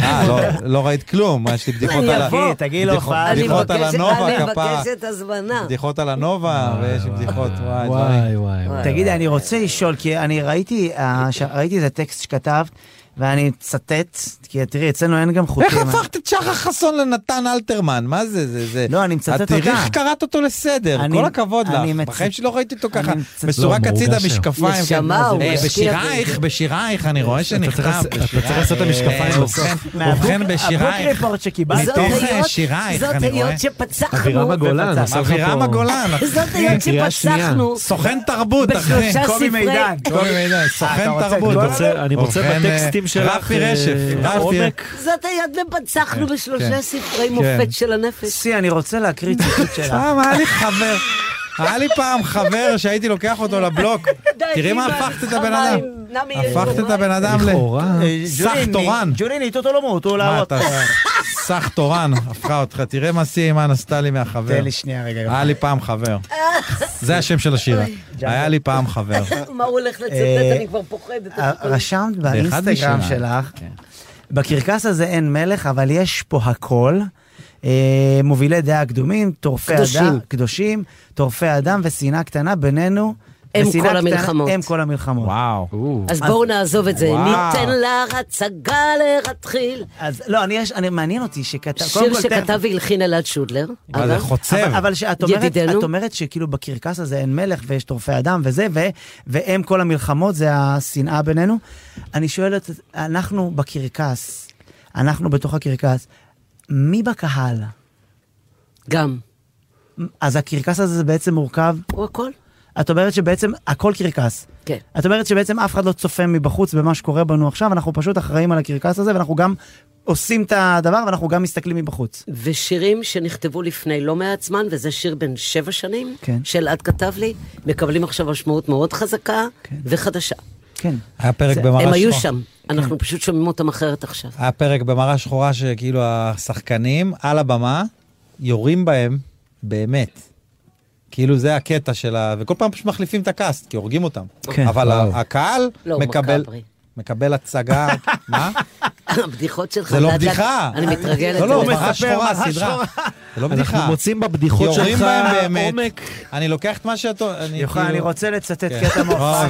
אה, לא- לא ראית כלום, יש לי בדיחות אני על ה... אבוא. תגיעי להופעה. אני בדיחות על מבקשת- הנובה, אני כפרה. מבקשת אה. הזמנה. בדיחות על הנובה, ויש בדיחות, וואי, דברים. אה, וואי וואי. וואי. תגידי, אני רוצה לשאול, כי אני ראיתי, אה, ש- ראיתי את הטקסט שכתבת, ואני מצטט, כי תראי, אצלנו אין גם חוקים. איך הפכת את שחר חסון לנתן אלתרמן? מה זה, זה, זה... לא, אני מצטט את תראי אותה. איך קראת אותו לסדר, אני- כל הכבוד אני לך. מצט- בחיים שלי לא ראיתי אותו ככה. אני מצט- מסורק לא, הוא הצידה הורגש היום. משקפיים. כן. נשמה, הוא אה, משקיע בשירייך, בזה. בשירייך, אני רואה שנכתב. לעשות- אתה בשירייך. צריך לעשות את המשקפיים אה, בסוף. ובכן- מהבוק- ובכן הבוק בשירייך. ריפורט שקיבלת. זאת מתוך, אה, היות- שירייך, זאת אני רואה. היות אבירם שפצחנו. הגולן, ופצח. עושה לך פה... אבירם הגולן, אחי. זאת היות קריאה שפצחנו. סוכן תרבות, אחי. בשלושה קובי ספרי... מידן. קובי מידן, סוכן אתה רוצה תרבות. את כל אני רוצה- אני רוצה ובכן, בטקסטים אה, שלך, רפי אה, רשף, העומק. רפי. זאת היות ופצחנו בשלושה כן. ספרי מופת של הנפש. סי, אני רוצה להקריא ציטוט שלה. פעם אה, היה לי חבר, היה לי פעם חבר שהייתי לוקח אותו לבלוק. די, תראי מה אימא, הפכת את הבן אדם. נמי, יש הפכת לו את הבן מים. אדם ל... לכאורה. אה, סך ג'וליני, תורן. ג'וליני, תותו לא מות, הוא מה להראות. אתה... סך תורן, הפכה אותך. תראה מה סי אימן עשתה לי מהחבר. תן לי שנייה רגע. היה לי פעם חבר. זה השם של השירה. היה לי פעם חבר. מה הוא הולך אה, לצטט? אני כבר פוחדת. אה, ה- רשמת באחד באינסטגרם משלה. שלך, בקרקס הזה אין מלך, אבל יש פה הכל. אה, מובילי דעה קדומים, טורפי קדושים. אדם, קדושים, טורפי אדם ושנאה קטנה בינינו הם ושנאה כל קטנה- המלחמות. הם כל המלחמות. וואו. אז בואו נעזוב את זה. וואו. ניתן לך הצגה להתחיל. אז לא, אני, יש, אני מעניין אותי שכתב... שיר שכתב כן. והלחין אלעד שודלר. אבל- אבל, אבל שאת אומרת, ידידנו. את אומרת שכאילו בקרקס הזה אין מלך ויש טורפי אדם וזה, ו, והם כל המלחמות, זה השנאה בינינו. אני שואל את, אנחנו בקרקס, אנחנו בתוך הקרקס, מי בקהל? גם. אז הקרקס הזה זה בעצם מורכב... הוא הכל. את אומרת שבעצם הכל קרקס. כן. את אומרת שבעצם אף אחד לא צופה מבחוץ במה שקורה בנו עכשיו, אנחנו פשוט אחראים על הקרקס הזה, ואנחנו גם עושים את הדבר, ואנחנו גם מסתכלים מבחוץ. ושירים שנכתבו לפני לא מעט זמן, וזה שיר בן שבע שנים, כן. שאלעד כתב לי, מקבלים עכשיו משמעות מאוד חזקה וחדשה. כן. היה פרק זה- במראה הם היו שחורה. שם, אנחנו פשוט שומעים אותם אחרת עכשיו. היה פרק במראה שחורה שכאילו השחקנים על הבמה יורים בהם באמת. כאילו זה הקטע של ה... וכל פעם פשוט מחליפים את הקאסט, כי הורגים אותם. כן. אבל וואו. ה- הקהל לא, הוא מקבל... מקאברי. מקבל הצגה, מה? הבדיחות שלך. זה לא לאט-לאט- בדיחה. אני מתרגלת. לא, לא, אליך. מראה שחורה, מראה סדרה. זה לא בדיחה. אנחנו מוצאים בבדיחות יורים שלך בהם באמת. עומק. אני לוקח את מה שאתה... אני יוחאי, כאילו- אני רוצה לצטט כן. קטע מההופעה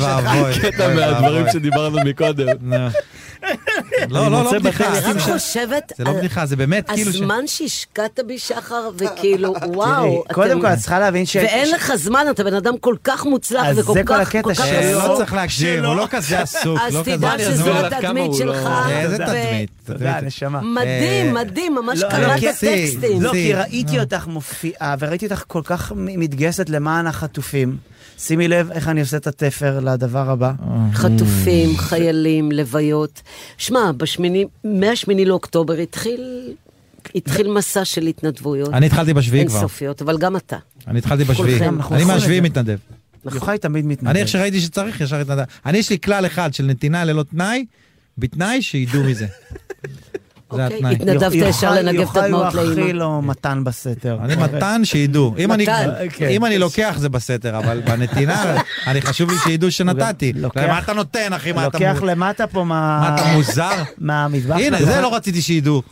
אוי שלך. ואבוי, אוי ואבוי. אה, שדיברנו מקודם. לא, לא, לא בדיחה. אני רק שים ש- חושבת זה לא על בדיחה, זה באמת כאילו... ש- הזמן שהשקעת בי, שחר, וכאילו, וואו. תראי, קודם אתם- כל, את צריכה להבין ש... ואין לך זמן, אתה בן אדם כל כך מוצלח אז וכל זה כל כך... הקטע כל כך שלו. אה, עסוק. לא צריך להקדים, הוא לא כזה עסוק. אז לא תדע כזה- שזו אסביר לך כמה התדמית הוא לא- שלך. אה, איזה ו- תדמית. תדמית. תודה, נשמה. מדהים, אה, מדהים, ממש אה, לא, קראת כי- טקסטים. לא, זה- כי ראיתי אותך מופיעה, וראיתי אותך כל כך מ- מתגייסת למען החטופים. שימי לב איך אני עושה את התפר לדבר הבא. חטופים, חיילים, לוויות. שמע, בשמיני, מהשמיני לאוקטובר התחיל, התחיל מסע של התנדבויות. אני התחלתי בשביעי כבר. אינסופיות, אבל גם אתה. אני התחלתי בשביעי. כולכם, אנחנו אני נכון מהשביעי לזה. מתנדב. יוחאי תמיד מתנדב. אני איך שראיתי שצריך, ישר התנדב. אני, יש לי כלל אחד של נתינה ללא תנאי, בתנאי שידעו מזה. זה אוקיי, אה, התנאי. התנדב- דווקא יוחאי- ישר לנגב את הדמעות יוחאי הוא הכי לאמא. לא מתן בסתר. אני מתן שידעו. אם אני- מתן. אוקיי. אם אני לוקח זה בסתר, אבל בנתינה, אני חשוב לי שידעו שנתתי. אוקיי. לוקח- מה אתה נותן, אחי? מה אתה לוקח מו- למטה פה מה... מה אתה מוזר? מהמטבח. הנה, שלך. זה לא רציתי שידעו.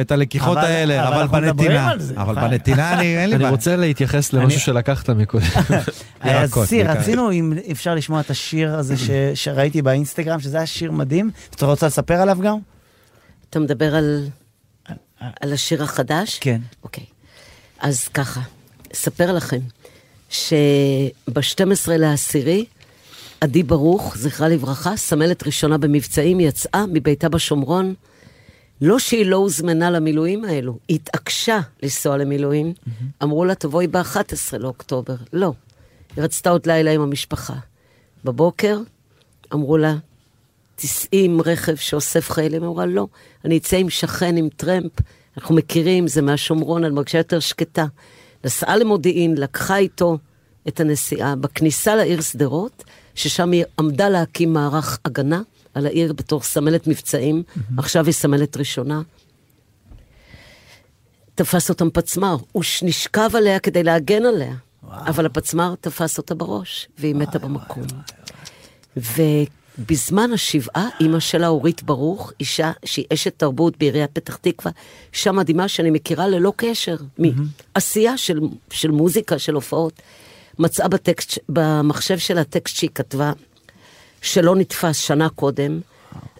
את הלקיחות אבל- האלה, אבל אבל אנחנו מדברים בנתינה. על זה, אבל נכון. בנתינה אני, אין לי אני בעיה. רוצה להתייחס למשהו שלקחת מקודם. ירקות אז אה, סיר, בעיקר. רצינו, אם אפשר לשמוע את השיר הזה ש- שראיתי באינסטגרם, שזה היה שיר מדהים. את רוצה לספר עליו גם? אתה מדבר על, על השיר החדש? כן. אוקיי. אז ככה, אספר לכם שב-12 לעשירי, עדי ברוך, זכרה לברכה, סמלת ראשונה במבצעים, יצאה מביתה בשומרון. לא שהיא לא הוזמנה למילואים האלו, היא התעקשה לנסוע למילואים. אמרו לה, תבואי ב-11 לאוקטובר. לא. היא רצתה עוד לילה עם המשפחה. בבוקר אמרו לה, תיסעי עם רכב שאוסף חיילים. היא אמרה, לא, אני אצא עם שכן, עם טרמפ, אנחנו מכירים, זה מהשומרון, אני מרגישה יותר שקטה. נסעה למודיעין, לקחה איתו את הנסיעה. בכניסה לעיר שדרות, ששם היא עמדה להקים מערך הגנה על העיר בתור סמלת מבצעים, עכשיו היא סמלת ראשונה. תפס אותם פצמ"ר, הוא ש- נשכב עליה כדי להגן עליה, אבל הפצמ"ר תפס אותה בראש, והיא מתה במקום. ובזמן השבעה, אימא שלה, אורית ברוך, אישה שהיא אשת תרבות בעיריית פתח תקווה, אישה מדהימה שאני מכירה ללא קשר, מעשייה של, של מוזיקה, של הופעות, מצאה בטקסט, במחשב שלה טקסט שהיא כתבה, שלא נתפס שנה קודם,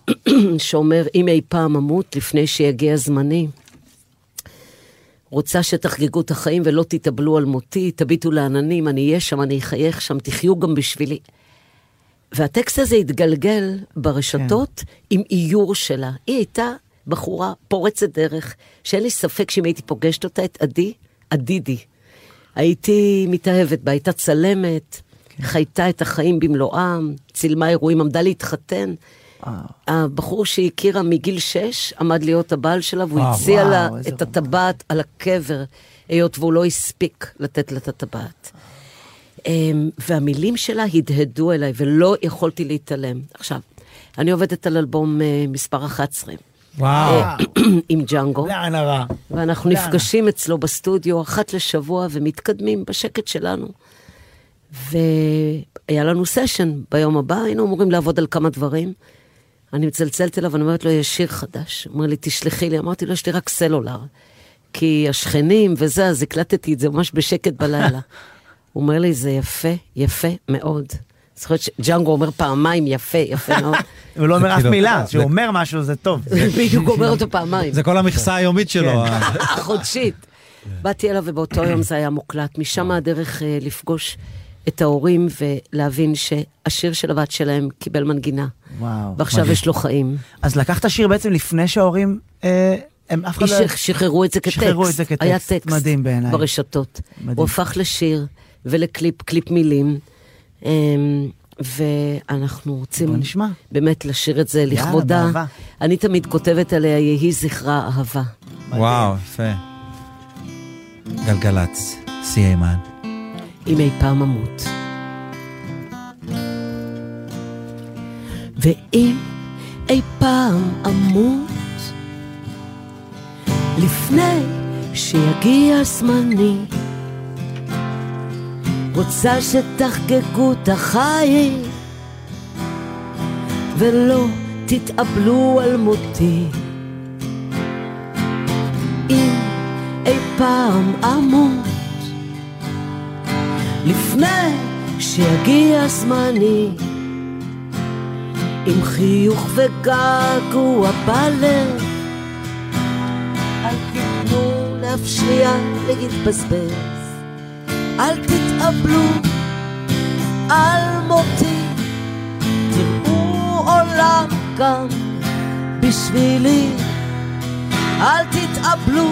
שאומר, אם אי פעם אמות לפני שיגיע זמני. רוצה שתחגגו את החיים ולא תתאבלו על מותי, תביטו לעננים, אני אהיה שם, אני אחייך שם, תחיו גם בשבילי. והטקסט הזה התגלגל ברשתות כן. עם איור שלה. היא הייתה בחורה פורצת דרך, שאין לי ספק שאם הייתי פוגשת אותה, את עדי, עדידי. הייתי מתאהבת בה, הייתה צלמת, כן. חייתה את החיים במלואם, צילמה אירועים, עמדה להתחתן. אה. הבחור שהיא הכירה מגיל שש עמד להיות הבעל שלה, והוא הציע אה, וואו, לה איזה את הטבעת על הקבר, היות והוא לא הספיק לתת לה את הטבעת. אמ, והמילים שלה הדהדו אליי, ולא יכולתי להתעלם. עכשיו, אני עובדת על אלבום אה, מספר 11. אה. וואו. לא, עם ג'אנגו, לאן הרע. אה, ואנחנו נפגשים אצלו בסטודיו אחת לשבוע ומתקדמים בשקט שלנו. והיה לנו סשן ביום הבא, היינו אמורים לעבוד על כמה דברים. אני מצלצלת אליו, אני אומרת לו, יש שיר חדש. הוא אומר לי, תשלחי לי. אמרתי לו, יש לי רק סלולר. כי השכנים וזה, אז הקלטתי את זה ממש בשקט בלילה. הוא אומר לי, זה יפה, יפה מאוד. זוכרת שג'אנגו אומר פעמיים, יפה, יפה מאוד. הוא לא אומר אף כאילו- מילה, זה- כשהוא אומר משהו זה טוב. בדיוק אומר אותו פעמיים. זה כל המכסה היומית שלו. ה- כן. אה, חודשית. באתי אליו ובאותו יום זה היה מוקלט. משם הדרך אה, לפגוש את ההורים ולהבין שהשיר של הבת שלהם קיבל מנגינה. וואו. ועכשיו יש לו חיים. אז לקחת שיר בעצם לפני שההורים, אה, הם אף אחד לא... שח- שחררו את זה כטקסט. שחררו את זה כטקסט. היה טקסט. מדהים בעיניי. ברשתות. מדהים. הוא הפך לשיר ולקליפ, קליפ מילים. אמ, ואנחנו רוצים בוא נשמע. באמת לשיר את זה יאללה, לכבודה. באהבה. אני תמיד כותבת עליה, יהי זכרה אהבה. וואו, יפה. גלגלצ, סי איימן. אם אי פעם אמות. ואם אי פעם אמות, לפני שיגיע זמני, רוצה שתחגגו את החיים, ולא תתאבלו על מותי. אם אי פעם אמות, לפני שיגיע זמני עם חיוך וגעגוע בלב אל תיתנו להפשיע להתבזבז אל תתאבלו על מותי תראו עולם גם בשבילי אל תתאבלו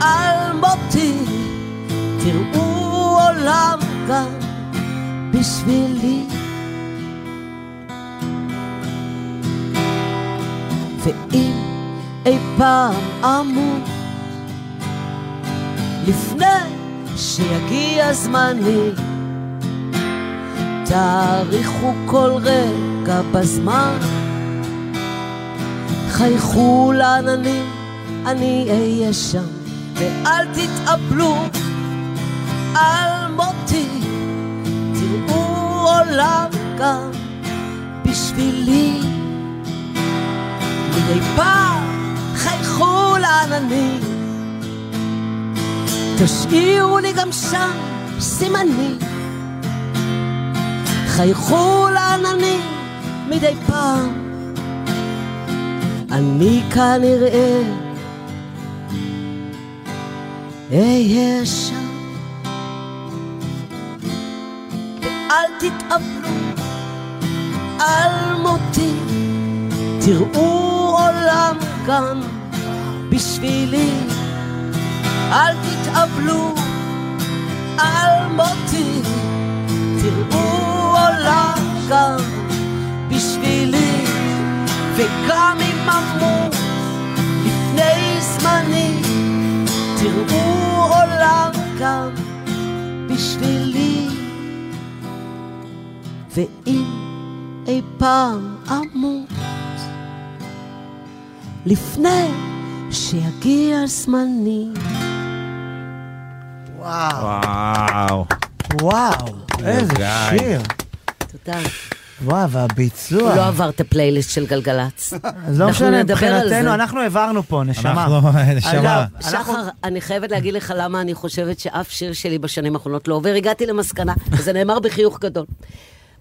על מותי תראו עולם גם בשבילי. ואם אי פעם אמור, לפני שיגיע זמני, תאריכו כל רגע בזמן, חייכו לעננים, אני אהיה שם, ואל תתאבלו על מותי, תראו עולם גם בשבילי. מדי פעם חייכו לעננים, תשאירו לי גם שם סימנים. חייכו לעננים מדי פעם. אני כנראה אהיה שם. אל תתאבלו על מותי, תראו עולם כאן בשבילי. אל תתאבלו על מותי, תראו עולם כאן בשבילי. וגם אם אמור לפני זמני, תראו עולם כאן בשבילי. ואם אי פעם אמות, לפני שיגיע זמני. וואו, וואו. וואו, איזה גיא. שיר. תודה. וואו, הוא והביצוע. לא עבר את הפלייליסט של גלגלצ. נכון. אז לא אנחנו משנה, נדבר על מבחינתנו, זה. אנחנו העברנו פה, נשמה. אנחנו, נשמה. אגב, אנחנו- שחר, אני חייבת להגיד לך למה אני חושבת שאף שיר שלי בשנים האחרונות לא עובר. הגעתי למסקנה, וזה נאמר בחיוך גדול.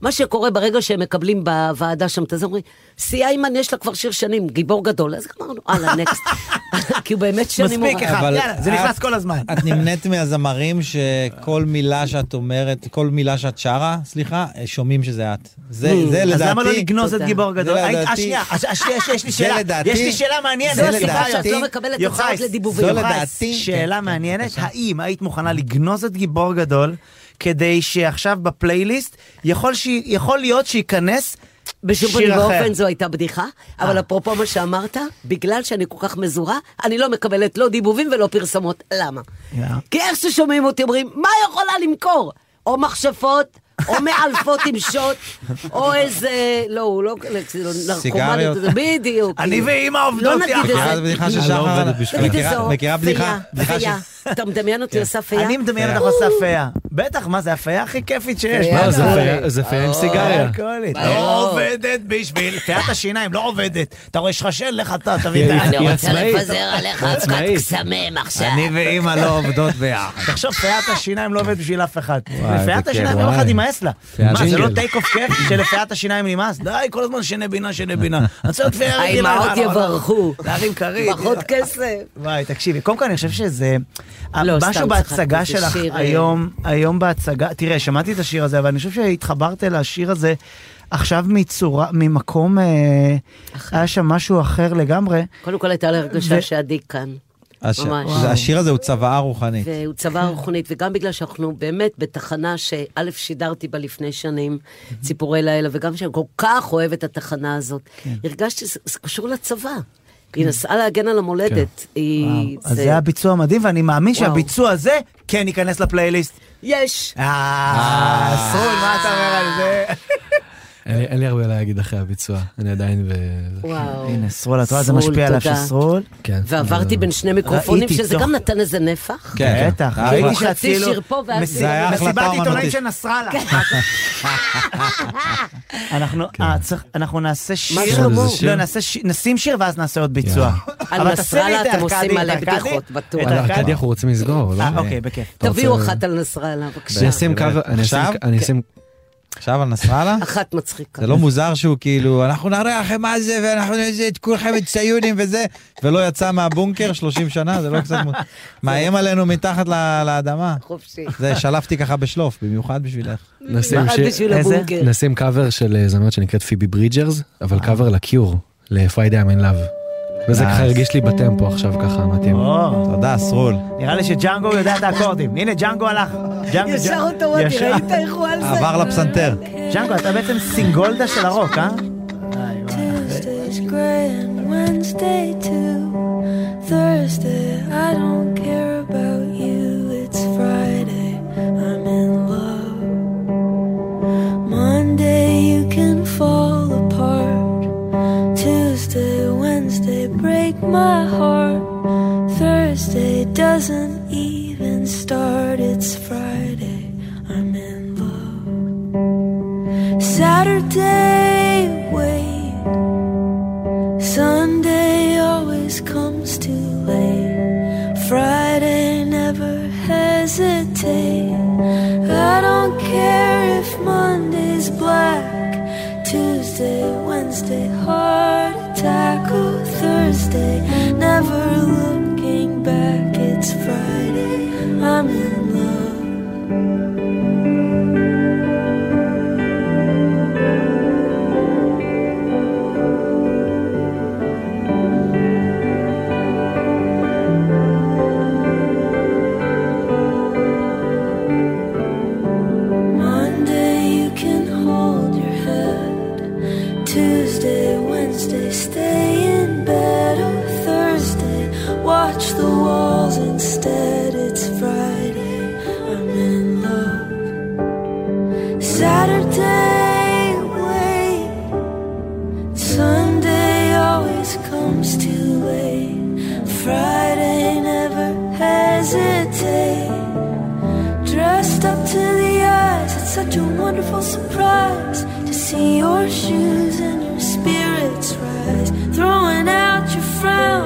מה שקורה ברגע שהם מקבלים בוועדה שם, אתה אומר, סי איימן יש לה כבר שיר שנים, גיבור גדול, אז גמרנו, הלאה, נקסט. כי הוא באמת שנים... מספיק הוא- אחד, אבל- יאללה, זה נכנס את- כל הזמן. את נמנית מהזמרים שכל מילה שאת אומרת, כל מילה שאת שרה, סליחה, אה, שומעים שזה את. זה זה אז לדעתי... למה לא לגנוז את תודה. גיבור זה גדול? היית- לדעתי- אה, שנייה, אה, שנייה, יש- יש לי זה שאלה. לדעתי- יש לי שאלה מעניינת. אה, זה סליחה, סליחה שאת לדעתי- לא מקבלת יוחאי, הצעות לדיבובים. לא יוחאי, לדעתי. שאלה מעניינת, האם היית מוכנה לגנוז את גיבור גדול כדי שעכשיו בפלייליסט יכול שהיא- יכול להיות שייכנס בשום פנים שיר אחר? אה. ואופן זו הייתה בדיחה, אבל אפרופו מה שאמרת, בגלל שאני כל כך מזוהה, אני לא מקבלת לא דיבובים ולא פרסומות. למה? יאה. כי איך ששומעים אותי אומרים, מה יכולה למכור? או מכשפות, או מעלפות עם שוט, או איזה, לא, הוא לא, נרקומניות, סיגריות. זה בדיוק. אני כאילו. ואימא לא עובדות נגיד את יחד. זה. מכירה את הבדיחה אני לא ששחר... עובדת בשביל- תגיד מכירה- איזו, מכירה בדיחה? פיה, בדיחה ש- כן. פיה. אתה מדמיין אותי עושה פיה? אני מדמיין אותך או. עושה פאה. בטח, מה, זה הפיה הכי כיפית שיש. לא, מה זה אתה הפיה- אומר? זה הפיה עם סיגריה. אלכוהולית. ברור. לא עובדת בשביל... פיית השיניים לא עובדת. אתה רואה, יש לך של, לך אתה, תביא את ה... אני רוצה לפזר עליך אבקת קסמים עכשיו. אני ואימא לא עובדות ביחד. תחשוב, פיית השיניים לא עובדת בשביל אף אחד. וואי, זה לפיית כיף, השיניים יום וואי. אחד יימאס לה. פיית מה, זה ג'ינגל. לא טייק אוף כיף שלפיית השיניים נמאס? די, כל הזמן שני בינה, שני בינה. אני רוצה להיות פייה רגילה. האימהות לא, לא, לא. יברכו. להרים כרית. פחות כסף. וואי, תקשיבי, קודם כל אני חושב שזה... לא, משהו סתם בהצגה צחקתי, זה שלך שיר, אה. היום, היום בהצגה, תראה, שמעתי את השיר הזה, אבל אני חושב שהתחברת לשיר הזה עכשיו מצורה, ממקום, אה, היה שם משהו אחר לגמרי. קודם כל הייתה לי הרגשה שעדי כאן. הש- ממש. זה- השיר הזה הוא צוואה רוחנית. והוא צבא רוחנית, וגם בגלל שאנחנו באמת בתחנה שא' שידרתי בה לפני שנים, ציפורי לילה, וגם שאני כל כך אוהבת את התחנה הזאת, כן. הרגשתי שזה קשור לצבא. היא נסעה להגן על המולדת. היא... כן. אז זה היה ביצוע מדהים, ואני מאמין וואו. שהביצוע הזה כן ייכנס לפלייליסט. יש! אה, סרול, מה אתה אומר על זה? אין לי- אין לי הרבה להגיד אחרי הביצוע, אני עדיין ב... וואו. הנה, סרול, את רואה, זה סרול, משפיע עליו של תודה. סרול. כן. ועברתי בין שני מיקרופונים, ראיתי שזה תוך- גם נכון. נתן איזה נפח. כן, בטח, אה, ראיתי אה, חצי שאפילו... שיר פה ואז כן. מס- זה היה החלטה מסיבת עיתונאים אומנותית. של נסראללה. אנחנו- אה, צריך- אנחנו נעשה שיר, שלמה? כן. זה שיר? לא, נעשה שיר- נשים שיר ואז נעשה עוד ביצוע. אה, על אבל תשימי נסראללה את אתם עושים ארכדי, את מלא ארכדי, בדיחות, בטוח. את על ארכדי אנחנו רוצים לסגור, לא? אה, אוקיי, בכיף. אתה רוצה- תביאו אחת על נסראללה, אני בבקשה. אשים קאבר, אני אשים- עכשיו? אני אשים... עכשיו על נסראללה? אחת מצחיקה. זה לא מוזר שהוא כאילו, אנחנו נראה לכם מה זה, ואנחנו איזה, את כולכם את ציונים וזה, ולא יצא מהבונקר 30 שנה, זה לא קצת מוזר. מאיים עלינו מתחת ל- לאדמה. חופשי. זה, שלפתי ככה בשלוף, במיוחד בשבילך. נשים אחת שיר- בשביל איזה? הבונקר. נשים קאבר של אה, זמרת שנקראת פיבי ברידג'רס, אה. אבל קאבר לקיור, ל-Friday I'm in love. וזה ככה הרגיש לי בטמפו עכשיו ככה, מתאים. או, תודה, סרול. נראה לי שג'אנגו יודע את האקורדים. הנה, ג'אנגו הלך. ג'אנגו- ישר ג'אנגו- אוטומטי, ישר. ראית איך הוא על זה? עבר לפסנתר. ג'אנגו, אתה בעצם סינגולדה של הרוק, אה? Tuesday's gray and Wednesday too. Thursday, I don't care about you. It's Friday, I'm in love. Monday, you can fall apart. Tuesday, Wednesday, break my heart. Thursday doesn't even start. It's Friday, I'm in love. Saturday, wait. Sunday always comes too late. Friday, never hesitate. I don't care if Monday's black. Tuesday, Wednesday, heart attack. Oh, Thursday, never looking back. It's Friday, I'm in love. Monday you can hold your head. Tuesday, Wednesday, stay in bed. Or Thursday, watch the walls instead. It's Friday, I'm in love. Saturday, wait. Sunday always comes too late. Friday, never hesitate. Dressed up to the eyes, it's such a wonderful surprise to see your shoes and your spirits rise. Throwing out your frown,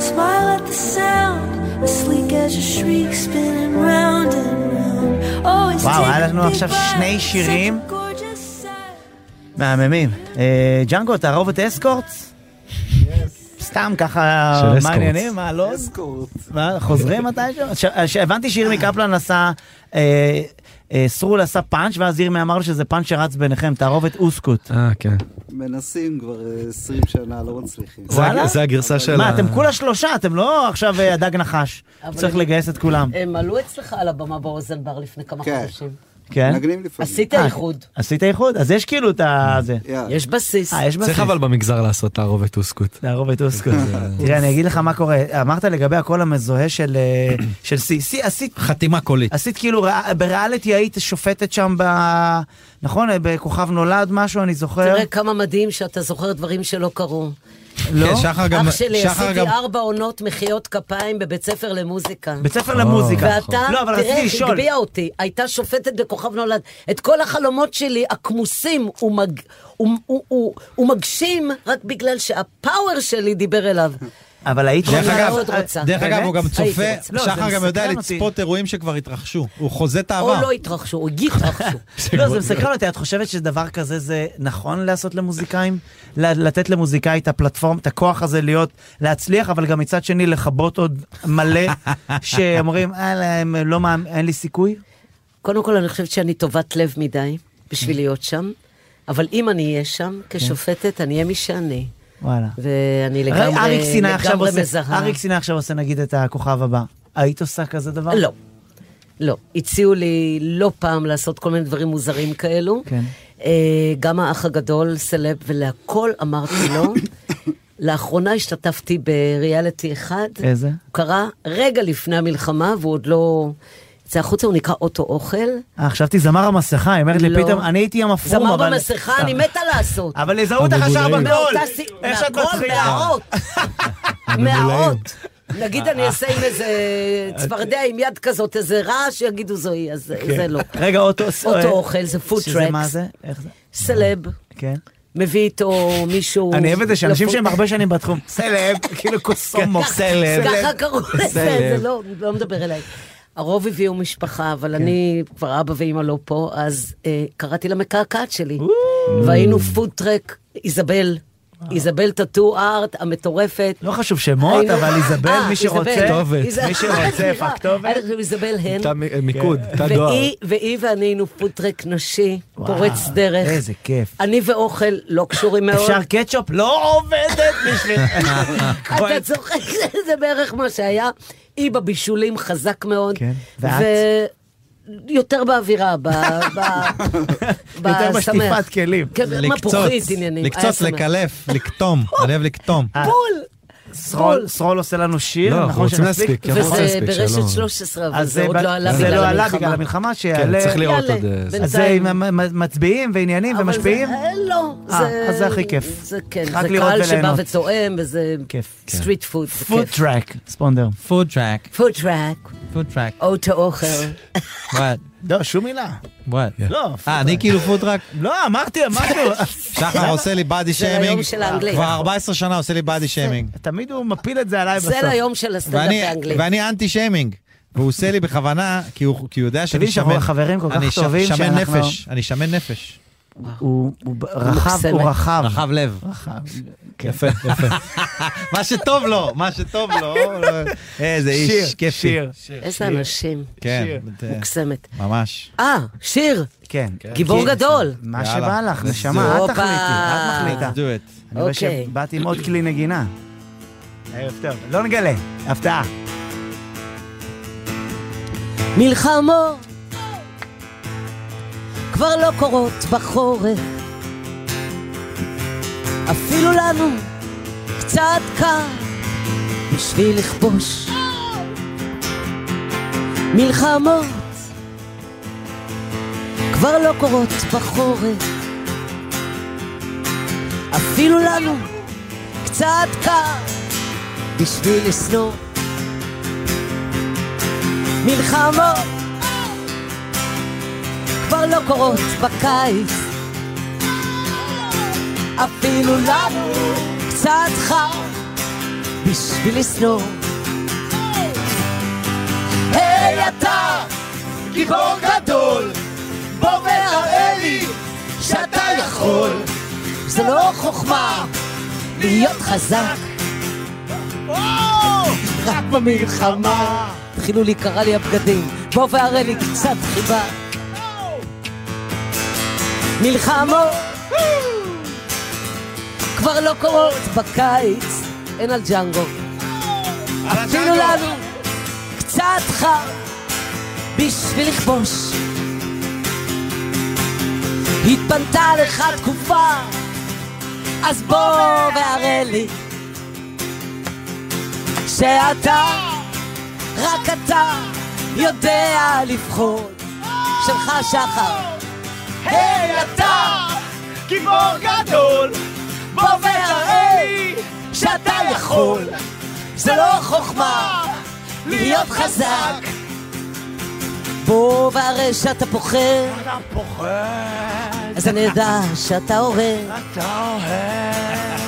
smile at the sound, as sleek as your shriek, spinning round and round. Always וואו, take היה לנו a big עכשיו bite, שני such a שירים. gorgeous sight. מהממים. אה, ג'אנגו, תערוב את אסקורטס? סתם ככה, של אה, מה אסקורטס. העניינים? מה לא? אסקורט. מה, חוזרים מתישהו? ש- שהבנתי שירמי קפלן עשה, אה, אה, סרול עשה פאנץ', ואז ירמי אמר לו שזה פאנץ' שרץ ביניכם, תערוב את אוסקוט. אה, כן. מנסים כבר אה, 20 שנה, לא מצליחים. זה וואלה? הג- זה הגרסה של מה, ה- אתם כולה שלושה, אתם לא עכשיו אה, הדג נחש. אבל- צריך לגייס את כולם. הם עלו אצלך על הבמה באוזן בר לפני כמה כן. חודשים. כן? מנגנים לפעמים. עשית אה, איחוד. עשית איחוד? אז יש כאילו את ה... זה. יאללה. יש בסיס. אה, יש צריך בסיס. אבל במגזר לעשות תערובת אה, אוסקוט. תערובת אוסקוט. תראה, אני אגיד לך מה קורה. אמרת לגבי הקול המזוהה של אה, של סי. סי, עשית חתימה קולית. עשית כאילו, רע- בריאליטי היית שופטת שם ב... נכון? בכוכב נולד משהו, אני זוכר. תראה כמה מדהים שאתה זוכר דברים שלא קרו. לא? כן, שחר גם... אח שלי, שחר עשיתי גם- ארבע עונות מחיאות כפיים בבית ספר למוזיקה. בית ספר למוזיקה. ואתה, לא, אבל תראה רציתי איך לשאול. הגביע אותי. הייתה שופטת בכוכב נולד. את כל החלומות שלי, הכמוסים, הוא מג- הוא- הוא- הוא- הוא מגשים רק בגלל שהפאוור שלי דיבר אליו. אבל היית דרך אני אגב, מאוד רוצה. דרך אגב, באמת? הוא גם הייתי צופה, רוצה. לא, זה שחר גם יודע מסקרן אותי. לצפות אירועים שכבר התרחשו. הוא חוזה את או העבר. לא התרחשו, או יתרחשו. לא, זה מסקרן אותי, את חושבת שדבר כזה זה נכון לעשות למוזיקאים? ל- לתת למוזיקאי את הפלטפורמה, את הכוח הזה להיות, להצליח, אבל גם מצד שני לכבות עוד מלא שאומרים, "אה, הם לא מאמ- אין לי סיכוי? קודם כל, אני חושבת שאני טובת לב מדי כן. בשביל להיות שם, אבל אם אני אהיה שם, כשופטת, אני אהיה מי שאני. וואלה. ואני כן. הרי לגמרי, אריק סיני עכשיו לגמרי עושה- מזהה. אריק סיני עכשיו עושה נגיד את הכוכב הבא. היית עושה כזה דבר? לא. לא. הציעו לי לא פעם לעשות כל מיני דברים מוזרים כאלו. כן. אה, גם האח הגדול, סלב, ולהכל אמרתי לא. לאחרונה השתתפתי בריאליטי אחד. איזה? הוא קרה רגע לפני המלחמה, והוא עוד לא... יצא החוצה, הוא נקרא אוטו אוכל. אה, חשבתי זמר המסכה, היא אומרת לי לא. פתאום, אני הייתי עם הפרום, זמר אבל... במסכה, אני מתה לעשות. אבל יזהו אותך ישר מהגול, בגול! איך שאת מתחילה. מהאות, מהאות. נגיד אני אעשה עם איזה צפרדע עם יד כזאת, איזה רעש, יגידו זוהי, אז זה לא. כן. רגע, אוטו... אה, אוטו אוכל, זה food שזה מה trucks. זה? איך זה? סלב, כן. מביא איתו מישהו... אני אוהב את זה שאנשים לפוד- שהם הרבה שנים בתחום, סלב, כאילו קוסומו, ככה- ככה קראו לזה, זה לא, לא מדבר אליי. הרוב הביאו משפחה, כן. אבל אני, כבר אבא ואימא לא פה, אז אה, קראתי לה מקעקעת שלי. והיינו פודטרק, איזבל, איזבל טאטו ארט המטורפת. לא חשוב שמות, היינו- אבל איזבל, אה, מי שרוצה, איזבל, איזבל- מי שרוצה, סליחה, הכתובת. כן. אני חושבת איזבל הן. תא מ- אה, מיקוד, תא דואר. והיא- והיא ואני היינו פודטרק נשי, וואו, פורץ דרך. איזה כיף. אני ואוכל לא קשורים מאוד. אפשר קטשופ? לא עובדת בשביל... אתה צוחק, זה בערך מה שהיה. היא בבישולים חזק מאוד. כן, ואת? ו- יותר באווירה, ב... ב... יותר בשמח. בשטיפת כלים. כן, מפוחית עניינים. אה, היה לקצוץ, שמח. לקלף, לקטום, אני אוהב לקטום. בול! סרול, סרול עושה לנו שיר, לא, נכון אנחנו רוצים שנספיק? להספיק, כי אנחנו רוצים וזה להספיק, ברשת שלום. כן, 13, אבל אז זה עוד ב- לא עלה זה לא בגלל עלה בגלל המלחמה. המלחמה, שיעלה... צריך לראות יאללה, עוד, אה, זה. אז זה בינתיים. עם המ- מ- מצביעים ועניינים אבל זה- ומשפיעים? אה, לא. אה, זה- אז זה הכי כיף. זה כן, רק זה לראות קהל שבא וליהנות. וצועם, וזה כיף. כן. סטריט פוד. זה פוד כיף. טראק, ספונדר. פוד טראק, פוד טראק, פוד טראק, אוטו אוכל. וואט, לא, שום מילה. וואט. לא, אה, אני כאילו פוד טראק? לא, אמרתי, אמרתי. שחר עושה לי באדי זה היום שיימינג, של האנגלים. כבר 14 שנה עושה לי באדי שיימינג. תמיד הוא מפיל את זה עליי בסוף. זה ליום של הסטנדאפ ואני- האנגלי. ואני אנטי שיימינג. והוא עושה לי בכוונה, כי הוא כי הוא יודע שאני תבין שאנחנו שמן. חברים כל כך אני ש- טובים שמן שאנחנו- נפש, אני שמן נפש. הוא הוא ב- רחב, מקסם. הוא רחב. כן. רחב לב. רחב. יפה, יפה. מה שטוב לו, מה שטוב לו. איזה שיר, איש כיפי. שיר. איזה אנשים. כן, שיר. אה, מוקסמת. ממש. אה, שיר, כן. גיבור כן. גדול. מה יאללה, שבא לך, let's נשמה, do it. את תחליטי, את הופה. מחליטה. Let's do it. אני אה, רואה אוקיי. שבאתי עם עוד כלי נגינה. ערב טוב. לא נגלה, הפתעה. מלחמות כבר לא קורות בחורף. אפילו לנו קצת קר בשביל לכבוש. מלחמות כבר לא קורות בחורף. אפילו לנו קצת קר בשביל לשנוא. מלחמות כבר לא קורות בקיץ אפילו לנו קצת חם בשביל לשנוא היי אתה גיבור גדול בוא ותראה לי שאתה יכול זה לא חוכמה להיות חזק רק במלחמה התחילו להיקרע לי הבגדים בוא והראה לי קצת חיבה מלחמות כבר לא קורות בקיץ אין על ג'אנגו אפילו לנו קצת חם בשביל לכבוש התפנתה לך תקופה אז בוא והראה לי שאתה, רק אתה, יודע לבחור. שלך שחר. היי אתה, גיבור גדול, בוא וראה לי יכול. זה לא חוכמה להיות חזק. בוא והרי שאתה פוחד, אדם פוחד. אז אני אדע שאתה אוהב. אתה אוהב.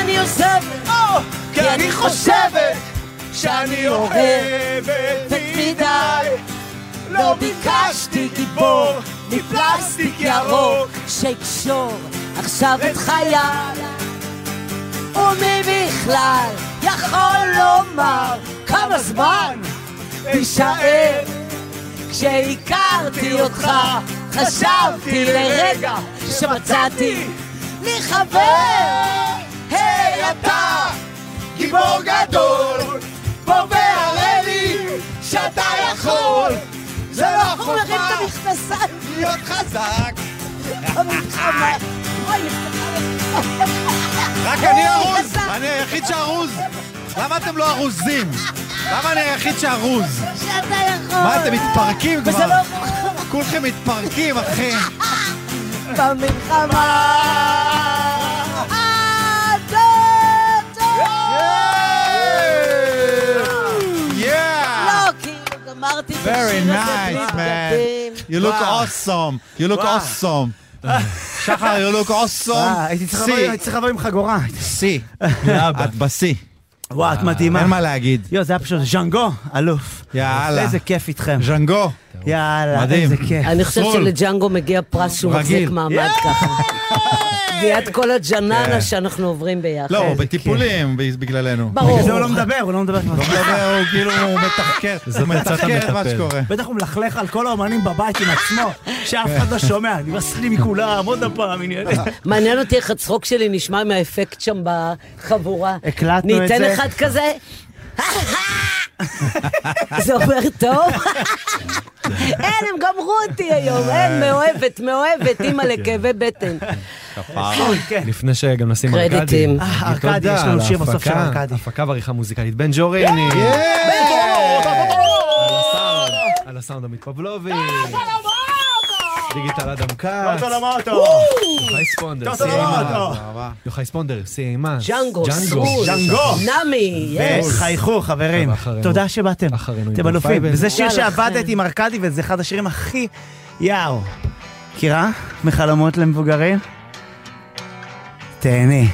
אני עוזבת, Oh, כי אני חושבת שאני אוהבת מדי. לא ביקשתי גיבור מפלסטיק ירוק שיקשור עכשיו את חיי. ומי בכלל יכול לומר כמה זמן תישאר. כשהכרתי אותך חשבתי לרגע שמצאתי לי חבר היי אתה, גיבור גדול, בוא והראה לי שאתה יכול. זה לא הוא מרים חוכמה את המכנסיים. להיות חזק. המלחמה. רק אני ארוז, אני היחיד שארוז. למה אתם לא ארוזים? למה אני היחיד שארוז? שאתה יכול. מה, אתם מתפרקים וזה כבר? לא כולכם מתפרקים, אחי. במלחמה. לא, כאילו, גמרתי את Very השיר הזה בלי nice, man. בגדים. You look וואו. awesome. You look וואו. awesome. שחר, you look אה, awesome. הייתי צריך לבוא- שיא. הייתי צריך לבוא עם חגורה. שיא. את בשיא. אה, וואו, את מדהימה. אין מה להגיד. יואו, זה היה פשוט ז'אנגו, אלוף. יאללה. איזה כיף איתכם. ז'נגו. יאללה, מדהים. איזה כיף. אני חושב סול. שלג'אנגו מגיע פרס שהוא מחזיק רגיל. מעמד ככה. ליד כל הג'ננה שאנחנו עוברים ביחד. כן. לא, הוא בטיפולים בגללנו. כן. ברור. בגלל זה הוא לא מדבר, הוא לא מדבר כבר. לא מדבר, הוא כאילו מתחקר. זאת הוא עצת מתחקר את מה המטפל. שקורה. בטח הוא מלכלך על כל האומנים בבית עם עצמו, שאף אחד לא שומע, נמאס לי מכולם, עוד פעם, עניינים. מעניין אותי איך הצחוק שלי נשמע מהאפקט שם בחבורה. הקלטנו את ניתן זה. אחד כזה? זה עובר טוב? אין, הם גמרו אותי היום, אין, מאוהבת, מאוהבת, כן. אימא לכאבי בטן. כן. לפני שגם נשים ארקדי. קרדיטים. אה, תודה ארקדי, יש לנו על שיר בסוף של ההפקה, ארקדי. הפקה ועריכה מוזיקלית. בן ג'וריני. על הסאונד, על הסאונד המתפבלובי. דיגיטל אדם כץ. יוחאי ספונדר. סיימה. יוחאי ספונדר. סיימה. ג'אנגו, ג'אנגו. סול, נמי, יס. חייכו, חברים. ואחרינו. תודה שבאתם. אחרינו אתם עם אלופים. פייבן. זה שיר יאללה, שעבדתי לכם. עם ארקדי, וזה אחד השירים הכי... יאו. מכירה? מחלומות למבוגרים? תהני.